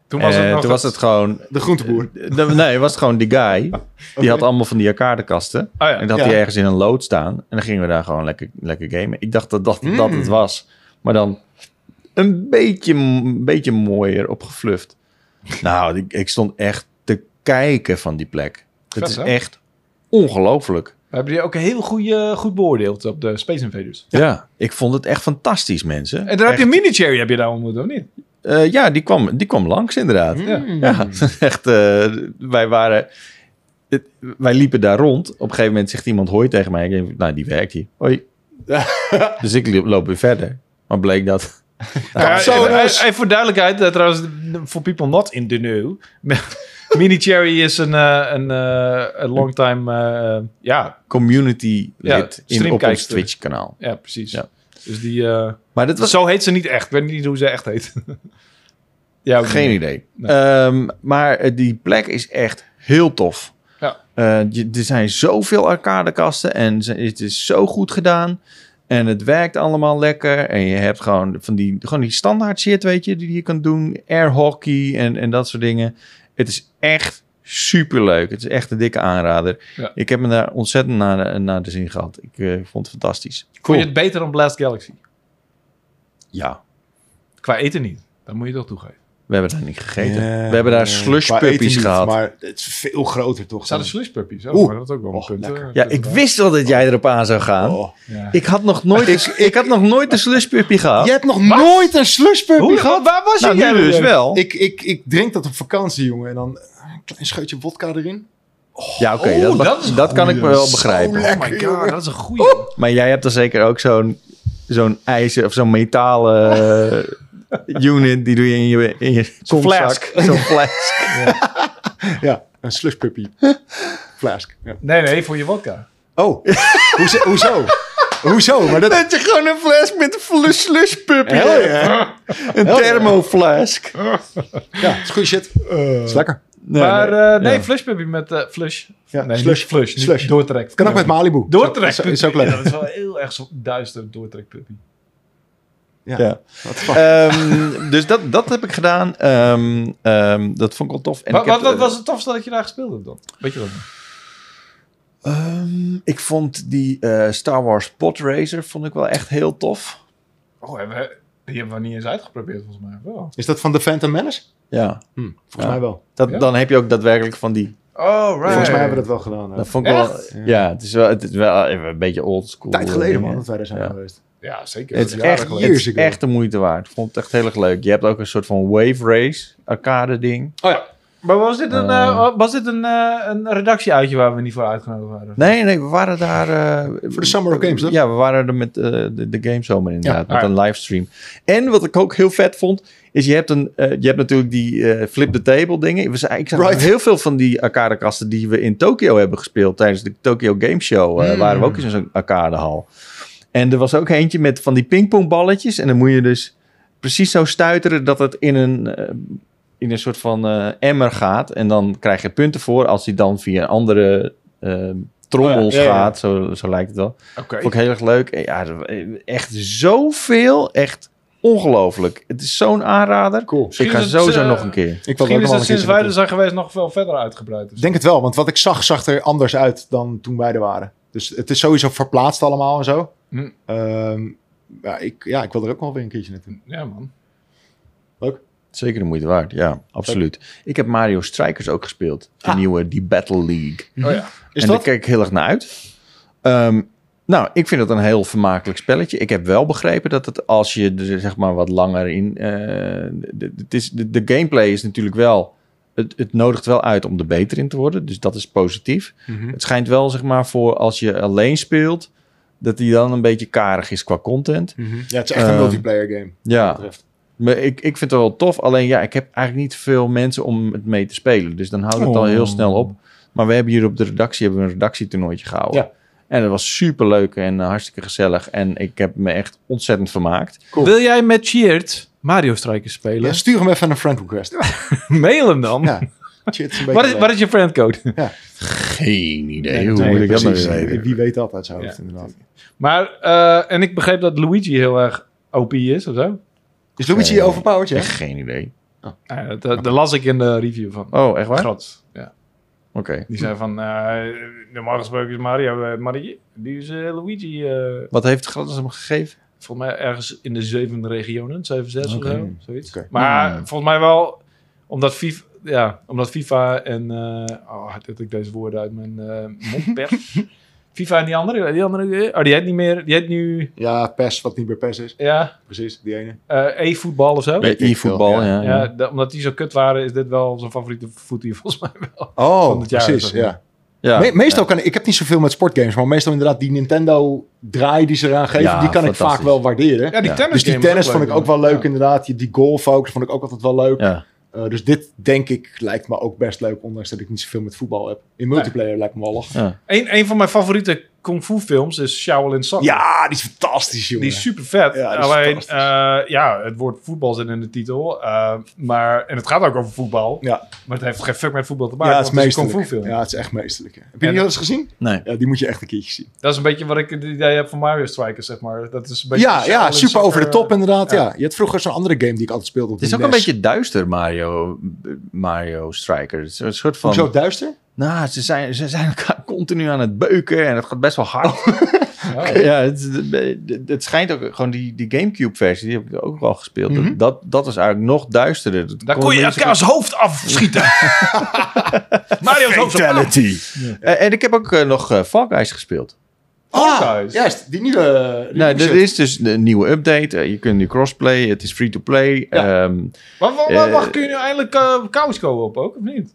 Speaker 1: toen was het,
Speaker 2: Eh,
Speaker 1: nog
Speaker 2: toen was het gewoon...
Speaker 3: De groenteboer.
Speaker 2: de- nee, het was gewoon die guy. Die
Speaker 3: Oké.
Speaker 2: had allemaal van die arcadekasten.
Speaker 1: Oh ja.
Speaker 2: En dat had
Speaker 3: Ja.
Speaker 2: hij ergens in een lood staan. En dan gingen we daar gewoon lekker, lekker gamen. Ik dacht dat dat, dat
Speaker 3: Mm.
Speaker 2: het was. Maar dan een beetje, een beetje mooier opgefluft. Nou, ik, ik stond echt te kijken van die plek. Het
Speaker 1: Vet,
Speaker 2: is
Speaker 1: hè?
Speaker 2: echt ongelooflijk.
Speaker 1: We hebben die ook heel goeie, eh, goed beoordeeld op de Space Invaders.
Speaker 2: Ja. ik vond het echt fantastisch, mensen.
Speaker 1: En daar heb
Speaker 2: Echt.
Speaker 1: je Minicherry heb je daar ontmoet, of niet?
Speaker 2: Eh, ja, die kwam, die kwam langs inderdaad.
Speaker 1: Hmm.
Speaker 3: Mm.
Speaker 2: Ja, echt. eh, wij waren. het- wij liepen daar rond. Op een gegeven moment zegt iemand hoi tegen mij. Ik denk, nou, die werkt hier. Hoi. dus ik liep- loop weer verder. Maar bleek dat.
Speaker 1: Ja,
Speaker 3: zo
Speaker 1: en-
Speaker 3: dus.
Speaker 1: en- en Nou, voor duidelijkheid, eh, trouwens, voor people not in the know. Minicherry is een, eh, een, eh, een longtime... eh, ja,
Speaker 2: Community
Speaker 1: Ja,
Speaker 2: lid in, op ons
Speaker 1: streamkijkster.
Speaker 2: Twitch kanaal.
Speaker 1: ja, precies.
Speaker 2: Ja.
Speaker 1: Dus die... eh,
Speaker 2: Maar dat was
Speaker 1: Zo heet ze niet echt. Ik weet niet hoe ze echt heet. ja, ook
Speaker 2: geen
Speaker 1: niet.
Speaker 2: idee.
Speaker 1: Nee.
Speaker 2: Ehm, maar eh, die plek is echt heel tof.
Speaker 1: Ja.
Speaker 2: Eh, je- er zijn zoveel arcadekasten en ze- het is zo goed gedaan. En het werkt allemaal lekker. En je hebt gewoon van die, gewoon die standaard shit, weet je, die je kan doen. Air hockey en, en dat soort dingen. Het is echt superleuk. Het is echt een dikke aanrader.
Speaker 1: Ja.
Speaker 2: Ik heb me daar ontzettend naar, naar de zin gehad. Ik eh, vond het fantastisch.
Speaker 1: Vond je het beter dan Blast Galaxy?
Speaker 2: Ja.
Speaker 1: Qua eten niet. Dat moet je toch toegeven.
Speaker 2: We hebben daar niet gegeten.
Speaker 3: Ja,
Speaker 2: We hebben daar
Speaker 3: eh,
Speaker 2: slush
Speaker 3: qua eten
Speaker 2: puppies
Speaker 3: niet,
Speaker 2: gehad.
Speaker 3: Maar het is veel groter toch?
Speaker 1: Er zaten
Speaker 3: dan-
Speaker 1: slush puppies. Oh,
Speaker 3: Oeh.
Speaker 1: maar dat is ook wel een
Speaker 3: Och,
Speaker 1: punt.
Speaker 3: lekker.
Speaker 1: eh,
Speaker 2: Ja, ik
Speaker 1: dat-
Speaker 2: wist wel dat jij erop aan zou gaan.
Speaker 3: Oh.
Speaker 1: Ja.
Speaker 2: Ik had nog nooit, ik, ik had nog nooit een slushpuppy gehad.
Speaker 3: Je hebt nog nooit een slushpuppy
Speaker 1: Hoe,
Speaker 3: gehad?
Speaker 1: waar was
Speaker 2: nou,
Speaker 1: jij
Speaker 2: nu dus wel.
Speaker 3: Ik, ik, ik drink dat op vakantie, jongen. En dan eh, een klein scheutje vodka erin.
Speaker 2: ja, oké,
Speaker 1: Oh,
Speaker 2: dat,
Speaker 1: dat is
Speaker 2: dat kan ik me wel
Speaker 3: Zo
Speaker 2: begrijpen.
Speaker 1: Oh my
Speaker 3: Lekker, jongen.
Speaker 1: god, dat is een goeie.
Speaker 2: Maar jij hebt dan zeker ook zo'n zo'n ijzer of zo'n metalen eh, unit. Die doe je in je, in je kontzak.
Speaker 1: flask.
Speaker 2: Zo'n flask.
Speaker 3: Ja, een slushpuppy. Flask. Ja.
Speaker 1: Nee, nee, voor je wodka.
Speaker 3: Oh, hoezo? hoezo? hoezo? Maar dat...
Speaker 2: Dat je gewoon een flask met een slushpuppy
Speaker 3: Hell yeah.
Speaker 2: Een thermoflask.
Speaker 3: Ja, het is goede shit. Het is lekker.
Speaker 2: Nee,
Speaker 1: maar
Speaker 2: nee.
Speaker 1: eh, nee,
Speaker 2: Ja.
Speaker 1: Flush Puppy met eh, Flush.
Speaker 3: Ja,
Speaker 1: nee,
Speaker 3: slush.
Speaker 1: niet Flush. niet
Speaker 3: Slush.
Speaker 1: Doortrek.
Speaker 3: Kan ook met Malibu.
Speaker 1: Doortrek.
Speaker 3: Is, is ook leuk.
Speaker 1: Ja, dat is wel heel erg zo duister doortrek puppy.
Speaker 2: Ja.
Speaker 3: Wat fuck.
Speaker 2: eh, Ehm, dus dat, dat heb ik gedaan. Ehm, ehm, dat vond ik wel tof. En
Speaker 1: Wat,
Speaker 2: ik heb,
Speaker 1: wat, wat
Speaker 2: eh,
Speaker 1: was het tofste dat je daar gespeeld hebt dan? Weet je dat nog?
Speaker 2: Ehm, ik vond die eh, Star Wars Podracer vond ik wel echt heel tof.
Speaker 1: Oh, hebben we, die hebben we niet eens uitgeprobeerd volgens mij. Wel.
Speaker 3: Is dat van The Phantom Menace?
Speaker 2: Ja.
Speaker 3: Hm, volgens
Speaker 2: Ja.
Speaker 3: mij wel.
Speaker 2: Dat,
Speaker 1: Ja?
Speaker 2: Dan heb je ook daadwerkelijk van die.
Speaker 1: Oh, right.
Speaker 3: Volgens mij hebben we dat wel gedaan. hè.
Speaker 2: Dat vond ik
Speaker 1: Echt?
Speaker 2: wel. Ja, het is wel, het is wel even een beetje old school.
Speaker 3: Tijd geleden,
Speaker 2: dingen.
Speaker 3: man, dat wij daar zijn
Speaker 2: Ja.
Speaker 3: geweest.
Speaker 1: Ja, zeker.
Speaker 2: Het is,
Speaker 1: Dat jaren
Speaker 2: echt,
Speaker 1: geleden.
Speaker 2: het
Speaker 3: Years
Speaker 2: is
Speaker 3: ago.
Speaker 2: echt de moite waard. Ik vond het echt heel erg leuk. Je hebt ook een soort van wave race arcade ding.
Speaker 3: Oh ja.
Speaker 1: Maar was dit een,
Speaker 2: Eh.
Speaker 1: eh, was dit een, eh, een redactieuitje waar we niet voor uitgenodigd waren?
Speaker 2: Nee, nee, we waren daar. eh,
Speaker 3: Voor de Summer of Games, toch?
Speaker 2: Ja, we waren er met eh, de, de gamezomer inderdaad,
Speaker 1: Ja.
Speaker 3: Ah,
Speaker 2: met een livestream. En wat ik ook heel vet vond, is je hebt, een, eh, je hebt natuurlijk die eh, flip the table dingen. We zijn, ik zag
Speaker 3: Right.
Speaker 2: heel veel van die arcadekasten die we in Tokio hebben gespeeld tijdens de Tokyo Game Show. eh,
Speaker 3: Mm.
Speaker 2: Waren we ook in zo'n arcadehal. En er was ook eentje met van die pingpongballetjes. En dan moet je dus precies zo stuiteren dat het in een, eh, in een soort van eh, emmer gaat. En dan krijg je punten voor als die dan via een andere eh, trommels
Speaker 3: Oh ja, ja, ja.
Speaker 2: gaat. Zo, zo lijkt het wel.
Speaker 1: Oké.
Speaker 2: Vond ik heel erg leuk. En Ja, er- echt zoveel. Echt ongelooflijk. Het is zo'n aanrader.
Speaker 3: Cool.
Speaker 2: Ik ga
Speaker 1: is het,
Speaker 2: sowieso
Speaker 1: eh,
Speaker 2: nog een keer.
Speaker 3: Ik wil
Speaker 1: Misschien is
Speaker 3: ook
Speaker 1: het
Speaker 3: nog wel een keer
Speaker 1: sinds wij er
Speaker 3: naartoe.
Speaker 1: zijn geweest nog veel verder uitgebreid.
Speaker 3: Ik
Speaker 1: Dus.
Speaker 3: denk het wel, want wat ik zag, zag er anders uit dan toen wij er waren. Dus het is sowieso verplaatst allemaal en zo.
Speaker 1: Hm.
Speaker 3: Ehm, ja, ik, ja, ik wil er ook wel weer een keertje naartoe.
Speaker 1: Ja, man.
Speaker 2: Zeker de moeite waard. Ja, absoluut. Ik heb Mario Strikers ook gespeeld. De nieuwe, die Battle League.
Speaker 1: Oh ja.
Speaker 3: Is
Speaker 2: en
Speaker 3: dat?
Speaker 2: daar kijk ik heel erg naar uit. Ehm, nou, ik vind het een heel vermakelijk spelletje. Ik heb wel begrepen dat het als je er zeg maar wat langer in. eh, de- het is, de, de gameplay is natuurlijk wel. Het, het nodigt wel uit om er beter in te worden. Dus dat is positief.
Speaker 3: Mhm.
Speaker 2: Het schijnt wel zeg maar voor als je alleen speelt. Dat die dan een beetje karig is qua content.
Speaker 3: Mhm. Ja, het is echt een
Speaker 2: Ehm,
Speaker 3: multiplayer game.
Speaker 2: Ja,
Speaker 3: Wat dat betreft.
Speaker 2: Maar ik, ik vind het wel tof. Alleen ja, ik heb eigenlijk niet veel mensen om het mee te spelen. Dus dan houdt het al
Speaker 1: Oh.
Speaker 2: heel snel op. Maar we hebben hier op de redactie hebben we een redactietoernooitje gehouden.
Speaker 3: Ja.
Speaker 2: En dat was super leuk en eh, hartstikke gezellig. En ik heb me echt ontzettend vermaakt.
Speaker 3: Cool.
Speaker 1: Wil jij met Cheert Mario Strikers spelen?
Speaker 3: Ja, stuur hem even een friend request. Ja.
Speaker 1: Mail hem dan.
Speaker 3: Shit, is een beetje
Speaker 1: Wat is,
Speaker 3: leuk.
Speaker 1: wat is je friendcode?
Speaker 2: Geen idee.
Speaker 3: Nee,
Speaker 2: hoe
Speaker 3: nee,
Speaker 2: moet ik dat nou
Speaker 3: precies.
Speaker 2: weer weten?
Speaker 3: Wie weet dat uit zijn hoofd,
Speaker 1: Ja.
Speaker 3: inderdaad.
Speaker 1: Maar, eh, en ik begreep dat Luigi heel erg OP is of zo.
Speaker 3: Is Luigi
Speaker 2: Oké.
Speaker 3: overpowered, ja?
Speaker 2: Echt geen idee.
Speaker 1: Nou ja, dat- dat, dat las ik in de review van.
Speaker 2: Oh, echt waar? Oké.
Speaker 1: Grot. Ja. Die zei van, eh normaal gesproken is Mario, eh, Mario die is eh, Luigi. eh,
Speaker 2: Wat heeft Gratis hem gegeven?
Speaker 1: volgens mij ergens in de zeven regionen, zeven, zes
Speaker 2: Oké.
Speaker 1: of zo, zoiets.
Speaker 3: Oké.
Speaker 1: Maar
Speaker 2: Hmm.
Speaker 1: volgens mij wel, omdat FIFA, ja, omdat FIFA en, eh, oh, dat ik deze woorden uit mijn eh mond pers. FIFA en die andere, die andere, eh, oh, die heet niet meer, die heet nu,
Speaker 3: Ja, PES, wat niet meer PES is.
Speaker 1: ja,
Speaker 3: Precies, die ene.
Speaker 1: eh, e-voetbal of zo.
Speaker 2: Bij
Speaker 3: Weet ik
Speaker 2: e-voetbal,
Speaker 3: veel,
Speaker 2: Oh, ja.
Speaker 1: Ja,
Speaker 2: ja.
Speaker 1: da- omdat die zo kut waren, is dit wel zijn favoriete voetie volgens mij wel. Van
Speaker 3: Oh,
Speaker 1: het jaar
Speaker 3: precies,
Speaker 1: is dat, ja.
Speaker 3: ja. Me- meestal kan ik, ik heb niet zoveel met sportgames, maar meestal inderdaad die Nintendo draai die ze eraan geven,
Speaker 2: Ja,
Speaker 3: die kan ik vaak
Speaker 2: fantastisch.
Speaker 3: wel waarderen.
Speaker 1: Ja, die
Speaker 2: Ja.
Speaker 1: tennis
Speaker 3: dus die tennis vond ik ook wel leuk, inderdaad. Die, die golf ook, vond ik ook altijd wel leuk.
Speaker 2: Ja.
Speaker 3: Eh, dus dit, denk ik, lijkt me ook best leuk, ondanks dat ik niet zoveel met voetbal heb. In multiplayer lijkt me wel lachen.
Speaker 1: Een, een van mijn favoriete kung fu films is Shaolin Soccer.
Speaker 3: Ja, die is fantastisch, jongen.
Speaker 1: Die is super vet.
Speaker 3: Ja, die is
Speaker 1: Alleen,
Speaker 3: fantastisch.
Speaker 1: eh, ja, het woord voetbal zit in de titel. eh, maar, en het gaat ook over voetbal.
Speaker 3: Ja.
Speaker 1: Maar het heeft geen fuck met voetbal te maken.
Speaker 3: ja, het is
Speaker 1: want het is een kung
Speaker 3: meesterlijk.
Speaker 1: fu film.
Speaker 3: Ja, het is echt meesterlijk. hè. Heb je
Speaker 1: En-
Speaker 3: die al eens gezien?
Speaker 2: Nee.
Speaker 3: Ja, die moet je echt een keertje zien.
Speaker 1: Dat is een beetje wat ik het idee heb van Mario Strikers, zeg maar. Dat is een beetje
Speaker 3: Ja, ja,
Speaker 1: Shaolin
Speaker 3: super
Speaker 1: Soccer.
Speaker 3: over de top inderdaad. Ja.
Speaker 1: ja.
Speaker 3: Je had vroeger zo'n andere game die ik altijd speelde op
Speaker 2: Het is
Speaker 3: de E
Speaker 2: ook een
Speaker 3: NES.
Speaker 2: beetje duister, Mario, Mario Striker. Het is een soort van...
Speaker 3: Hoezo duister?
Speaker 2: Nou, ze zijn, ze zijn elkaar continu aan het beuken en het gaat best wel hard.
Speaker 1: Oh,
Speaker 2: Ja, het, het, het schijnt ook gewoon die, die Gamecube-versie, die heb ik ook al gespeeld. Dat-
Speaker 3: Mhm.
Speaker 2: dat, dat was eigenlijk nog duisterder. Dat
Speaker 1: Daar
Speaker 2: kon
Speaker 1: kon je
Speaker 2: niet zo
Speaker 1: elkaars hoofd afschieten. Mario's hoofd.
Speaker 2: Fatality. En, en ik heb ook eh, nog eh Fall Guys gespeeld.
Speaker 1: Fall
Speaker 3: Ah,
Speaker 1: Guys.
Speaker 3: juist. Die nieuwe... die
Speaker 2: Nou,
Speaker 3: nieuwe
Speaker 2: er
Speaker 3: shit.
Speaker 2: is dus een nieuwe update. Eh, je kunt nu crossplay. Het is free-to-play.
Speaker 3: Ja.
Speaker 2: Ehm,
Speaker 1: Maar wa- wa-
Speaker 2: Eh,
Speaker 1: wacht, kun je nu eindelijk eh couch co op ook, of niet?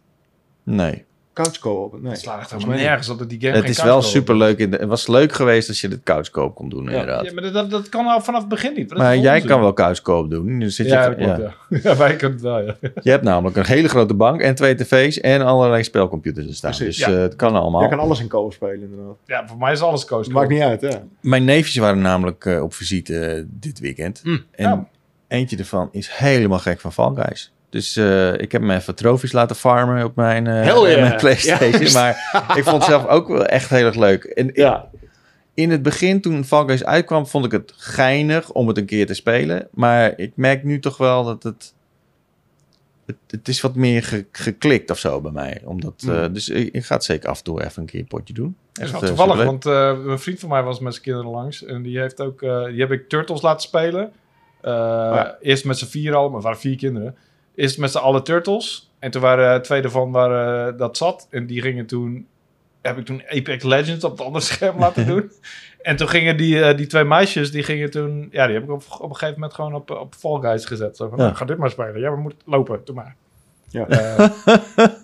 Speaker 2: nee.
Speaker 3: Couch co-op. Nee.
Speaker 1: Het slaat echt
Speaker 3: Volgens
Speaker 1: helemaal
Speaker 3: mij
Speaker 1: nergens op dat die game
Speaker 2: het
Speaker 1: geen
Speaker 2: is
Speaker 1: couch
Speaker 2: wel
Speaker 1: co-op
Speaker 2: superleuk. in de- Het was leuk geweest als je het couchkoop kon doen,
Speaker 3: Ja.
Speaker 2: inderdaad.
Speaker 1: Ja, maar dat- dat, dat kan al vanaf het begin niet. want dat
Speaker 2: maar
Speaker 1: is
Speaker 2: jij
Speaker 1: onzin.
Speaker 2: kan wel couchkoop doen. Dan zit
Speaker 1: Ja,
Speaker 2: je,
Speaker 1: dat klopt, ja. Ja, wij kunnen het wel, ja.
Speaker 2: Je hebt namelijk een hele grote bank en twee tv's en allerlei spelcomputers er staan.
Speaker 3: Precies.
Speaker 2: Dus
Speaker 1: Ja.
Speaker 2: eh, het kan allemaal.
Speaker 3: Je kan alles in co-op spelen inderdaad.
Speaker 1: Ja, voor mij is alles coach
Speaker 3: Maakt niet uit, ja.
Speaker 2: Mijn neefjes waren namelijk eh, op visite eh, dit weekend.
Speaker 3: Mm.
Speaker 2: En
Speaker 1: Ja.
Speaker 2: eentje ervan is helemaal gek van Fall Guys. Dus eh, ik heb hem even trofies laten farmen op mijn, eh,
Speaker 3: Hell yeah.
Speaker 2: mijn PlayStation.
Speaker 3: Juist.
Speaker 2: Maar ik vond het zelf ook wel echt heel erg leuk. En ik-
Speaker 3: Ja.
Speaker 2: in het begin, toen Fall Guys uitkwam, vond ik het geinig om het een keer te spelen. Maar ik merk nu toch wel dat het. Het, het is wat meer ge- geklikt of zo bij mij. Omdat,
Speaker 3: Hmm.
Speaker 2: eh, dus ik, ik ga het zeker af en toe even een keer een potje doen.
Speaker 1: Dat is wel
Speaker 2: eh,
Speaker 1: Nou, toevallig,
Speaker 2: superleuk.
Speaker 1: want eh, een vriend van mij was met zijn kinderen langs. En die, heeft ook, eh, die heb ik Turtles laten spelen. Eh,
Speaker 3: Oh ja.
Speaker 1: Eerst met z'n vier al, maar het waren vier kinderen. Eerst met z'n allen Turtles. En toen waren eh, twee ervan waren, eh, dat zat. En die gingen toen... Heb ik toen Apex Legends op het andere scherm laten doen. En toen gingen die, eh, die twee meisjes, die gingen toen... Ja, die heb ik op, op een gegeven moment gewoon op, op Fall Guys gezet. Zo van,
Speaker 2: Ja.
Speaker 1: nou, ga dit maar spelen. Ja, we moeten lopen. Doe maar.
Speaker 3: Ja.
Speaker 1: Eh,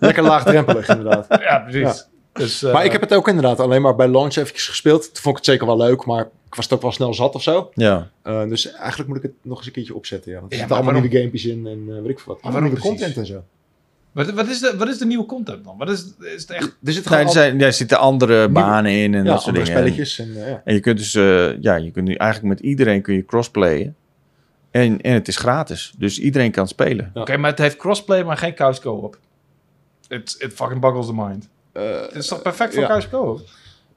Speaker 3: Lekker laagdrempelig inderdaad.
Speaker 1: ja, precies. Dus, eh,
Speaker 3: Maar ik heb het ook inderdaad alleen maar bij launch eventjes gespeeld. Toen vond ik het zeker wel leuk, maar ik was het ook wel snel zat of zo.
Speaker 2: Ja.
Speaker 3: Eh, dus eigenlijk moet ik het nog eens een keertje opzetten. Ja. Want er
Speaker 1: Ja,
Speaker 3: zitten
Speaker 1: maar
Speaker 3: allemaal
Speaker 1: waarom-
Speaker 3: nieuwe gamepjes in en eh weet ik veel wat.
Speaker 1: Maar
Speaker 3: Allemaal
Speaker 1: waarom
Speaker 3: nieuwe
Speaker 1: precies?
Speaker 3: content en zo.
Speaker 1: Wat, wat, is de, wat is de nieuwe content dan? Wat is, is het echt...
Speaker 3: Er zit
Speaker 2: Nou,
Speaker 3: gewoon
Speaker 2: er,
Speaker 3: al-
Speaker 2: zijn, er zitten andere banen in en
Speaker 3: ja,
Speaker 2: dat soort
Speaker 3: andere
Speaker 2: dingen.
Speaker 3: spelletjes. En, eh, ja.
Speaker 2: En, en je kunt dus, eh, ja, je kunt nu eigenlijk met iedereen kun je crossplayen. En, en het is gratis. Dus iedereen kan spelen.
Speaker 1: Oké, maar het heeft crossplay, maar geen couch co-op. It, it fucking boggles the mind.
Speaker 3: Eh,
Speaker 1: Het is toch perfect voor
Speaker 3: ja.
Speaker 1: couch co-op?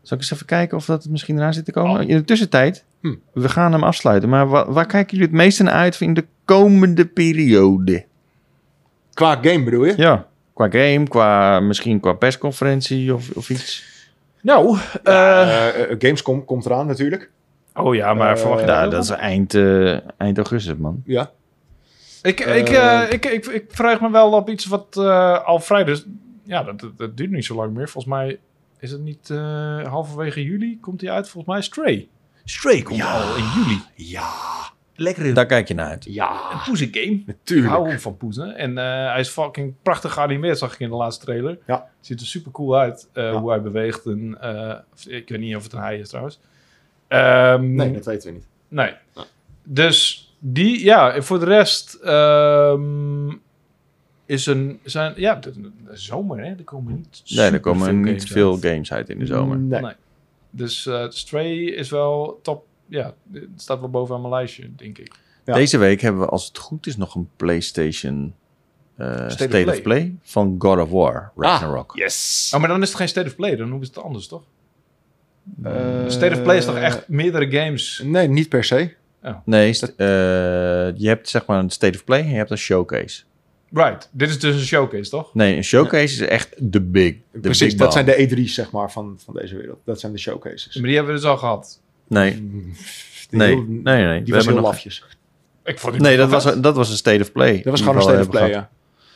Speaker 2: Zal ik eens even kijken of dat het misschien eraan zit te komen? In de tussentijd,
Speaker 3: Hm.
Speaker 2: we gaan hem afsluiten. Maar wa- waar kijken jullie het meest naar uit in de komende periode?
Speaker 3: qua game bedoel je?
Speaker 2: Ja, qua game, qua, misschien qua persconferentie of, of iets.
Speaker 1: Nou, eh,
Speaker 3: Eh, eh, Gamescom komt eraan natuurlijk.
Speaker 1: oh ja, maar
Speaker 3: eh,
Speaker 1: verwacht je
Speaker 2: Ja,
Speaker 1: ook
Speaker 2: dat
Speaker 1: wel?
Speaker 2: is eind, eh, eind augustus, man.
Speaker 3: Ja.
Speaker 1: Ik, ik, eh, ik, ik, ik vraag me wel op iets wat eh, al vrij... Dus, ja, dat, dat, dat duurt niet zo lang meer. Volgens mij is het niet eh, halverwege juli komt hij uit. Volgens mij Stray. Stray komt al in juli.
Speaker 3: Ja.
Speaker 1: Lekker
Speaker 2: Daar kijk je naar uit.
Speaker 3: Ja.
Speaker 1: poezen game. Ik
Speaker 3: Natuurlijk.
Speaker 1: hou van Poezen. En eh, hij is fucking prachtig geanimeerd, zag ik in de laatste trailer.
Speaker 3: Ja.
Speaker 1: Ziet er super cool uit eh,
Speaker 3: Ja.
Speaker 1: hoe hij beweegt. En, eh, of- ik weet niet of het een hij is trouwens. Ehm,
Speaker 3: Nee, dat weten we niet.
Speaker 1: nee. Dus die, ja, en voor de rest ehm, is een, zijn, ja, de, de- de zomer, hè, er komen niet
Speaker 2: Nee, er
Speaker 1: super
Speaker 2: komen niet
Speaker 1: games
Speaker 2: veel
Speaker 1: uit.
Speaker 2: games uit in de zomer.
Speaker 3: Nee.
Speaker 1: Nee. Dus eh, Stray is wel top, ja, het staat wel bovenaan mijn lijstje, denk ik.
Speaker 3: Ja.
Speaker 2: Deze week hebben we, als het goed is, nog een PlayStation eh, State, of, play. van God of War, Ragnarok.
Speaker 3: Yes.
Speaker 1: Oh, maar dan is het geen State of Play, dan noemen ze het anders, toch? State of Play is toch echt meerdere games?
Speaker 3: Nee, niet per se.
Speaker 2: Nee, st- eh, je hebt zeg maar een State of Play en je hebt een showcase.
Speaker 1: Right, dit is dus een showcase, toch?
Speaker 2: Nee, een showcase is echt de big. De big
Speaker 3: Precies,
Speaker 2: bang.
Speaker 3: dat zijn de E3's zeg maar, van, van deze wereld. Dat zijn de showcases.
Speaker 1: Maar die hebben we dus al gehad.
Speaker 2: Nee, nee, nee, nee. We
Speaker 3: Die
Speaker 2: hebben
Speaker 3: was heel
Speaker 2: nog-
Speaker 3: lafjes.
Speaker 1: Ik vond die
Speaker 2: Nee,
Speaker 1: wel
Speaker 2: dat was,
Speaker 1: vet.
Speaker 2: dat was een State of Play.
Speaker 3: Dat was gewoon een state of play, ja.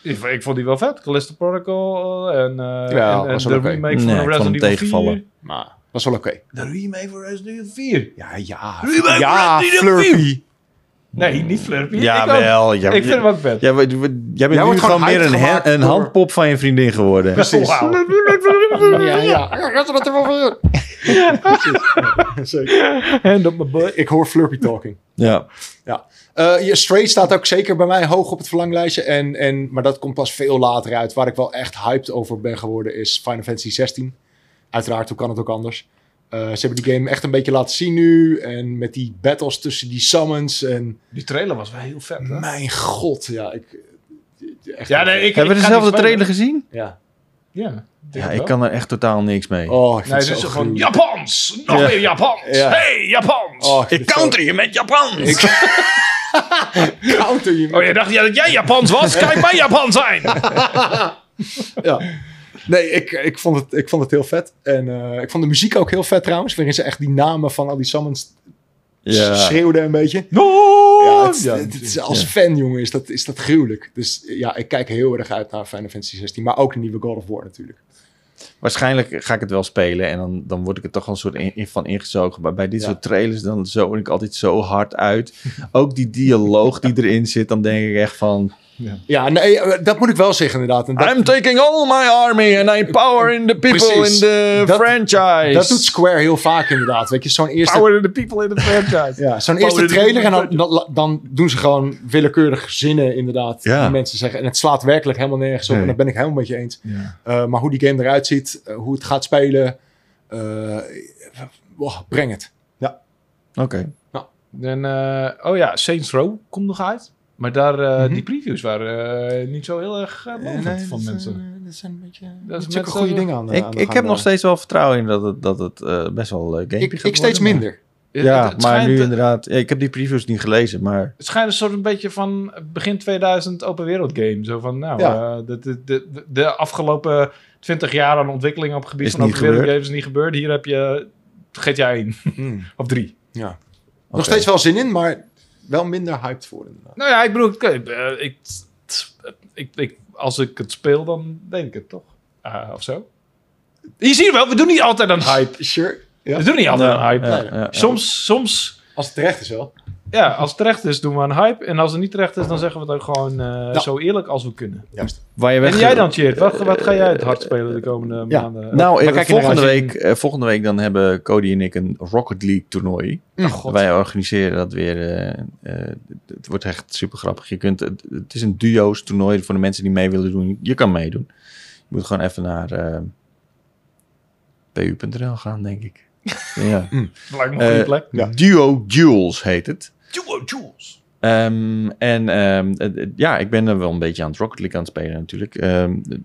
Speaker 1: Ik, ik vond die wel vet. Callisto Protocol eh, en, eh,
Speaker 3: Ja,
Speaker 1: en, en
Speaker 3: was
Speaker 1: de
Speaker 3: wel oké.
Speaker 1: remake van
Speaker 2: Nee, ik vond hem
Speaker 1: Resident Evil 4.
Speaker 2: tegenvallen.
Speaker 3: Maar dat was wel oké.
Speaker 1: De remake van Resident Evil 4.
Speaker 3: Ja, ja.
Speaker 1: Remake
Speaker 3: ja,
Speaker 1: Resident
Speaker 3: Flurpy.
Speaker 1: Nee, niet Flurpy. ik ook.
Speaker 2: Mm. Jawel. Ja,
Speaker 1: Ik vind hem ook vet. Oh,
Speaker 2: Jij, wordt- wordt- jij bent
Speaker 3: Jij
Speaker 2: nu
Speaker 3: wordt
Speaker 2: gewoon
Speaker 3: gewoon
Speaker 2: meer een,
Speaker 3: uitgemaakt
Speaker 2: hand- een
Speaker 3: door-
Speaker 2: handpop van je vriendin geworden.
Speaker 3: Precies.
Speaker 1: Wauw.
Speaker 3: Ja, ja. Dat is er wel weer. Precies. Zeker.
Speaker 1: Hand op mijn butt.
Speaker 3: Ik hoor Flurpy talking.
Speaker 2: Ja.
Speaker 3: Eh, ja, Stray staat ook zeker bij mij hoog op het verlanglijstje. En, en, maar dat komt pas veel later uit. Waar ik wel echt hyped over ben geworden is Final Fantasy 16. Uiteraard, hoe kan het ook anders? Eh, ze hebben die game echt een beetje laten zien nu. En met die battles tussen die summons. En
Speaker 1: Die trailer was wel heel vet, hè?
Speaker 3: mijn god, ja. Ik, echt
Speaker 1: Ja, nee, ik,
Speaker 2: Hebben we
Speaker 1: ik ga niet
Speaker 2: dezelfde
Speaker 1: spelen.
Speaker 2: trailer gezien?
Speaker 3: Ja.
Speaker 1: Ja,
Speaker 2: Ja, ik kan er echt totaal niks mee.
Speaker 3: Oh, ik vind
Speaker 1: Nee,
Speaker 3: het
Speaker 1: dus
Speaker 3: zo
Speaker 1: gewoon
Speaker 3: gruwelijk.
Speaker 1: Japans! Nog
Speaker 2: Ja.
Speaker 1: meer Japans!
Speaker 3: Ja.
Speaker 1: Hey, Japans!
Speaker 3: Oh, ik vind het zo-
Speaker 2: je met Japan!
Speaker 3: counter je.
Speaker 1: Oh, je dacht ja, dat jij Japans was? Kijk mij Japan zijn!
Speaker 3: ja. Nee, ik, ik, vond het, ik vond het heel vet. En eh, ik vond de muziek ook heel vet trouwens. Waarin ze echt die namen van al die summons
Speaker 2: Ja. Oh,
Speaker 3: schreeuwden een beetje.
Speaker 1: No!
Speaker 3: Ja, het,
Speaker 1: Ja,
Speaker 3: het- het is- als fan, jongen, is dat, is dat gruwelijk. Dus ja, ik kijk heel erg uit naar Final Fantasy 16. Maar ook de nieuwe God of War natuurlijk.
Speaker 2: Waarschijnlijk ga ik het wel spelen en dan, dan word ik er toch wel een soort in, in- van ingezogen. Maar bij dit
Speaker 3: Ja.
Speaker 2: soort trailers dan zoon ik altijd zo hard uit. Ook die dialoog die erin zit, dan denk ik echt van...
Speaker 3: Ja, nee, eh, dat moet ik wel zeggen inderdaad. En dat,
Speaker 2: I'm taking all my army and I power in the people
Speaker 3: Precies.
Speaker 2: in the
Speaker 3: Dat-
Speaker 2: franchise.
Speaker 3: dat doet Square heel vaak inderdaad. Weet je, zo'n eerste,
Speaker 1: Power to the people in the franchise.
Speaker 3: ja, zo'n
Speaker 1: Power
Speaker 3: eerste
Speaker 1: in the
Speaker 3: trailer en dan, dan, dan doen ze gewoon willekeurig zinnen inderdaad.
Speaker 2: Ja.
Speaker 3: Die mensen zeggen. En het slaat werkelijk helemaal nergens op.
Speaker 2: Nee.
Speaker 3: En dat ben ik helemaal met je eens.
Speaker 1: Ja.
Speaker 3: Uh, maar hoe die game eruit ziet, uh, hoe het gaat spelen. eh, wow, breng het.
Speaker 2: Oké.
Speaker 1: En, eh, oh ja, Saints Row komt nog uit. Maar daar, eh,
Speaker 2: Mhm.
Speaker 1: die previews waren eh, niet zo heel erg eh, lovend van mensen.
Speaker 3: dat zijn een beetje
Speaker 1: Dat is
Speaker 3: zulke
Speaker 1: mensen-
Speaker 3: goede dingen aan. eh, aan
Speaker 2: Ik,
Speaker 3: de
Speaker 2: ik
Speaker 3: gang,
Speaker 2: heb
Speaker 3: eh.
Speaker 2: nog steeds wel vertrouwen in dat het, dat het eh, best wel leuk game
Speaker 3: Ik,
Speaker 2: gaat
Speaker 3: ik steeds
Speaker 2: worden, maar-
Speaker 3: minder.
Speaker 2: Ja,
Speaker 1: Het- het
Speaker 2: maar
Speaker 1: schijnt-
Speaker 2: nu inderdaad... ja, ik heb die previews niet gelezen, maar...
Speaker 1: Het schijnt een soort een beetje van begin 2000 open wereld game. Zo van, nou,
Speaker 3: Ja.
Speaker 1: eh, de, de, de, de afgelopen 20 jaar aan ontwikkeling op het gebied
Speaker 2: Is
Speaker 1: van
Speaker 2: niet
Speaker 1: open wereld
Speaker 2: gebeurd.
Speaker 1: games is niet gebeurd. Hier heb je GTA 1 of 3.
Speaker 3: Ja.
Speaker 2: Oké.
Speaker 3: Nog steeds wel zin in, maar wel minder hyped voor inderdaad.
Speaker 1: Nou ja, ik bedoel, ik, eh, ik, t- ik, ik, als ik het speel, dan weet ik het toch? Ah, of zo? Je ziet wel, we doen niet altijd aan hype.
Speaker 3: Sure. Ja.
Speaker 1: We doen niet altijd aan hype.
Speaker 2: Ja, ja, ja.
Speaker 1: Soms, soms,
Speaker 3: Als het terecht is wel.
Speaker 1: ja, als het terecht is, doen we aan hype. En als het niet terecht is, dan zeggen we het ook gewoon eh, zo eerlijk als we kunnen.
Speaker 3: Juist.
Speaker 2: Waar je weg...
Speaker 1: En jij dan, Tjeerd? Wat, wat ga jij het hard spelen de komende
Speaker 3: ja.
Speaker 1: maanden?
Speaker 2: Nou, eh,
Speaker 3: Waar kijk je naar
Speaker 2: volgende,
Speaker 3: uit?
Speaker 2: week, eh, volgende week dan hebben Cody en ik een Rocket League toernooi.
Speaker 3: Mm.
Speaker 1: Oh, God.
Speaker 2: Wij organiseren dat weer. eh, eh, het wordt echt super grappig. Je kunt, het, het is een duo's toernooi voor de mensen die mee willen doen. Je kan meedoen. Je moet gewoon even naar eh, pu.nl gaan, denk ik. ja.
Speaker 1: Lijkt me een goede
Speaker 2: Eh,
Speaker 1: plek.
Speaker 3: Ja.
Speaker 2: Duo Duels heet het.
Speaker 1: Duo Jules.
Speaker 2: Ehm, en ehm, het- het- ja, ik ben er wel een beetje aan het Rocket League aan het spelen natuurlijk. Ehm, de-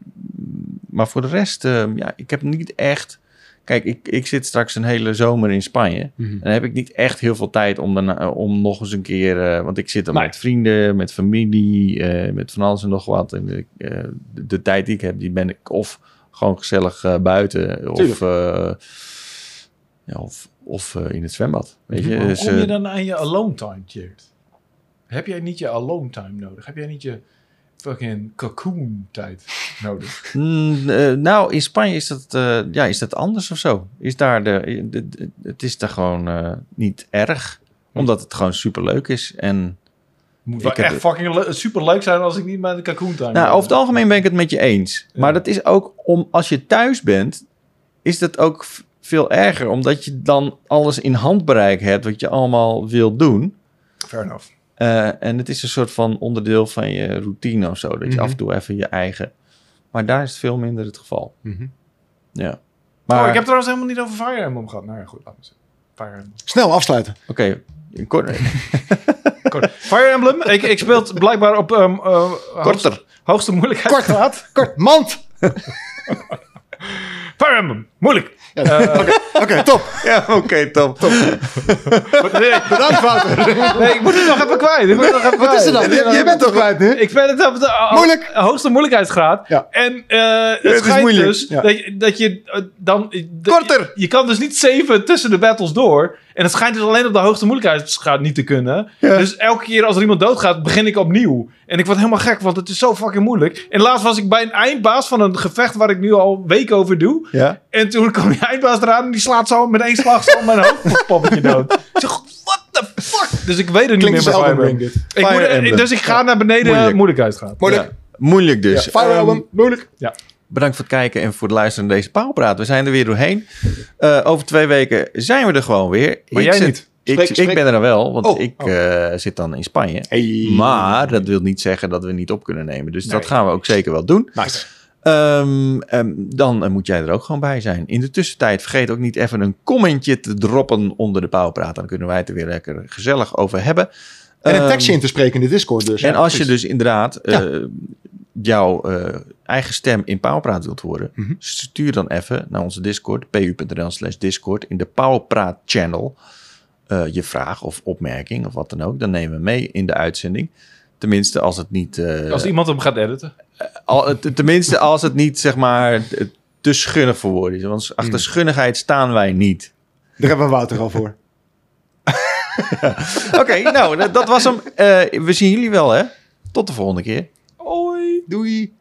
Speaker 2: maar voor de rest, ehm, ja, ik heb niet echt... Kijk, ik, ik zit straks een hele zomer in Spanje.
Speaker 3: Mm-hmm.
Speaker 2: En dan heb ik niet echt heel veel tijd om, daarna, eh, om nog eens een keer... eh, want ik zit dan
Speaker 1: Nee.
Speaker 2: met vrienden, met familie, eh, met van alles en nog wat. En ik, eh, de, de tijd die ik heb, die ben ik of gewoon gezellig eh, buiten... Of,
Speaker 3: Tuurlijk.
Speaker 2: eh, ja, of, of eh, in het zwembad. Weet je?
Speaker 1: Hoe
Speaker 2: Dus,
Speaker 1: kom
Speaker 2: eh,
Speaker 1: je dan aan je alone time, Tjeerd? Heb jij niet je alone time nodig? Heb jij niet je fucking cocoon tijd nodig?
Speaker 2: Mm, eh, nou, in Spanje is dat, eh, ja, is dat anders of zo. Is daar de, de- de- het is daar gewoon eh, niet erg.
Speaker 1: Hm.
Speaker 2: Omdat het gewoon superleuk is. En,
Speaker 1: Moet
Speaker 2: Ik
Speaker 1: wel
Speaker 2: heb
Speaker 1: echt
Speaker 2: het-
Speaker 1: fucking le- superleuk zijn als ik niet mijn cocoon time
Speaker 2: nou,
Speaker 1: heb.
Speaker 2: over het algemeen ben ik het met je eens. Maar dat is ook om, als je thuis bent, is dat ook v- veel erger. Omdat je dan alles in handbereik hebt wat je allemaal wilt doen.
Speaker 1: Fair enough.
Speaker 2: Eh, Eh, en het is een soort van onderdeel van je routine of zo. Dat je
Speaker 3: Mhm.
Speaker 2: af en toe even je eigen... Maar daar is het veel minder het geval.
Speaker 3: Mhm.
Speaker 2: Ja.
Speaker 1: Maar...
Speaker 2: Maar,
Speaker 1: Oh, ik heb trouwens helemaal niet over Fire Emblem gehad. Nou ja, goed. laten we het Fire Emblem.
Speaker 3: Snel afsluiten.
Speaker 2: oké, een kort,
Speaker 1: Kort. Fire Emblem. Ik, ik speel het blijkbaar op ehm, eh, hoogste,
Speaker 2: korter.
Speaker 1: hoogste moeilijkheid.
Speaker 3: Kort. Kort. Mand.
Speaker 1: Fire Emblem. Moeilijk.
Speaker 3: Ja, Oké, oké, top.
Speaker 2: Ja, oké, top.
Speaker 1: Nee,
Speaker 3: Bedankt, Wouter.
Speaker 1: nee, ik moet het nog even kwijt. Ik moet het nog even
Speaker 3: Wat is er dan?
Speaker 1: kwijt.
Speaker 3: Je, je bent toch kwijt nu?
Speaker 1: Ik ben het op de ho-
Speaker 3: Moeilijk.
Speaker 1: hoogste moeilijkheidsgraad.
Speaker 3: Ja.
Speaker 1: En eh het,
Speaker 3: is
Speaker 1: schijnt
Speaker 3: moeilijk.
Speaker 1: dus
Speaker 3: Ja.
Speaker 1: dat je, dat je eh, dan... dat-
Speaker 2: Korter.
Speaker 1: Je, je kan dus niet zeven tussen de battles door. En het schijnt dus alleen op de hoogste moeilijkheidsgraad niet te kunnen.
Speaker 3: Ja.
Speaker 1: Dus elke keer als er iemand doodgaat, begin ik opnieuw. En ik word helemaal gek, want het is zo fucking moeilijk. En laatst was ik bij een eindbaas van een gevecht waar ik nu al weken over doe.
Speaker 3: Ja.
Speaker 1: En toen kwam die eindbaas eraan en die slaat zo met één slag zo mijn hoofdpoppetje dood. Ik zeg, what the fuck? Dus ik weet het
Speaker 3: Klinkt
Speaker 1: niet
Speaker 3: als
Speaker 1: meer bij
Speaker 3: Elden
Speaker 1: Fire
Speaker 3: Ring
Speaker 1: Emblem.
Speaker 3: dit.
Speaker 1: Ik
Speaker 2: Fire
Speaker 1: moet- eh,
Speaker 2: Emblem.
Speaker 1: dus ik ga naar beneden
Speaker 2: Moeilijk.
Speaker 1: moeilijk. moeilijkheidsgraad.
Speaker 3: Moeilijk.
Speaker 2: Ja, moeilijk dus.
Speaker 3: Ja, Fire
Speaker 2: Ehm,
Speaker 3: Emblem, moeilijk.
Speaker 2: Bedankt voor het kijken en voor het luisteren naar deze Pauwpraat. We zijn er weer doorheen. Eh, over twee weken zijn we er gewoon weer.
Speaker 1: Maar
Speaker 2: Ik
Speaker 1: jij
Speaker 2: zit-
Speaker 1: niet.
Speaker 2: Ik,
Speaker 3: Spreek- spreek-
Speaker 2: ik ben er dan wel, want
Speaker 3: Oh,
Speaker 2: ik
Speaker 3: oh.
Speaker 2: eh, zit dan in Spanje.
Speaker 3: Hey.
Speaker 2: Maar dat wil niet zeggen dat we niet op kunnen nemen. Dus dat
Speaker 1: Nee.
Speaker 2: gaan we ook zeker wel doen.
Speaker 3: Nice.
Speaker 2: Ehm, ehm, dan eh, moet jij er ook gewoon bij zijn. In de tussentijd vergeet ook niet even een commentje te droppen onder de Pauwpraat. Dan kunnen wij het er weer lekker gezellig over hebben.
Speaker 3: En een
Speaker 2: Ehm,
Speaker 3: tekstje in te spreken in de Discord dus.
Speaker 2: en
Speaker 3: Ja,
Speaker 2: als je
Speaker 3: precies.
Speaker 2: dus inderdaad eh, jouw eh, eigen stem in Pauwpraat wilt horen,
Speaker 3: Mhm.
Speaker 2: stuur dan even naar onze Discord, pu.nl slash Discord, in de Pauwpraat channel eh, je vraag of opmerking of wat dan ook. Dan nemen we mee in de uitzending. Tenminste, als het niet. eh,
Speaker 1: Als iemand hem gaat editen.
Speaker 2: al- eh, t- tenminste, als het niet zeg maar eh, te schunnig voor woorden is. Want
Speaker 3: Mm.
Speaker 2: achter schunnigheid staan wij niet.
Speaker 3: Daar hebben we Wouter al voor.
Speaker 2: Oké, nou, dat- dat was hem. Eh, we zien jullie wel, hè? Tot de volgende keer.
Speaker 1: Oei.
Speaker 3: Doei.